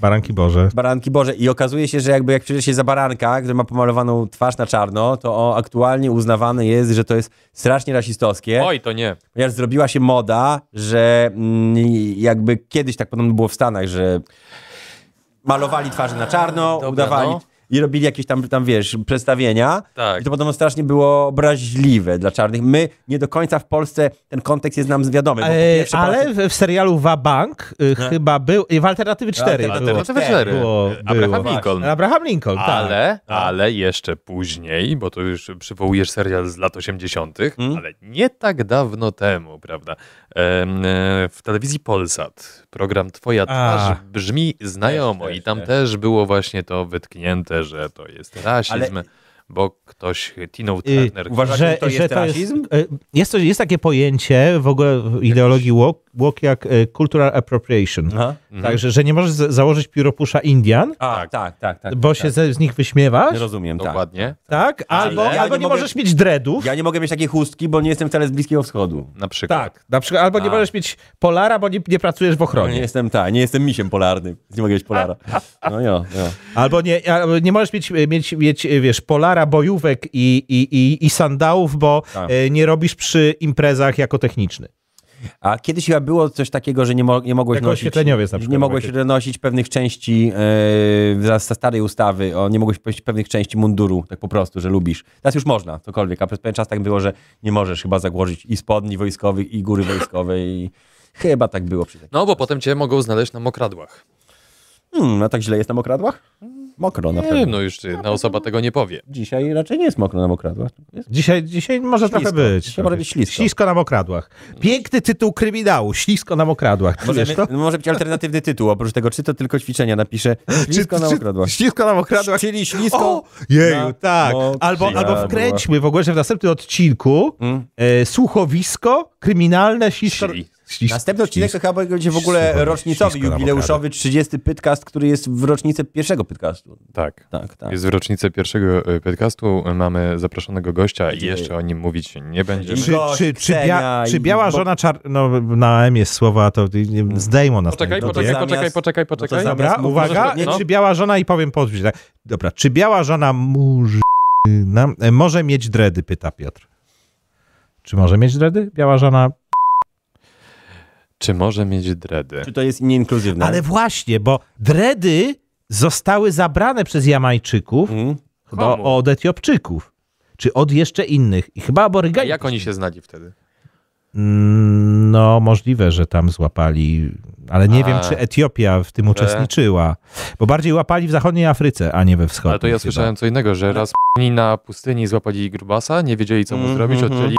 S1: Baranki Boże.
S3: baranki Boże i okazuje się, że jakby jak przyjrzy się za baranka, który ma pomalowaną twarz na czarno, to o, aktualnie uznawane jest, że to jest strasznie rasistowskie.
S5: Oj, to nie.
S3: Ponieważ zrobiła się moda, że mm, jakby kiedyś tak podobno było w Stanach, że malowali twarze na czarno,
S5: Dobra,
S3: udawali
S5: no.
S3: i robili jakieś tam, tam wiesz, przedstawienia.
S5: Tak.
S3: I to podobno strasznie było obraźliwe dla czarnych. My nie do końca w Polsce ten kontekst jest nam wiadomy. bo po E, pierwsze Polacy-
S1: E, ale w, w serialu Wabank y, chyba był, i w Alternatywy 4
S3: Alternatywy
S1: było.
S5: Alternatywa cztery.
S1: Było,
S5: Abraham
S1: było.
S5: Lincoln.
S1: Abraham Lincoln, tak.
S5: Ale, ale jeszcze później, bo to już przywołujesz serial z lat 80., ale nie tak dawno temu, prawda? em, e, W telewizji Polsat program Twoja twarz brzmi znajomo
S3: Też, też,
S5: i tam
S3: też.
S5: też. było właśnie to wytknięte, że to jest rasizm,
S3: Ale-
S5: bo ktoś e, tinął
S1: Y,
S5: Turner.
S1: e,
S3: uważacie, że to jest rasizm?
S1: y, Jest, to, jest takie pojęcie w ogóle w ideologii woke, walk jak e, cultural appropriation.
S3: Aha.
S1: Także, że nie możesz z- założyć pióropusza Indian,
S3: A, tak, tak, tak. tak
S1: bo
S3: tak.
S1: się ze, z nich wyśmiewasz,
S3: Rozumiem, tak.
S5: Dokładnie.
S1: tak? Albo,
S3: Ale ja
S1: albo
S3: nie
S1: nie,
S3: mogę-
S1: możesz mieć dreadów.
S3: Ja nie mogę mieć takiej chustki, bo nie jestem wcale z Bliskiego Wschodu.
S5: Na przykład.
S1: Tak, na przykład, albo nie
S3: A.
S1: możesz mieć polara, bo nie, nie pracujesz w
S3: No, nie
S1: ochronie.
S3: jestem tak, nie jestem misiem polarnym. Nie mogę mieć polara. No jo, jo.
S1: Albo nie, albo nie możesz mieć, mieć, mieć, e, wiesz, polara, bojówek i, i, i, i sandałów, bo
S3: Tak.
S1: e, nie robisz przy imprezach jako techniczny.
S3: A kiedyś chyba było coś takiego, że nie, mo nie mogłeś
S1: Jako
S3: nosić...
S1: oświetleniowiec na przykład.
S3: Nie mogłeś nosić pewnych części yy, ze starej ustawy, o, nie mogłeś powiedzieć pewnych części munduru, tak po prostu, że lubisz. Teraz już można, cokolwiek, a przez pewien czas tak było, że nie możesz chyba zagłożyć i spodni wojskowych, i góry wojskowej. I... Chyba tak było przy takim.
S5: No bo potem cię mogą znaleźć na mokradłach.
S3: Hmm, a tak źle jest na mokradłach? Mokro na
S5: Nie
S3: pewno.
S5: wiem, no już jedna osoba tego nie powie.
S3: Dzisiaj raczej nie jest mokro na mokradłach. Jest
S1: Dzisiaj, dzisiaj może
S3: Ślisko.
S1: trochę być.
S3: Dzisiaj może być ślisko.
S1: Ślisko na mokradłach. Piękny tytuł kryminału. Ślisko na mokradłach. Czujesz
S3: Możemy,
S1: to?
S3: może być alternatywny tytuł, oprócz tego, czy to tylko ćwiczenia napiszę. Ślisko na okradłach.
S1: Ślisko na mokradłach.
S3: Czyli ślisko.
S1: O, jeju,
S3: na
S1: tak. Albo,
S3: mokradłach.
S1: albo wkręćmy w ogóle, że w następnym odcinku
S3: Mm.
S1: e, słuchowisko kryminalne ślisko...
S5: Czyli.
S1: Ślis...
S3: Następny odcinek to chyba będzie w ogóle
S1: ślisko-
S3: rocznicowy,
S1: ślisko na
S3: jubileuszowy, 30 podcast, który jest w rocznicę pierwszego podcastu.
S5: Tak.
S3: Tak, tak.
S5: Jest w rocznicę pierwszego e, podcastu, mamy zaproszonego gościa i
S3: Będzie-
S5: jeszcze o nim mówić nie będziemy.
S1: Czy,
S3: Gość,
S1: czy, czy, bia,
S3: Ksenia i-
S1: czy biała
S3: bo-
S1: żona czar... No, na M jest słowa, to nie- zdejmą nas.
S5: Poczekaj,
S1: tutaj.
S5: poczekaj,
S3: zamiast-
S5: poczekaj, poczekaj,
S3: to
S5: poczekaj.
S3: zamiast-
S1: Dobra,
S3: Natomiast
S1: uwaga,
S3: może- nie,
S5: no.
S1: czy biała żona i powiem podbić. Tak. Dobra, czy biała żona murzyna e, może mieć dredy, pyta Piotr. Czy może mieć dredy? Biała żona.
S5: Czy może mieć dredy?
S3: Czy to jest
S5: No.
S3: nieinkluzywne?
S1: Ale właśnie, bo dredy zostały zabrane przez Jamajczyków,
S3: Mm.
S1: chyba
S5: Komu?
S1: od Etiopczyków, czy od jeszcze innych. I chyba
S5: A
S1: Aborygańczyków.
S5: jak oni się znali wtedy?
S1: Mm, No, możliwe, że tam złapali, ale nie
S5: A. E.
S1: wiem, czy Etiopia w tym uczestniczyła. Bo bardziej łapali w zachodniej Afryce, a nie we wschodniej.
S5: Ale to ja
S1: chyba.
S5: słyszałem co innego, że raz p***ni na pustyni złapali grubasa, nie wiedzieli co mu
S3: Mhm,
S5: zrobić,
S3: mhm.
S5: odcięli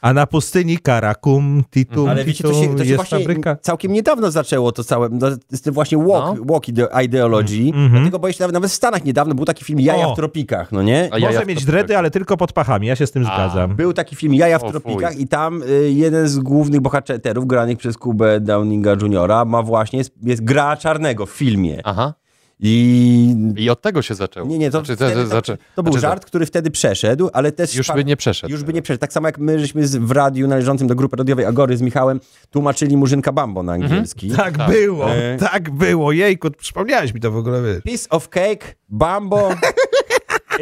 S1: A na pustyni Karakum, Titum,
S3: Ale wiecie, to się, to się
S1: jest
S3: właśnie
S1: fabryka.
S3: całkiem niedawno zaczęło to całe, no, z tym właśnie walk,
S5: No.
S3: walk ide- ideologii,
S1: Mhm.
S3: dlatego boję się, nawet- nawet w Stanach niedawno był taki film Jaja
S1: O.
S3: w tropikach, no nie?
S5: A jaja
S1: Może
S5: w
S1: mieć
S5: topkę.
S1: dredy, ale tylko pod pachami. Ja się z tym
S5: A,
S1: zgadzam.
S3: Był taki film Jaja w
S5: O,
S3: tropikach
S5: fuj.
S3: i tam y, jeden z głównych bohaterów granych przez Kubę Downinga Juniora ma właśnie, jest, jest gra czarnego w filmie.
S5: Aha.
S3: I...
S5: I od tego się zaczęło.
S3: Nie, nie, to,
S5: znaczy,
S3: wtedy,
S5: to,
S3: to,
S5: znaczy,
S3: to był
S5: znaczy,
S3: żart, który wtedy przeszedł, ale też...
S5: Już
S3: fa-
S5: by nie przeszedł.
S3: Już by nie przeszedł. Tak samo jak my żeśmy z, w radiu należącym do grupy radiowej Agory z Michałem tłumaczyli Murzynka Bambo na
S5: Mhm.
S3: angielski.
S1: Tak, było,
S3: E.
S1: tak było. Jejku, przypomniałeś mi to w ogóle. Wiesz.
S3: Piece of cake, Bambo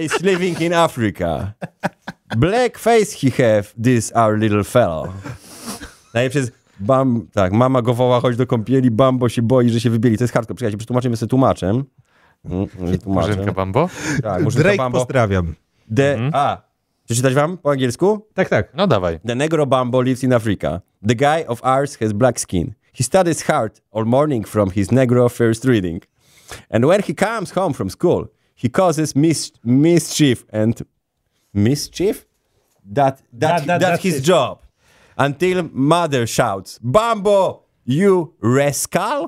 S3: is living in Africa. Black face he have, this our little fellow. Najlepsze jest, bam, tak, mama go woła, chodź do kąpieli, Bambo się boi, że się wybieli. To jest hardcore, przyjaciel, przetłumaczymy sobie tłumaczem. Mm, mm,
S5: Murzynka
S3: Tłumaczem.
S5: Bambo?
S3: Tak, Murzynka
S1: Drake
S3: Bambo.
S1: pozdrawiam.
S3: The, a, przeczytać wam po angielsku?
S1: Tak, tak.
S5: No dawaj.
S3: The Negro Bambo lives in Africa. The guy of ours has black skin. He studies hard all morning from his Negro first reading. And when he comes home from school, he causes mis- mischief and mischief? That, that,
S1: that-
S3: that's
S1: that's
S3: his
S1: it.
S3: job. Until mother shouts, Bambo, you rascal!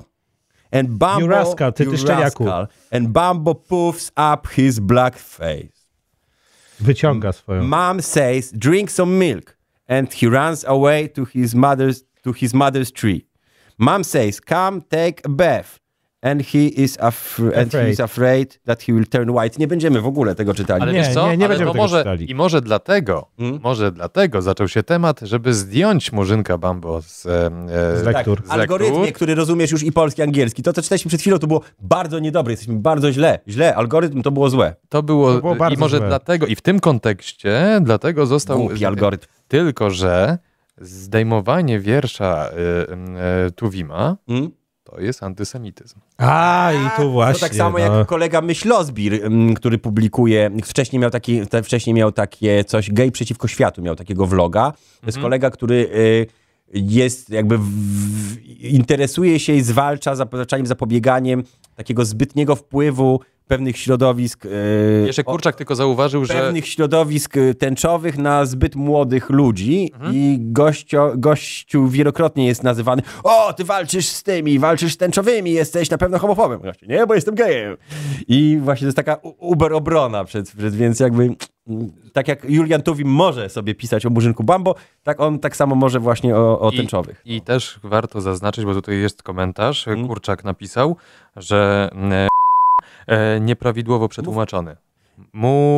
S3: And Bambo,
S1: You rascal, ty-
S3: you
S1: ty szczeniaku.
S3: rascal. And Bambo poofs up his black face.
S1: Wyciąga swoją.
S3: Mom says, "Drink some milk," and he runs away to his mother's to his mother's tree. Mom says, "Come, take a bath," and he is afraid, and he is afraid that he will turn white. Nie będziemy w ogóle tego czytali.
S5: Ale
S1: Nie,
S5: wiesz co?
S1: nie, nie
S5: Ale
S1: będziemy
S5: to
S1: tego
S5: może,
S1: czytali.
S5: I może dlatego, może dlatego zaczął się temat, żeby zdjąć Murzynka Bambo z, em, e,
S1: Z lektur.
S5: z
S3: Algorytmie,
S5: lektur.
S3: który rozumiesz już i polski, i angielski. To, co czytaliśmy przed chwilą, to było bardzo niedobre. Jesteśmy bardzo źle. Źle. Algorytm to było złe.
S5: To było,
S1: To było bardzo
S5: i może
S1: złe.
S5: dlatego, i w tym kontekście, dlatego został...
S3: Głupi algorytm.
S5: Tylko, że zdejmowanie wiersza y, y, Tuwima
S3: Mm?
S5: to jest antysemityzm.
S1: A, i tu właśnie.
S3: To tak samo
S1: no.
S3: jak kolega Myślozbir, mm, który publikuje, wcześniej miał, taki, te, wcześniej miał takie coś, gej przeciwko światu, miał takiego vloga. To jest kolega, który y, jest jakby, w, w- interesuje się i zwalcza zaprzeczaniem, zapobieganiem takiego zbytniego wpływu pewnych środowisk. y,
S5: Jeszcze
S3: o-
S5: Kurczak tylko zauważył, że
S3: pewnych środowisk y, tęczowych na zbyt młodych ludzi i gościo, gościu wielokrotnie jest nazywany o, ty walczysz z tymi, walczysz z tęczowymi, jesteś na pewno homofobem. Gościu, nie, bo jestem gejem. I właśnie to jest taka u- uberobrona przed, przed, więc jakby tak jak Julian Tuwim może sobie pisać o Murzynku Bambo, tak on tak samo może właśnie o, o
S5: I-
S3: tęczowych.
S5: I też warto zaznaczyć, bo tutaj jest komentarz,
S3: Mm.
S5: Kurczak napisał, że e, e, nieprawidłowo przetłumaczony.
S3: No,
S5: Mu...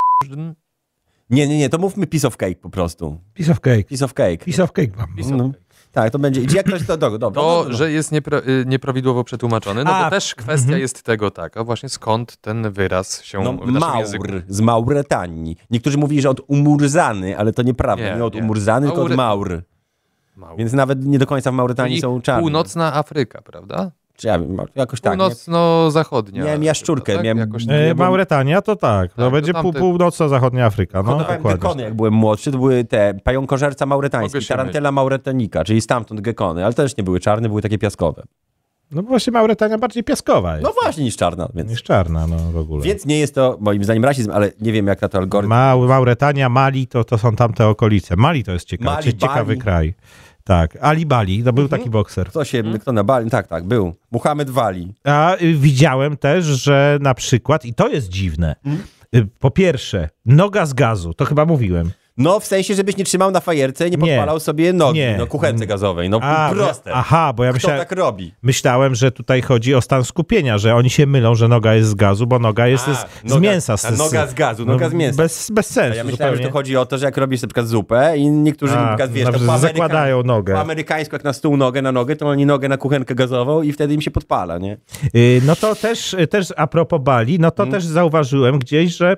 S3: Nie, nie, nie, to mówmy piece of cake po prostu.
S1: Piece of cake.
S3: Piece of cake.
S1: Piece of cake mam.
S3: No. Tak, to będzie. Jak ktoś to do, dobra.
S5: To,
S3: dobra.
S5: że jest niepra y, nieprawidłowo przetłumaczony, no
S1: A,
S5: to też kwestia jest tego taka, właśnie skąd ten wyraz się
S3: mhm. no,
S5: w naszym
S3: Maur
S5: języku...
S3: z Mauretanii. Niektórzy mówili, że od Umurzany, ale to nieprawda. Nie,
S5: Nie,
S3: od
S5: nie.
S3: Umurzany, tylko od
S5: Maury-
S3: Maur.
S5: Maur.
S3: Więc nawet nie do końca w Mauretanii
S5: Czyli
S3: są czarni.
S5: Północna Afryka, prawda?
S3: Czy ja wiem, jakoś tak. nie?
S5: Północno-zachodnia.
S3: Miałem jaszczurkę,
S5: Tak?
S3: miałem-
S5: Jakoś tak.
S3: E,
S1: E, Mauretania to tak,
S5: Tak,
S1: to
S5: to
S1: będzie pół,
S5: tamte-
S1: północno-zachodnia Afryka. No,
S3: Hodowałem
S1: dokładnie.
S3: gekony, jak byłem młodszy, to były te pająkożerca
S5: Mogę
S3: mauretański,
S5: się
S3: tarantela mauretanika, czyli stamtąd gekony, ale też nie były czarne, były takie piaskowe.
S1: No bo właśnie Mauretania bardziej piaskowa jest
S3: No właśnie, niż czarna, więc...
S1: niż czarna no, w ogóle.
S3: Więc nie jest to moim zdaniem rasizm, ale nie wiem jak na to algorytm.
S1: Ma, Mauretania, Mali to, to są tamte okolice. Mali to jest ciekawe,
S3: Mali,
S1: cie- ciekawy
S3: Bali. Mhm.
S1: kraj. Tak, Ali Bali, to był taki bokser.
S3: Kto się, kto na Bali, tak, tak, był. Muhammad Wali.
S1: A y, widziałem też, że na przykład, i to jest dziwne,
S3: Mhm.
S1: y, po pierwsze, noga z gazu, to chyba mówiłem.
S3: No w sensie, żebyś nie trzymał na fajerce i nie
S1: Nie.
S3: podpalał sobie nogi,
S1: Nie.
S3: no kuchence gazowej, no proste.
S1: aha, bo ja
S3: Kto
S1: myślałem,
S3: tak robi?
S1: myślałem, że tutaj chodzi o stan skupienia, że oni się mylą, że noga jest z gazu, bo noga jest
S3: A,
S1: z, z
S3: noga-
S1: mięsa. Z, no
S3: a noga z gazu, noga z mięsa.
S1: Bez, bez sensu
S3: A ja myślałem, że
S1: zupełnie.
S3: to chodzi o to, że jak robisz na przykład zupę i niektórzy
S1: A,
S3: na przykład, wiesz,
S1: dobrze,
S3: to po, amerykańsku,
S1: zakładają
S3: po
S1: nogę.
S3: amerykańsku jak na stół nogę na nogę, to oni nogę na kuchenkę gazową i wtedy im się podpala, nie?
S1: Y, No to też, też a propos Bali, no
S3: Mm.
S1: to też zauważyłem gdzieś, że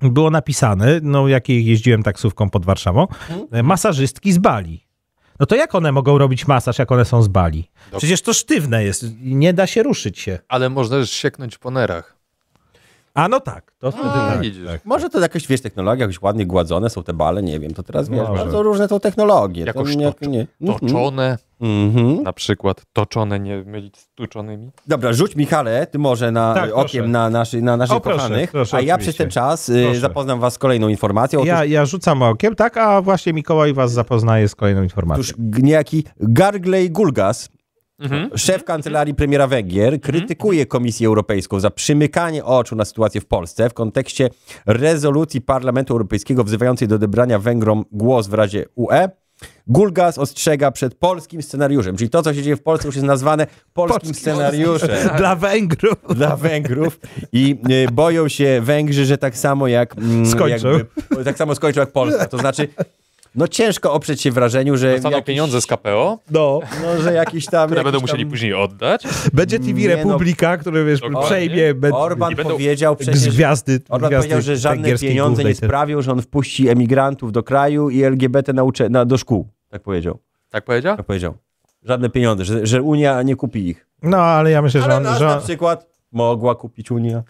S1: było napisane, no jak jeździłem taksówką pod Warszawą,
S3: Mm.
S1: y, masażystki z Bali. No to jak one mogą robić masaż, jak one są z Bali? Przecież to sztywne jest, nie da się ruszyć się.
S5: Ale można też sieknąć po nerach.
S1: A no tak, to wtedy tak.
S5: widzisz.
S3: Może to jakaś, wiesz, technologia, jakoś ładnie gładzone są te bale, nie wiem, to teraz, wiesz,
S1: Może.
S3: bardzo różne są technologie.
S5: Jako
S3: to nie-
S5: sztuczne.
S3: nie. Mhm.
S5: Toczone,
S3: Mhm.
S5: na przykład. Toczone, nie mylić z tuczonymi.
S3: Dobra, rzuć Michale, ty może na
S1: Tak,
S3: okiem
S1: proszę.
S3: na, naszy, na naszych
S1: O, proszę,
S3: kochanych,
S1: proszę,
S3: a ja
S1: oczywiście.
S3: przez ten czas y,
S1: Proszę.
S3: zapoznam was z kolejną informacją. Otóż,
S1: Ja, ja rzucam okiem, tak, a właśnie Mikołaj was zapoznaje z kolejną informacją.
S3: otóż niejaki Gargley Gulgas, szef kancelarii premiera Węgier, krytykuje Komisję Europejską za przymykanie oczu na sytuację w Polsce w kontekście rezolucji Parlamentu Europejskiego wzywającej do odebrania Węgrom głos w Radzie UE. Gulgas ostrzega przed polskim scenariuszem, czyli to, co się dzieje w Polsce już jest nazwane polskim scenariuszem.
S1: Dla Węgrów.
S3: dla Węgrów i y, boją się Węgrzy, że tak samo jak mm,
S1: Skończą.
S3: jakby, tak samo skończą jak Polska. To znaczy, no ciężko oprzeć się wrażeniu, że
S5: Dostaną No,
S3: jakiś,
S5: pieniądze z KPO,
S1: No.
S3: no, że jakiś tam
S5: które
S3: jakiś
S5: będą
S3: tam
S5: musieli później oddać.
S1: Będzie TV
S3: Nie no.
S1: Republika, który wiesz,
S5: Dokładnie.
S1: przejmie be-
S3: Orban
S5: I będą-
S3: powiedział
S1: z
S3: przecież
S1: gwiazdy.
S3: Orban
S1: gwiazdy
S3: powiedział, że żadne
S1: węgierskiej
S3: pieniądze nie
S1: głównej te-
S3: sprawią, że on wpuści emigrantów do kraju i LGBT na ucze- na, do szkół. Tak powiedział.
S5: Tak powiedział?
S3: Tak powiedział. Żadne pieniądze, że, że Unia nie kupi ich.
S1: No, ale ja myślę, że
S3: Ale znaczy-
S1: on...
S3: nas
S1: Że
S3: na
S1: on
S3: przykład mogła kupić Unia.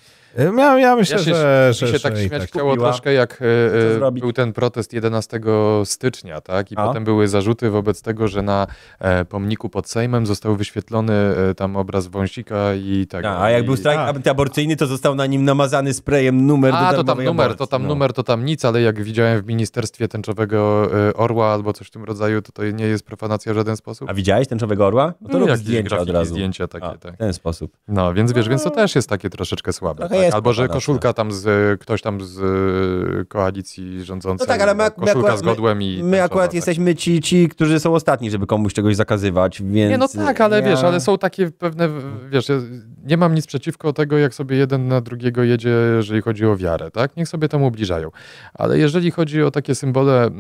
S1: ja, ja myślę,
S5: Ja się,
S1: że...
S5: mi
S1: że,
S5: się
S1: że
S5: tak
S1: i
S5: śmiać
S3: tak.
S5: chciało
S3: Kupiła.
S5: troszkę, jak e, e,
S3: zrobić?
S5: był ten protest 11 stycznia, tak? I
S3: A?
S5: potem były zarzuty wobec tego, że na e, pomniku pod Sejmem został wyświetlony e, tam obraz Wąsika i tak.
S3: A, a jak
S5: i,
S3: był strajk
S1: A.
S3: antyaborcyjny, to został na nim namazany sprayem numer do
S5: A, to tam
S3: darmowej
S5: numer,
S3: aborcji.
S5: to tam
S3: No.
S5: numer, to tam nic, ale jak widziałem w Ministerstwie Tęczowego e, Orła albo coś w tym rodzaju, to to nie jest profanacja w żaden sposób.
S3: A widziałeś tęczowego orła? No to
S5: No,
S3: rób
S5: jakieś
S3: zdjęcia od
S5: grafiki,
S3: razu.
S5: zdjęcia takie,
S3: A,
S5: tak.
S3: W ten sposób.
S5: No, więc wiesz, więc to też jest takie troszeczkę słabe.
S3: Trochę
S5: Tak?
S3: jest
S5: Albo, że
S3: propaganda.
S5: koszulka tam z, e, ktoś tam z e, koalicji rządzącej,
S3: No tak, ale my ak- my
S5: koszulka
S3: akurat-
S5: z godłem i...
S3: My
S5: tęczowa,
S3: akurat
S5: tak.
S3: jesteśmy ci, ci, którzy są ostatni, żeby komuś czegoś zakazywać, więc... e,
S5: Nie, no tak, ale
S3: ja-
S5: wiesz, ale są takie pewne, wiesz, ja nie mam nic przeciwko tego, jak sobie jeden na drugiego jedzie, jeżeli chodzi o wiarę, tak? Niech sobie temu ubliżają. Ale jeżeli chodzi o takie symbole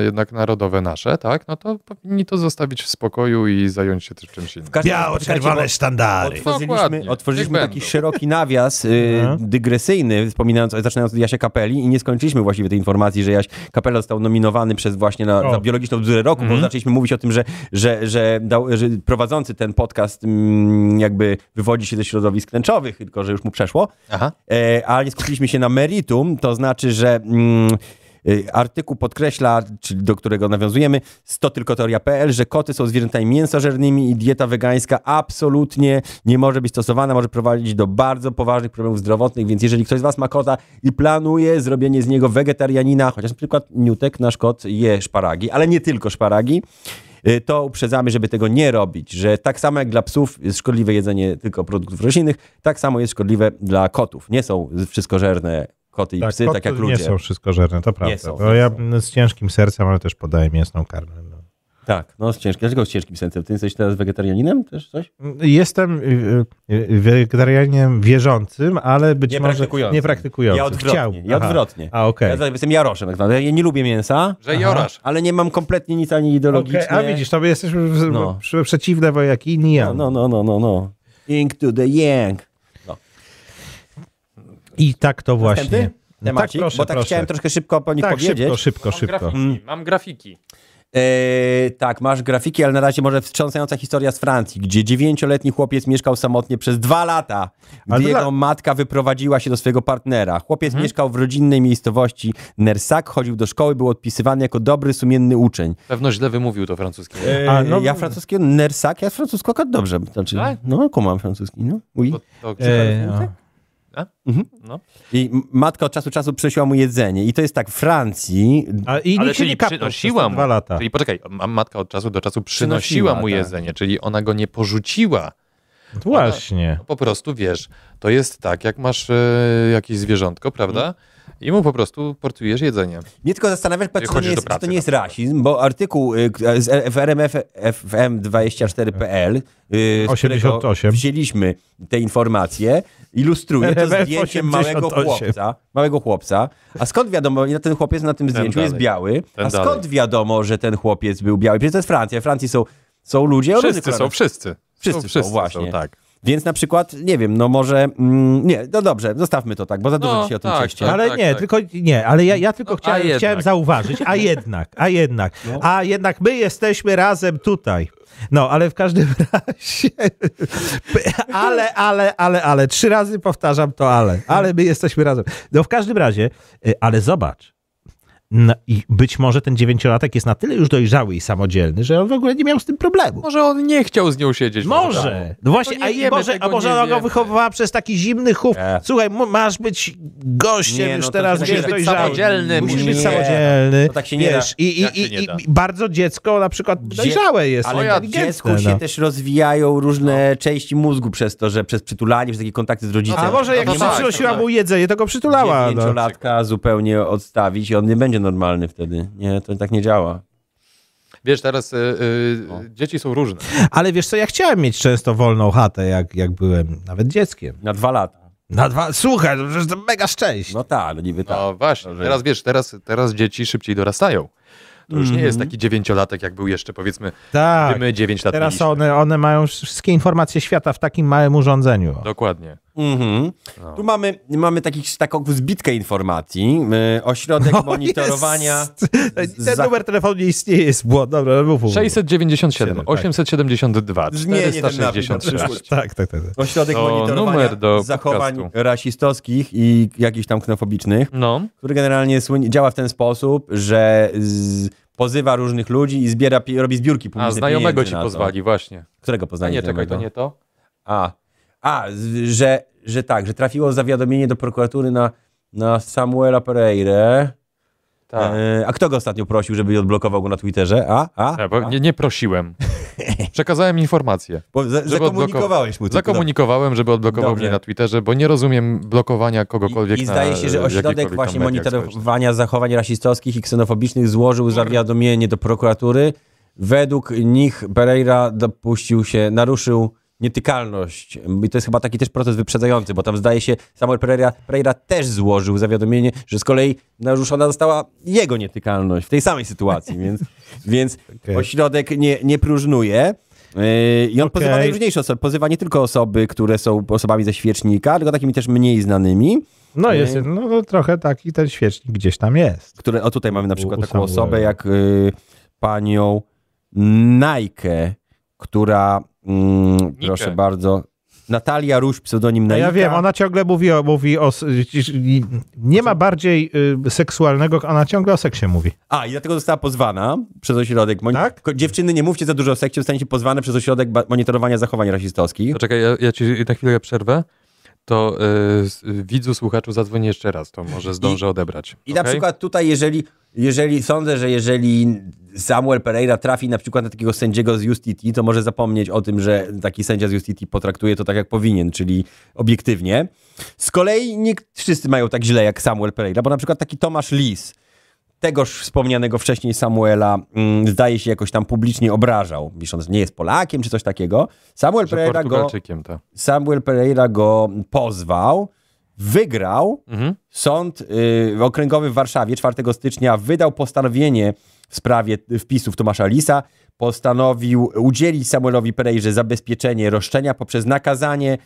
S5: e, jednak narodowe nasze, tak? No to powinni to zostawić w spokoju i zająć się też czymś innym.
S3: W każdym- czekajcie, bo
S1: Biało-czerwone sztandary.
S5: Dokładnie.
S3: Otworzyliśmy, otworzyliśmy
S5: Niech
S3: taki
S5: będą.
S3: szeroki nawias y,
S1: Mhm.
S3: dygresyjny, wspominając, zaczynając od Jasia Kapeli i nie skończyliśmy właściwie tej informacji, że Jaś Kapela został nominowany przez właśnie na,
S1: O. Mhm.
S3: za biologiczną bzdurę roku, bo zaczęliśmy mówić o tym, że, że, że, dał, że prowadzący ten podcast mm, jakby wywodzi się ze środowisk tęczowych, tylko że już mu przeszło.
S5: Aha.
S3: E, ale nie skupiliśmy się na meritum, to znaczy, że mm, y, artykuł podkreśla, czyli do którego nawiązujemy, z to tylko teoria.pl, że koty są zwierzętami mięsożernymi i dieta wegańska absolutnie nie może być stosowana, może prowadzić do bardzo poważnych problemów zdrowotnych, więc jeżeli ktoś z was ma kota i planuje zrobienie z niego wegetarianina, chociaż na przykład Newtek, nasz kot, je szparagi, ale nie tylko szparagi, y, to uprzedzamy, żeby tego nie robić, że tak samo jak dla psów jest szkodliwe jedzenie tylko produktów roślinnych, tak samo jest szkodliwe dla kotów. Nie są wszystkożerne koty i
S1: Tak,
S3: psy,
S1: kot-
S3: tak jak
S1: nie
S3: ludzie.
S1: są wszystkożerne, to prawda.
S3: są,
S1: no,
S3: nie
S1: ja
S3: są.
S1: m, z ciężkim sercem, ale też podaję mięsną karmę. No.
S3: Tak, no z ciężkim. Dlaczego z ciężkim sercem? Ty jesteś teraz wegetarianinem też coś?
S1: Jestem y, y, wegetarianinem wierzącym, ale być
S3: Nie
S1: może
S3: praktykującym.
S1: nie praktykującym.
S3: Ja odwrotnie, ja
S1: Aha.
S3: odwrotnie.
S1: A okej.
S3: Ja jestem Jaroszem tak naprawdę. Ja nie lubię mięsa,
S5: Że jorasz.
S3: ale nie mam kompletnie nic ani ideologicznie.
S1: Okej, A widzisz, to my jesteśmy w-
S3: No.
S1: przy- przeciwne, bo jak inni ja.
S3: No, no, no, no, no. no. Ink to the yang.
S1: I tak to właśnie.
S3: Następny temacik,
S1: tak, proszę,
S3: bo tak
S1: proszę.
S3: chciałem troszkę szybko po nich
S1: tak,
S3: powiedzieć. No,
S1: szybko, szybko, szybko.
S5: grafiki, mam grafiki.
S3: E, tak, masz grafiki, ale na razie może wstrząsająca historia z Francji, gdzie dziewięcioletni chłopiec mieszkał samotnie przez dwa lata, gdy
S1: Ale Mhm. dla-
S3: jego matka wyprowadziła się do swojego partnera. Chłopiec mieszkał w rodzinnej miejscowości Nersak, chodził do szkoły, był odpisywany jako dobry, sumienny uczeń.
S5: Pewno źle wymówił to francuskie.
S3: E,
S1: A, no-
S3: ja francuski, Nersak, ja francusko akurat dobrze. Znaczy,
S5: Tak?
S3: no, kumam francuski, no. Oui.
S5: Bo to,
S1: E, o.
S5: no.
S3: I m- matka od czasu do czasu przynosiła mu jedzenie. I to jest tak, w Francji
S1: A i nikt
S5: Ale
S1: się
S5: czyli
S1: nie kapnął przez te
S5: przynosiła mu.
S1: dwa lata.
S5: Czyli poczekaj, ma- matka od czasu do czasu przynosiła,
S3: Przynosiła,
S5: mu
S3: tak.
S5: jedzenie, czyli ona go nie porzuciła.
S1: Właśnie.
S5: Po prostu wiesz, to jest tak, jak masz e, jakieś zwierzątko,
S3: Mhm.
S5: prawda? I mu po prostu porcjujesz jedzenie.
S3: Mnie tylko zastanawia, czy to
S5: chodzisz
S3: nie
S5: do
S3: jest, czy
S5: pracy tak.
S3: to nie
S5: na
S3: jest
S5: przykład.
S3: rasizm, bo artykuł y, k- z L- w RMF FM24.pl, y, z którego
S1: 88.
S3: wzięliśmy te informacje, ilustruje to
S1: RMF
S3: zdjęciem małego
S1: 88.
S3: chłopca, małego chłopca. A skąd wiadomo, ile ten chłopiec na tym zdjęciu
S5: dalej.
S3: jest biały?
S5: Ten
S3: a skąd
S5: dalej.
S3: wiadomo, że ten chłopiec był biały? Przecież to jest Francja. W Francji są, są ludzie o różnych
S5: Wszyscy są,
S3: kolorach.
S5: wszyscy.
S3: Wszyscy
S5: są,
S3: są,
S5: wszyscy
S3: właśnie.
S5: Są, tak.
S3: Więc na przykład, nie wiem, no może... Mm, nie, no dobrze, zostawmy to tak, bo za dużo
S5: No,
S3: dzisiaj o tym
S5: tak,
S3: cieście.
S5: tak.
S1: Ale nie, tylko nie, ale ja, ja tylko
S5: No, a
S1: chciałem,
S5: jednak.
S1: chciałem zauważyć, a jednak, a jednak, a jednak my jesteśmy razem tutaj. No, ale w każdym razie, ale, ale, ale, ale, trzy razy powtarzam to ale, ale my jesteśmy razem. No w każdym razie, y, ale zobacz, no, i być może ten dziewięciolatek jest na tyle już dojrzały i samodzielny, że on w ogóle nie miał z tym problemu.
S5: Może on nie chciał z nią siedzieć.
S1: Może. No właśnie,
S5: nie
S1: a, i
S5: wiemy,
S1: może,
S5: tego
S1: a może
S5: nie
S1: ona go
S5: wiemy.
S1: wychowywała przez taki zimny chów.
S3: Nie.
S1: Słuchaj, mu- masz być gościem
S3: Nie, no
S1: już
S3: to
S1: teraz,
S3: musisz
S1: wiesz,
S3: być
S1: dojrzały.
S5: samodzielny,
S1: Musisz być
S5: nie.
S1: samodzielny.
S3: To tak się nie
S1: wiesz,
S3: da.
S1: I,
S5: Jak
S1: i,
S5: się
S1: i,
S5: nie
S1: i,
S5: da.
S1: i bardzo dziecko na przykład
S3: Dzie-
S1: dojrzałe jest.
S3: Ale w
S1: inteligentne,
S3: dziecku się
S1: no.
S3: też rozwijają różne części mózgu przez to, że przez przytulanie, przez takie kontakty z rodzicem.
S1: A może jak
S5: No
S1: no,
S5: to
S1: się
S5: tak,
S1: przynosiła
S5: tak.
S1: mu jedzenie, to go przytulała. No.
S3: dziewięciolatka zupełnie odstawić i on nie będzie normalny wtedy. Nie, to tak nie działa.
S5: Wiesz, teraz y, y,
S3: O.
S5: dzieci są różne.
S1: Ale wiesz co, ja chciałem mieć często wolną chatę, jak, jak byłem nawet dzieckiem.
S3: Na dwa lata.
S1: Na dwa, słuchaj, to przecież to mega szczęście.
S3: No tak, no niby tak.
S5: No właśnie,
S3: Dobrze.
S5: teraz wiesz, teraz, teraz dzieci szybciej dorastają. To już nie jest taki dziewięciolatek, jak był jeszcze, powiedzmy,
S1: tak.
S5: gdy my dziewięć lat
S1: Teraz
S5: mieliśmy.
S1: one, one mają wszystkie informacje świata w takim małym urządzeniu.
S5: Dokładnie.
S3: Mhm.
S1: No.
S3: Tu mamy, mamy taki, taką zbitkę informacji. Yy, ośrodek monitorowania.
S1: No Jest. Ten
S3: za-
S1: numer telefonu nie istnieje, jest błąd. Dobra, no mów, mów.
S5: 697,
S1: Siedem, tak.
S5: 872,
S3: Zmienię ten napis na
S5: 466.
S3: przyszłość.
S1: Tak, tak, tak. tak.
S3: Ośrodek
S5: To
S3: monitorowania
S5: numer do
S3: zachowań
S5: podcastu.
S3: rasistowskich i jakichś tam ksenofobicznych.
S5: No,
S3: który generalnie słynie- działa w ten sposób, że z, pozywa różnych ludzi i zbiera, pi- robi zbiórki
S5: a
S3: publiczne.
S5: znajomego
S3: pieniędzy
S5: ci
S3: na to.
S5: pozwali, właśnie.
S3: Którego
S5: A
S3: poznali
S5: nie, czekaj, to nie to.
S3: A, a z, że, że tak, że trafiło zawiadomienie do prokuratury na, na Samuela Pereire.
S5: Tak.
S3: E, a kto go ostatnio prosił, żeby odblokował go na Twitterze? A? A?
S5: Tak, bo nie, nie prosiłem. Przekazałem informację.
S3: Bo za, zakomunikowałeś mu to.
S5: Zakomunikowałem, żeby odblokował
S3: Dobrze.
S5: mnie na Twitterze, bo nie rozumiem blokowania kogokolwiek
S3: I, I
S5: na
S3: zdaje się, że
S5: jakichkolwiek
S3: ośrodek
S5: tam
S3: właśnie
S5: mediach społecznych.
S3: monitorowania zachowań rasistowskich i ksenofobicznych złożył zawiadomienie do prokuratury. Według nich Pereira dopuścił się, naruszył nietykalność. I to jest chyba taki też proces wyprzedzający, bo tam zdaje się Samuel Pereira, Pereira też złożył zawiadomienie, że z kolei naruszona została jego nietykalność w tej samej sytuacji, więc, więc
S1: Okej.
S3: ośrodek nie, nie próżnuje. Yy, I on
S1: Okej.
S3: pozywa najróżniejsze osoby. Pozywa nie tylko osoby, które są osobami ze świecznika, tylko takimi też mniej znanymi.
S1: No jest, no to trochę taki ten świecznik gdzieś tam jest.
S3: które, o tutaj mamy na przykład
S1: u
S3: taką
S1: Samuela.
S3: osobę jak y, panią Nike, która, mm, proszę bardzo, Natalia Ruś, pseudonim
S1: No
S3: Naika.
S1: ja wiem, ona ciągle mówi o, mówi o s- i- nie ma bardziej y, seksualnego, ona ciągle o seksie mówi.
S3: A, i dlatego została pozwana przez ośrodek. Moni-
S1: Tak?
S3: Ko- Dziewczyny, nie mówcie za dużo o seksie, zostaniecie pozwane przez ośrodek ba- monitorowania zachowań rasistowskich.
S5: To czekaj, ja, ja ci na chwilę przerwę. To y, z- y, widzu, słuchaczu, zadzwonię jeszcze raz, to może zdążę odebrać.
S3: I na
S5: Okej?
S3: przykład tutaj, jeżeli, jeżeli sądzę, że jeżeli Samuel Pereira trafi na przykład na takiego sędziego z Justiti, to może zapomnieć o tym, że taki sędzia z Justiti potraktuje to tak, jak powinien, czyli obiektywnie. Z kolei nie wszyscy mają tak źle jak Samuel Pereira, bo na przykład taki Tomasz Lis, tegoż wspomnianego wcześniej Samuela, mm, zdaje się jakoś tam publicznie obrażał, pisząc, że nie jest Polakiem czy coś takiego. Samuel
S5: Że
S3: Pereira go,
S5: Portugalczykiem, tak.
S3: Samuel Pereira go pozwał, wygrał,
S5: Mhm.
S3: Sąd y, okręgowy w Warszawie 4 stycznia wydał postanowienie w sprawie wpisów Tomasza Lisa. Postanowił udzielić Samuelowi Perejrze zabezpieczenie roszczenia poprzez nakazanie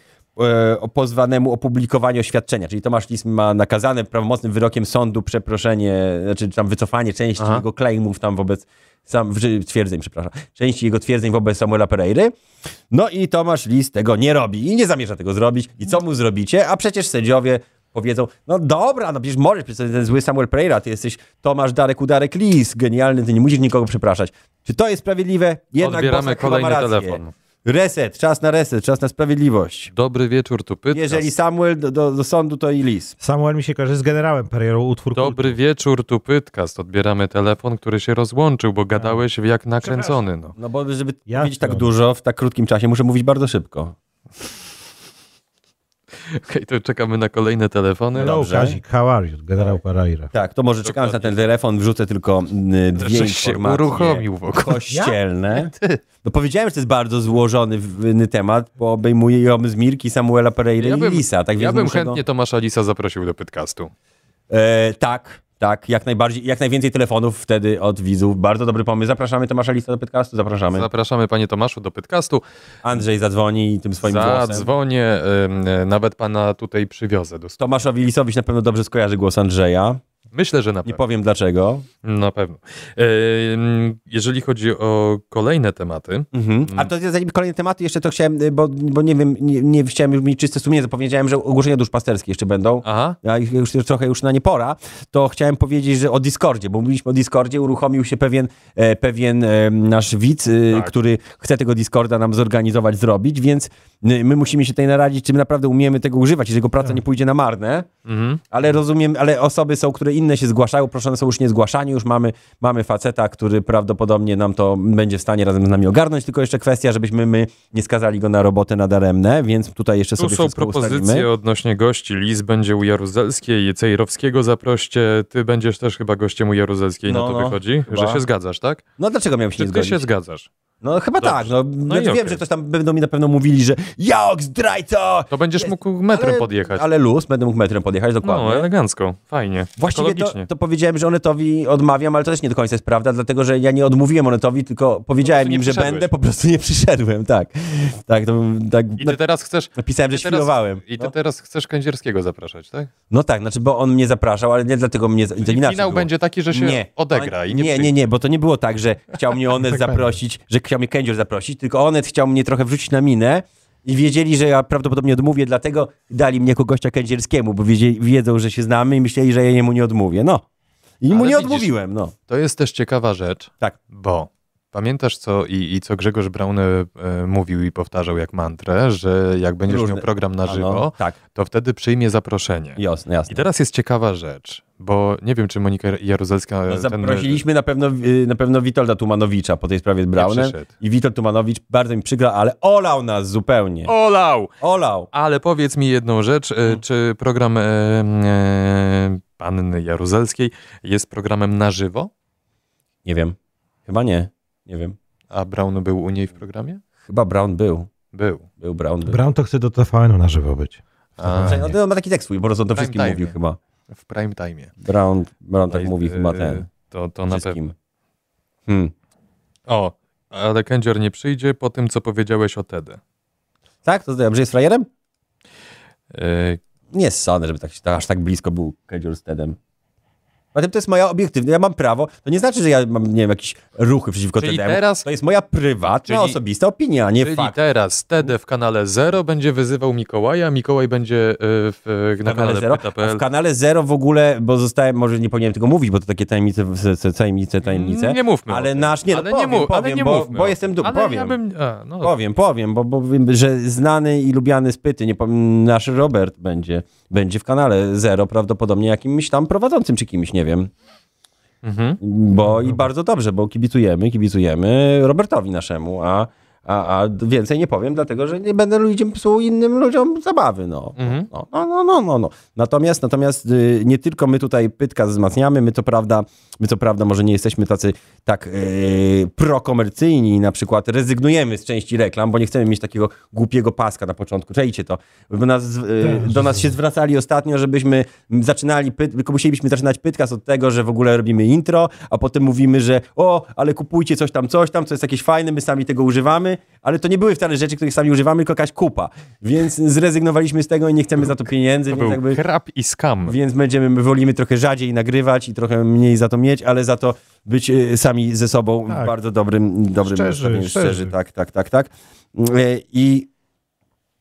S3: e, pozwanemu opublikowanie oświadczenia. Czyli Tomasz Lis ma nakazane prawomocnym wyrokiem sądu przeproszenie, znaczy tam wycofanie części
S5: Aha.
S3: jego claimów tam wobec, sam, czy twierdzeń, przepraszam, części jego twierdzeń wobec Samuela Pereiry. No i Tomasz Lis tego nie robi i nie zamierza tego zrobić. I co mu zrobicie? A przecież sędziowie powiedzą, no dobra, no przecież możesz, przecież to jest ten zły Samuel Pereira, ty jesteś Tomasz Darek Udarek Lis, genialny, ty nie musisz nikogo przepraszać. Czy to jest sprawiedliwe? Jednak
S5: Odbieramy
S3: Bosak chyba ma
S5: kolejny
S3: rację.
S5: telefon.
S3: Reset, czas na reset, czas na sprawiedliwość.
S5: Dobry wieczór, tu pytasz.
S3: Jeżeli Samuel do, do, do sądu, to i Lis.
S1: Samuel mi się kojarzy z generałem Pereirą, utwór kultu.
S5: Dobry wieczór, tu Pytkast. Odbieramy telefon, który się rozłączył, bo gadałeś jak nakręcony. No.
S3: No bo żeby
S1: Ja
S3: powiedzieć tak
S1: chciałem.
S3: dużo w tak krótkim czasie, muszę mówić bardzo szybko.
S5: Okej, to czekamy na kolejne telefony.
S1: Hello,
S3: Dobrze.
S1: Kazik, how are you? Generał Pereira.
S3: Tak, to może czekając na ten telefon, wrzucę tylko y, dwie
S5: Żeś się
S3: informacje
S5: uruchomił w ogóle.
S3: kościelne. No powiedziałem, że to jest bardzo złożony w- w- temat, bo obejmuje ją z Mirki, Samuela Pereira
S5: Ja
S3: i
S5: bym-
S3: Lisa. Tak,
S5: Ja
S3: więc
S5: bym
S3: muszę
S5: chętnie Tomasza Lisa zaprosił do Pytkastu.
S3: Go, e, tak, tak, jak najbardziej, jak najwięcej telefonów wtedy od widzów. Bardzo dobry pomysł. Zapraszamy Tomasza Lisa do podcastu, zapraszamy.
S5: Zapraszamy panie Tomaszu do Pytkastu.
S3: Andrzej zadzwoni i tym swoim głosem.
S5: Zadzwonię, ym, nawet pana tutaj przywiozę. Do stu-
S3: Tomaszowi Lisowi się na pewno dobrze skojarzy głos Andrzeja.
S5: Myślę, że na
S3: Nie
S5: pewno.
S3: powiem dlaczego.
S5: Na pewno. Ym, Jeżeli chodzi o kolejne tematy,
S3: Mhm. A to jest zanim kolejne tematy, jeszcze to chciałem, y, bo, bo nie wiem, nie, nie chciałem już mieć czyste sumienie, zapowiedziałem, że ogłoszenia duszpasterskie jeszcze będą.
S5: aha,
S3: A ich już trochę już na nie pora, to chciałem powiedzieć, że o Discordzie, bo mówiliśmy o Discordzie, uruchomił się pewien, e, pewien e, nasz widz, e,
S5: Tak.
S3: który chce tego Discorda nam zorganizować, zrobić, więc e, my musimy się tutaj naradzić, czy my naprawdę umiemy tego używać, jeżeli jego praca nie pójdzie na marne,
S5: Mhm.
S3: ale rozumiem, ale osoby są, które inne się zgłaszają, proszone są już nie zgłaszani, już mamy, mamy faceta, który prawdopodobnie nam to będzie w stanie razem z nami ogarnąć, tylko jeszcze kwestia, żebyśmy my nie skazali go na robotę nadaremne, więc tutaj jeszcze
S5: tu
S3: sobie
S5: są
S3: wszystko
S5: propozycje
S3: ustalimy.
S5: odnośnie gości. Lis będzie u Jaruzelskiej, Cejrowskiego zaproście, ty będziesz też chyba gościem u Jaruzelskiej,
S3: No,
S5: na to
S3: no,
S5: wychodzi,
S3: chyba.
S5: że się zgadzasz, tak?
S3: No dlaczego miałem się
S5: Czy
S3: nie
S5: ty
S3: zgodzić?
S5: się zgadzasz?
S3: No chyba
S5: Dobrze.
S3: tak, no,
S5: No
S3: ja
S5: i
S3: wiem,
S5: okej.
S3: że ktoś tam będą mi na pewno mówili, że jak zdrajco!
S5: To będziesz
S3: Jest,
S5: mógł metrem
S3: ale-
S5: podjechać.
S3: Ale luz, będę mógł metrem podjechać, dokładnie.
S5: no, elegancko, fajnie,
S3: Właściwie to,
S5: ekologicznie.
S3: to powiedziałem, że Onetowi odmawiam, ale to też nie do końca jest prawda, dlatego że ja nie odmówiłem Onetowi, tylko powiedziałem
S5: nie
S3: im, że
S5: przyszedłeś.
S3: będę, po prostu nie przyszedłem, tak. Tak, to, tak
S5: I ty teraz chcesz...
S3: napisałem, że
S5: ty teraz-
S3: świrowałem.
S5: I ty
S3: No.
S5: teraz chcesz Kędzierskiego zapraszać, tak?
S3: no tak, znaczy, bo on mnie zapraszał, ale nie dlatego mnie... To inaczej
S5: I finał
S3: było.
S5: będzie taki, że się
S3: nie.
S5: odegra
S3: On-
S5: i nie,
S3: nie, nie,
S5: przyjdzie.
S3: nie, bo to nie było tak, że chciał mnie Onet
S5: Tak
S3: zaprosić, że chciał mnie Kędzior zaprosić, tylko Onet chciał mnie trochę wrzucić na minę i wiedzieli, że ja prawdopodobnie odmówię, dlatego dali mnie jako gościa kędzierskiemu, bo wiedzieli, wiedzą, że się znamy i myśleli, że ja jemu nie odmówię. No. I mu
S5: Ale
S3: nie
S5: widzisz-
S3: odmówiłem, no.
S5: To jest też ciekawa rzecz,
S3: Tak.
S5: bo pamiętasz co i, i co Grzegorz Braun e, mówił i powtarzał jak mantrę, że jak będziesz
S3: Różne-
S5: miał program na
S3: A no,
S5: żywo,
S3: tak,
S5: to wtedy przyjmie zaproszenie. I
S3: jasne, jasne.
S5: teraz jest ciekawa rzecz, bo nie wiem, czy Monika Jaruzelska
S3: No,
S5: e, ten
S3: zaprosiliśmy na pewno, y, na pewno Witolda Tumanowicza po tej sprawie z Braunem.
S5: przyszedł.
S3: I Witold Tumanowicz, bardzo mi przykro, ale olał nas zupełnie.
S5: olał.
S3: Olał. Hmm.
S5: Ale powiedz mi jedną rzecz, e, czy program e, e, Panny Jaruzelskiej jest programem na żywo,
S3: Nie wiem. Chyba nie. Nie wiem.
S5: a Braun był u niej w programie?
S3: Chyba Brown był.
S5: Był.
S3: Był Brown. Był.
S1: Brown to chce do TVN-u na żywo być.
S5: A,
S3: Znaczy, on, on ma taki tekst swój, po prostu on to
S5: Prime
S3: wszystkim
S5: time.
S3: mówił chyba.
S5: w prime time.
S3: Brown, Brown tak mówi chyba ten.
S5: To, to Y, na pewno.
S3: Wszystkim. Hmm.
S5: O, ale Kędzior nie przyjdzie po tym, co powiedziałeś o Tedy.
S3: Tak? To zdałem, że jest frajerem?
S5: E,
S3: Nie sądzę, żeby tak, się- aż tak blisko był Kędzior z Tedem. Zatem to jest moja obiektywna, ja mam prawo, to nie znaczy, że ja mam, nie wiem, jakieś ruchy przeciwko
S5: Czyli
S3: Tedemu.
S5: teraz-
S3: To jest moja prywatna,
S5: Czyli-
S3: osobista opinia, a nie
S5: czyli
S3: fakt.
S5: teraz Tedy w kanale Zero będzie wyzywał Mikołaja, Mikołaj będzie e, w, e, na kanale
S3: Zero. A
S5: Pyta.pl.
S3: w kanale Zero w ogóle, bo zostałem, może nie powinienem tego mówić, bo to takie tajemnice, s- s- tajemnice, tajemnice.
S5: Mm, Nie mówmy o
S3: Ale
S5: tym.
S3: nasz, nie, no,
S5: ale
S3: powiem,
S5: nie mów,
S3: powiem,
S5: ale nie
S3: bo,
S5: mówmy
S3: bo
S5: o
S3: jestem,
S5: tym.
S3: du-
S5: ale
S3: powiem.
S5: Ja bym, a, no,
S3: Powiem, powiem, bo, bo wiem, że znany i lubiany spyty, nie powiem, nasz Robert będzie, będzie w kanale Zero, prawdopodobnie jakimś tam prowadzącym czy kimś, nie wiem.
S5: Mhm.
S3: Bo i bardzo dobrze, bo kibicujemy, kibicujemy Robertowi naszemu, a, A, a więcej nie powiem, dlatego że nie będę ludziom psuł innym ludziom zabawy. No. No, no, no, no, no, no. Natomiast, natomiast y, nie tylko my tutaj pytka wzmacniamy, my to prawda, my co prawda może nie jesteśmy tacy tak y, prokomercyjni, na przykład rezygnujemy z części reklam, bo nie chcemy mieć takiego głupiego paska na początku. Czajcie to. Bo nas, y, do nas się zwracali ostatnio, żebyśmy zaczynali, pyt, tylko musielibyśmy zaczynać pytkast od tego, że w ogóle robimy intro, a potem mówimy, że o, ale kupujcie coś tam, coś tam, co jest jakieś fajne, my sami tego używamy, ale to nie były wcale rzeczy, których sami używamy, tylko jakaś kupa. Więc zrezygnowaliśmy z tego i nie chcemy za to pieniędzy,
S5: To
S3: więc
S5: był
S3: jakby...
S5: krab i skam.
S3: No. Więc będziemy, my wolimy trochę rzadziej nagrywać i trochę mniej za to mieć, ale za to być e, sami ze sobą w
S1: Tak.
S3: bardzo dobrym, dobrym
S1: Szczerzy,
S3: nastawieniu, szczerzy,
S1: szczerzy.
S3: tak, tak, tak, tak. E, I,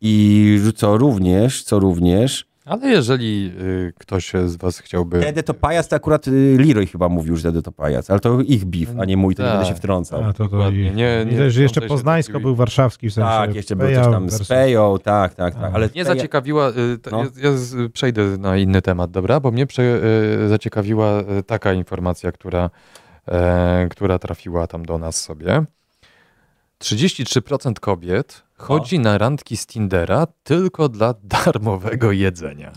S3: I co również, co również,
S5: Ale jeżeli y, ktoś z was chciałby...
S3: Ede to pajac, to akurat y, Leroy chyba mówił, że Ede to pajac, ale to ich beef, a nie mój, to nie będę
S5: Tak.
S3: się wtrącał.
S1: A, to, to
S5: Dokładnie.
S1: i,
S5: Nie- nie
S1: też jeszcze
S5: wtrącaj się do
S1: Poznańsko
S5: piłki.
S1: był warszawski w sensie.
S3: tak, jeszcze był
S1: Peja
S3: też tam z
S1: versus-
S3: Peją, tak, tak, tak, ale
S5: Mnie
S3: Peja-
S5: zaciekawiła, y, ta,
S3: No.
S5: ja, ja z, przejdę na inny temat, dobra? Bo mnie prze, y, zaciekawiła y, taka informacja, która, e, która trafiła tam do nas sobie. 33% kobiet chodzi na randki z Tindera tylko dla darmowego jedzenia.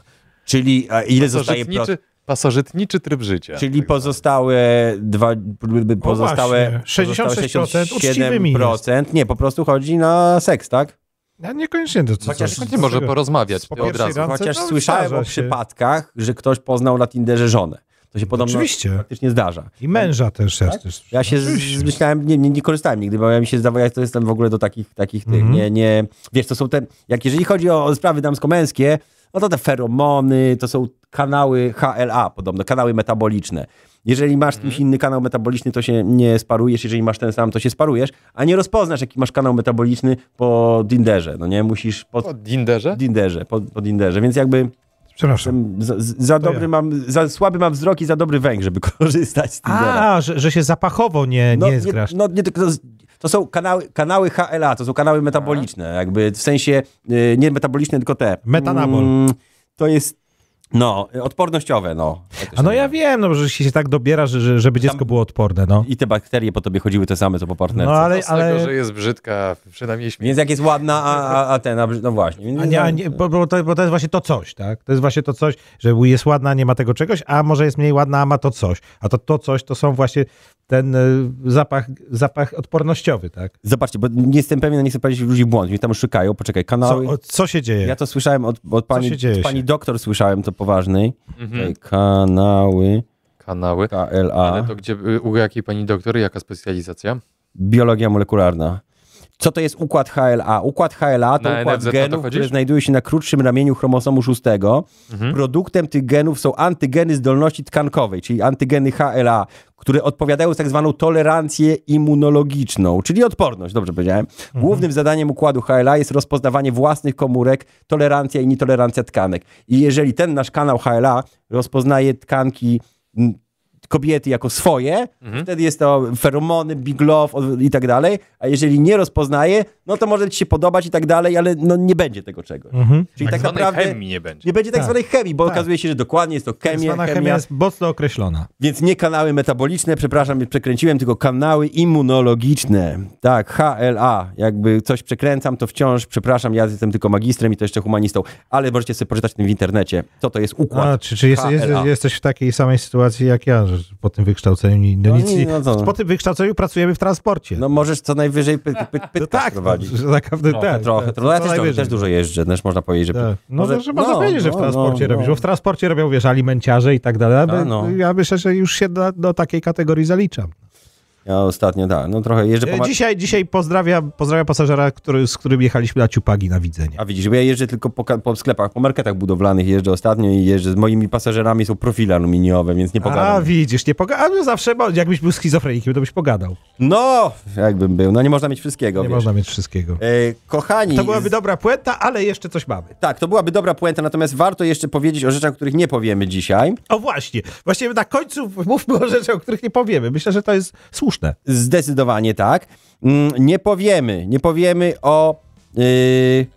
S3: Czyli a ile zostaje pro...
S5: Pasożytniczy, pasożytniczy tryb życia.
S3: Czyli
S5: tak zwany.
S3: pozostałe dwa, b- pozostałe
S1: No właśnie, 66% uczciwymi
S3: 67%, nie, po prostu chodzi na seks, tak?
S1: No, niekoniecznie to co.
S3: Chociaż
S1: co-
S5: No Nie może porozmawiać
S1: z po
S5: ty od
S1: pierwszej
S5: razu.
S1: randki-
S3: Chociaż
S1: No,
S3: słyszałem
S1: zdarza
S3: o
S1: się.
S3: przypadkach, że ktoś poznał na Tinderze żonę. To się podobno
S1: Oczywiście.
S3: faktycznie zdarza.
S1: I męża też. Ja,
S3: Tak?
S1: też
S3: Ja się z-
S1: Oczywiście.
S3: myślałem, nie, nie, nie korzystałem nigdy, bo ja mi się zdawało, jak to jestem w ogóle do takich, takich tych,
S1: Mhm.
S3: nie, nie, wiesz, to są te, jak jeżeli chodzi o, o sprawy damsko-męskie, no to te feromony, to są kanały HLA podobno, kanały metaboliczne. Jeżeli masz z kimś
S1: Mhm.
S3: inny kanał metaboliczny, to się nie sparujesz, jeżeli masz ten sam, to się sparujesz, a nie rozpoznasz, jaki masz kanał metaboliczny po Dinderze, no nie, musisz po
S1: tak?
S5: O Dinderze?
S3: Dinderze, po, po Dinderze, więc jakby
S1: Przepraszam.
S3: jestem za, za dobry
S1: ja.
S3: mam, za słaby mam wzrok i za dobry węch, żeby korzystać z Tindera.
S1: A, że, że się zapachowo nie,
S3: No,
S1: nie zgrasz.
S3: no, nie, tylko to, to są kanały, kanały HLA, to są kanały metaboliczne,
S1: Tak.
S3: jakby w sensie y, nie metaboliczne, tylko te.
S1: Metanabol.
S3: Mm, to jest, no, odpornościowe, no. Jak to
S1: A
S3: się
S1: no ja
S3: nazywa.
S1: wiem, no, że się się tak dobiera, że, że, żeby dziecko było odporne, no.
S3: I te bakterie po tobie chodziły te same, co po
S1: No
S3: partnerce.
S1: ale,
S5: Z tego,
S1: ale
S5: że jest brzydka, przynajmniej śmie-
S3: Więc jak jest ładna, a, a, a ten, a, brz- no właśnie. Więc
S1: a nie, a nie, bo, bo, to, bo to jest właśnie to coś, tak? To jest właśnie to coś, że jest ładna, nie ma tego czegoś, a może jest mniej ładna, a ma to coś. A to to coś to są właśnie ten e, zapach, zapach odpornościowy, tak?
S3: Zobaczcie, bo nie jestem pewien, nie chcę powiedzieć ludzi w błąd, więc tam szukają, poczekaj,
S1: Co,
S3: kanały.
S1: o, co się dzieje?
S3: No Ja to słyszałem od, od
S1: się
S3: pani,
S1: dzieje
S3: od pani
S1: się?
S3: doktor, słyszałem to poważnej. Tutaj Kanały
S5: kanały.
S3: KLA.
S5: Ale to gdzie, y, u jakiej pani doktor, jaka specjalizacja?
S3: biologia molekularna. Co to jest układ HLA? Układ HLA to
S5: Na
S3: układ
S5: NFZ o to
S3: genów,
S5: chodzisz?
S3: które znajduje się na krótszym ramieniu chromosomu szóstego.
S5: Mhm.
S3: Produktem tych genów są antygeny zdolności tkankowej, czyli antygeny HLA, które odpowiadają za tak zwaną tolerancję immunologiczną, czyli odporność, dobrze powiedziałem.
S5: Mhm.
S3: Głównym zadaniem układu HLA jest rozpoznawanie własnych komórek, tolerancja i nietolerancja tkanek. I jeżeli ten nasz kanał HLA rozpoznaje tkanki m, kobiety jako swoje, wtedy jest to feromony, big love o- i tak dalej, a jeżeli nie rozpoznaje, no to może ci się podobać i tak dalej, ale no nie będzie tego czegoś.
S1: Mhm.
S3: Czyli tak,
S5: Żadnej
S3: naprawdę
S5: chemii nie będzie.
S3: nie będzie tak,
S1: Tak.
S3: zwanej chemii, bo
S1: Tak.
S3: okazuje się, że dokładnie jest to chemia,
S1: Zwana
S3: chemia,
S1: chemia jest mocno określona.
S3: więc nie kanały metaboliczne, przepraszam, przekręciłem, tylko kanały immunologiczne. Tak, HLA. Jakby coś przekręcam, to wciąż, przepraszam, ja jestem tylko magistrem i to jeszcze humanistą, ale możecie sobie poczytać tym w internecie, co to jest układ.
S1: A, czy czy jest, jest,
S3: HLA.
S1: jesteś w takiej samej sytuacji jak ja, że po tym wykształceniu ni- no,
S3: No
S1: nic,
S3: nie,
S1: nie-
S3: no co?
S1: po tym wykształceniu pracujemy w transporcie.
S3: No możesz co najwyżej py, py, py,
S1: No
S3: pytać
S1: tak, no,
S3: prowadzić.
S1: że tak naprawdę
S3: Trochę,
S1: tak,
S3: trochę.
S1: tak,
S3: trochę. No, Ja
S1: co
S3: też,
S1: najwyżej.
S3: też, też dużo jeżdżę, też można powiedzieć, że...
S1: Tak. No,
S3: Może-
S1: może, że można
S3: no,
S1: powiedzieć, że w
S3: no,
S1: transporcie
S3: no,
S1: robisz,
S3: no.
S1: bo w transporcie robią, wiesz, alimenciarze i tak dalej, ale
S3: no.
S1: ja myślę, że już się do, do takiej kategorii zaliczam.
S3: Ja ostatnio, tak, no trochę jeżdżę po...
S1: E,
S3: Ma...
S1: Dzisiaj, dzisiaj pozdrawiam, pozdrawiam pasażera, który, z którym jechaliśmy na ciupagi na widzenie.
S3: A widzisz, bo ja jeżdżę tylko po, ka- po sklepach, po marketach budowlanych jeżdżę ostatnio i jeżdżę. Z moimi pasażerami są profile aluminiowe, więc nie pogadam.
S1: A widzisz, nie pogadam. Ale zawsze, bo jakbyś był schizofrenikiem, to byś pogadał.
S3: No, jakbym był. No nie można mieć wszystkiego,
S1: Nie
S3: wiesz.
S1: można mieć wszystkiego.
S3: E, kochani...
S1: To byłaby
S3: z-
S1: dobra puenta, ale jeszcze coś mamy.
S3: Tak, to byłaby dobra puenta, natomiast warto jeszcze powiedzieć o rzeczach, których nie powiemy dzisiaj.
S1: O właśnie, właśnie na końcu mówmy o rzeczach, o których nie powiemy. Myślę, że to jest słuszne.
S3: Zdecydowanie tak. Mm, Nie powiemy, nie powiemy o yy,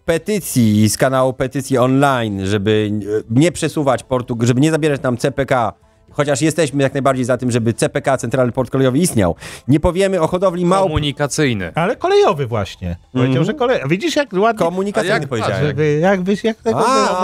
S3: petycji y, z kanału Petycji Online, żeby yy, nie przesuwać portu, żeby nie zabierać nam CPK chociaż jesteśmy jak najbardziej za tym, żeby CPK, Centralny Port Kolejowy, istniał. Nie powiemy o hodowli małp
S5: Komunikacyjny.
S1: Ale kolejowy właśnie. Powiedział, że kolejowy. Widzisz, jak ładnie...
S3: komunikacyjny,
S5: A jak-
S3: powiedziałem.
S1: Żeby, jak, byś- jak tego...
S3: A,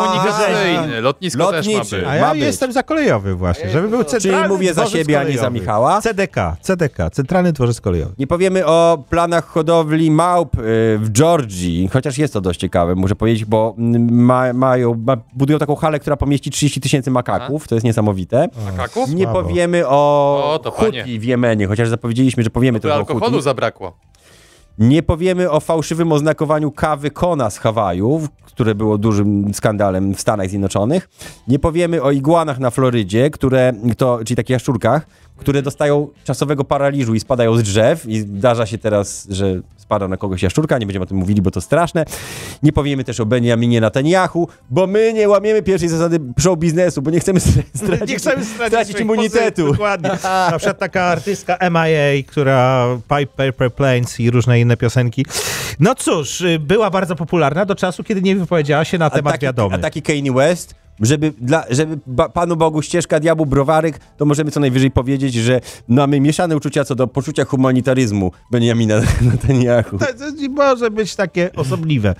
S5: Komunikacyjny. Lotnisko też
S3: Lotniczy.
S5: ma być.
S1: A ja
S3: ma być.
S1: jestem za kolejowy właśnie, żeby był centralny
S3: Czyli mówię za
S1: dworzec
S3: siebie, a nie
S1: kolejowy.
S3: za Michała.
S1: CDK, CDK, Centralny Dworzec Kolejowy.
S3: Nie powiemy o planach hodowli małp y, w Georgii, chociaż jest to dość ciekawe, muszę powiedzieć, bo mm, ma, mają, ma, budują taką halę, która pomieści 30 tysięcy makaków, to jest niesamowite.
S5: Makaków?
S3: Nie
S1: słabo.
S3: powiemy o,
S5: O,
S3: o
S5: to
S3: Huti
S5: panie.
S3: w Jemenie, chociaż zapowiedzieliśmy, że powiemy
S5: By
S3: trochę o
S5: alkoholu
S3: Huti.
S5: zabrakło.
S3: Nie powiemy o fałszywym oznakowaniu kawy Kona z Hawajów, które było dużym skandalem w Stanach Zjednoczonych. Nie powiemy o iguanach na Florydzie, które, to, czyli takich jaszczurkach, które dostają czasowego paraliżu i spadają z drzew i zdarza się teraz, że spada na kogoś jaszczurka, nie będziemy o tym mówili, bo to straszne. Nie powiemy też o Benjaminie Netanyahu, bo my nie łamiemy pierwszej zasady show biznesu, bo nie chcemy str- stracić,
S1: Nie chcemy stracić,
S3: stracić
S1: swoich
S3: immunitetu.
S1: pozycji, dokładnie. Na przykład taka artystka MIA, która Pipe Paper Planes i różne inne piosenki. No cóż, y, była bardzo popularna do czasu, kiedy nie wypowiedziała się na temat
S3: ataki,
S1: wiadomy.
S3: Ataki Kanye West, żeby, dla, żeby ba, Panu Bogu ścieżka, diabłu browarek, to możemy co najwyżej powiedzieć, że mamy mieszane uczucia co do poczucia humanitaryzmu Benjamina Netanyahu.
S1: To, to nie może być takie osobliwe.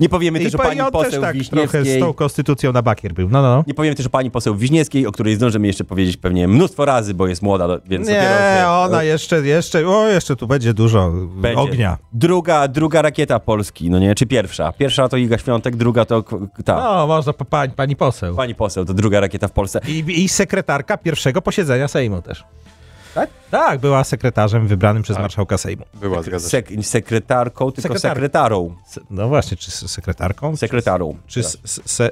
S3: Nie powiemy
S1: I
S3: też o pani
S1: on też
S3: poseł
S1: tak trochę z
S3: Wiśniewskiej.
S1: tą konstytucją na bakier był. No, no, no.
S3: Nie powiemy też o pani poseł Wiśniewskiej, o której zdążymy jeszcze powiedzieć pewnie mnóstwo razy, bo jest młoda, do- więc dopiero
S1: Nie,
S3: się-
S1: ona jeszcze, jeszcze, o, jeszcze tu będzie dużo
S3: będzie.
S1: ognia.
S3: Druga, druga rakieta Polski, no nie, czy pierwsza? Pierwsza to Iga Świątek, druga to k- ta.
S1: No, można po pani, pani poseł.
S3: Pani poseł, to druga rakieta w Polsce.
S1: I, I sekretarka pierwszego posiedzenia Sejmu też. Tak? Tak, była sekretarzem wybranym przez marszałka Sejmu.
S5: Była, zgadza się.
S3: Sek sekretarką, tylko
S1: Sekretarką.
S3: sekretarą.
S1: Se- No właśnie, czy z sekretarką?
S3: Sekretarą.
S1: Czy, s- s- se,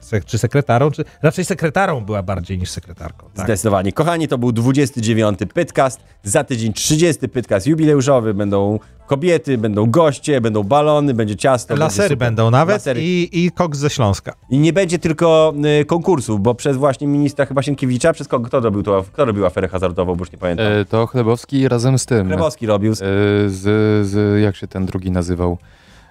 S1: se, czy sekretarą? Czy, raczej sekretarą była bardziej niż sekretarką. Tak.
S3: Zdecydowanie. Kochani, to był 29. Pytcast. Za tydzień 30. Pytcast jubileuszowy. Będą kobiety, będą goście, będą balony, będzie ciasto. będzie
S1: Lasery
S3: super.
S1: będą nawet
S3: Lasery.
S1: I, i koks ze Śląska.
S3: I nie będzie tylko y, konkursów, bo przez właśnie ministra chyba Sienkiewicza, przez kogo, kto robił, to, kto robił aferę hazardową, bo już nie pamiętam.
S5: E, to Chlebowski razem z tym. E,
S3: Grabowski robił.
S5: z, z, jak się ten drugi nazywał?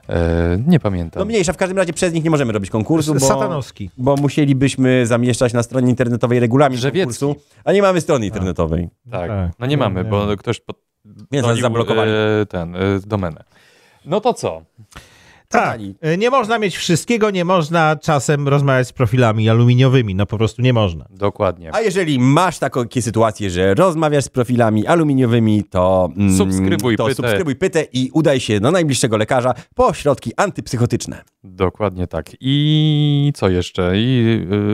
S5: E, nie pamiętam.
S3: No mniejsza, w każdym razie przez nich nie możemy robić konkursu, bo,
S1: Satanowski.
S3: bo musielibyśmy zamieszczać na stronie internetowej regulamin
S5: Drzewiecki.
S3: konkursu, a nie mamy strony internetowej.
S5: Tak.
S1: Tak.
S5: No nie mamy, bo ktoś pod...
S3: Więc nas
S5: dolił,
S3: zablokowali.
S5: e, ten, e, domenę. No to co?
S1: Tak.
S3: Kochani.
S1: Y, Nie można mieć wszystkiego, nie można czasem rozmawiać z profilami aluminiowymi. No po prostu nie można.
S5: Dokładnie.
S3: A jeżeli masz takie sytuacje, że rozmawiasz z profilami aluminiowymi, to, mm,
S5: Subskrybuj
S3: to
S5: Pytę.
S3: subskrybuj pytę i udaj się do najbliższego lekarza po środki antypsychotyczne.
S5: Dokładnie tak. I co jeszcze? I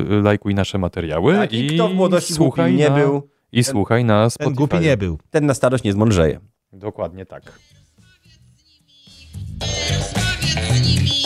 S5: y, y, lajkuj nasze materiały.
S3: Tak, i kto w młodości głupi nie
S5: na,
S3: był,
S5: I słuchaj na
S1: Ten
S5: Spotify.
S1: głupi nie był.
S3: ten na starość nie zmądrzeje.
S5: Dokładnie tak.
S4: Rozmawiać z nimi.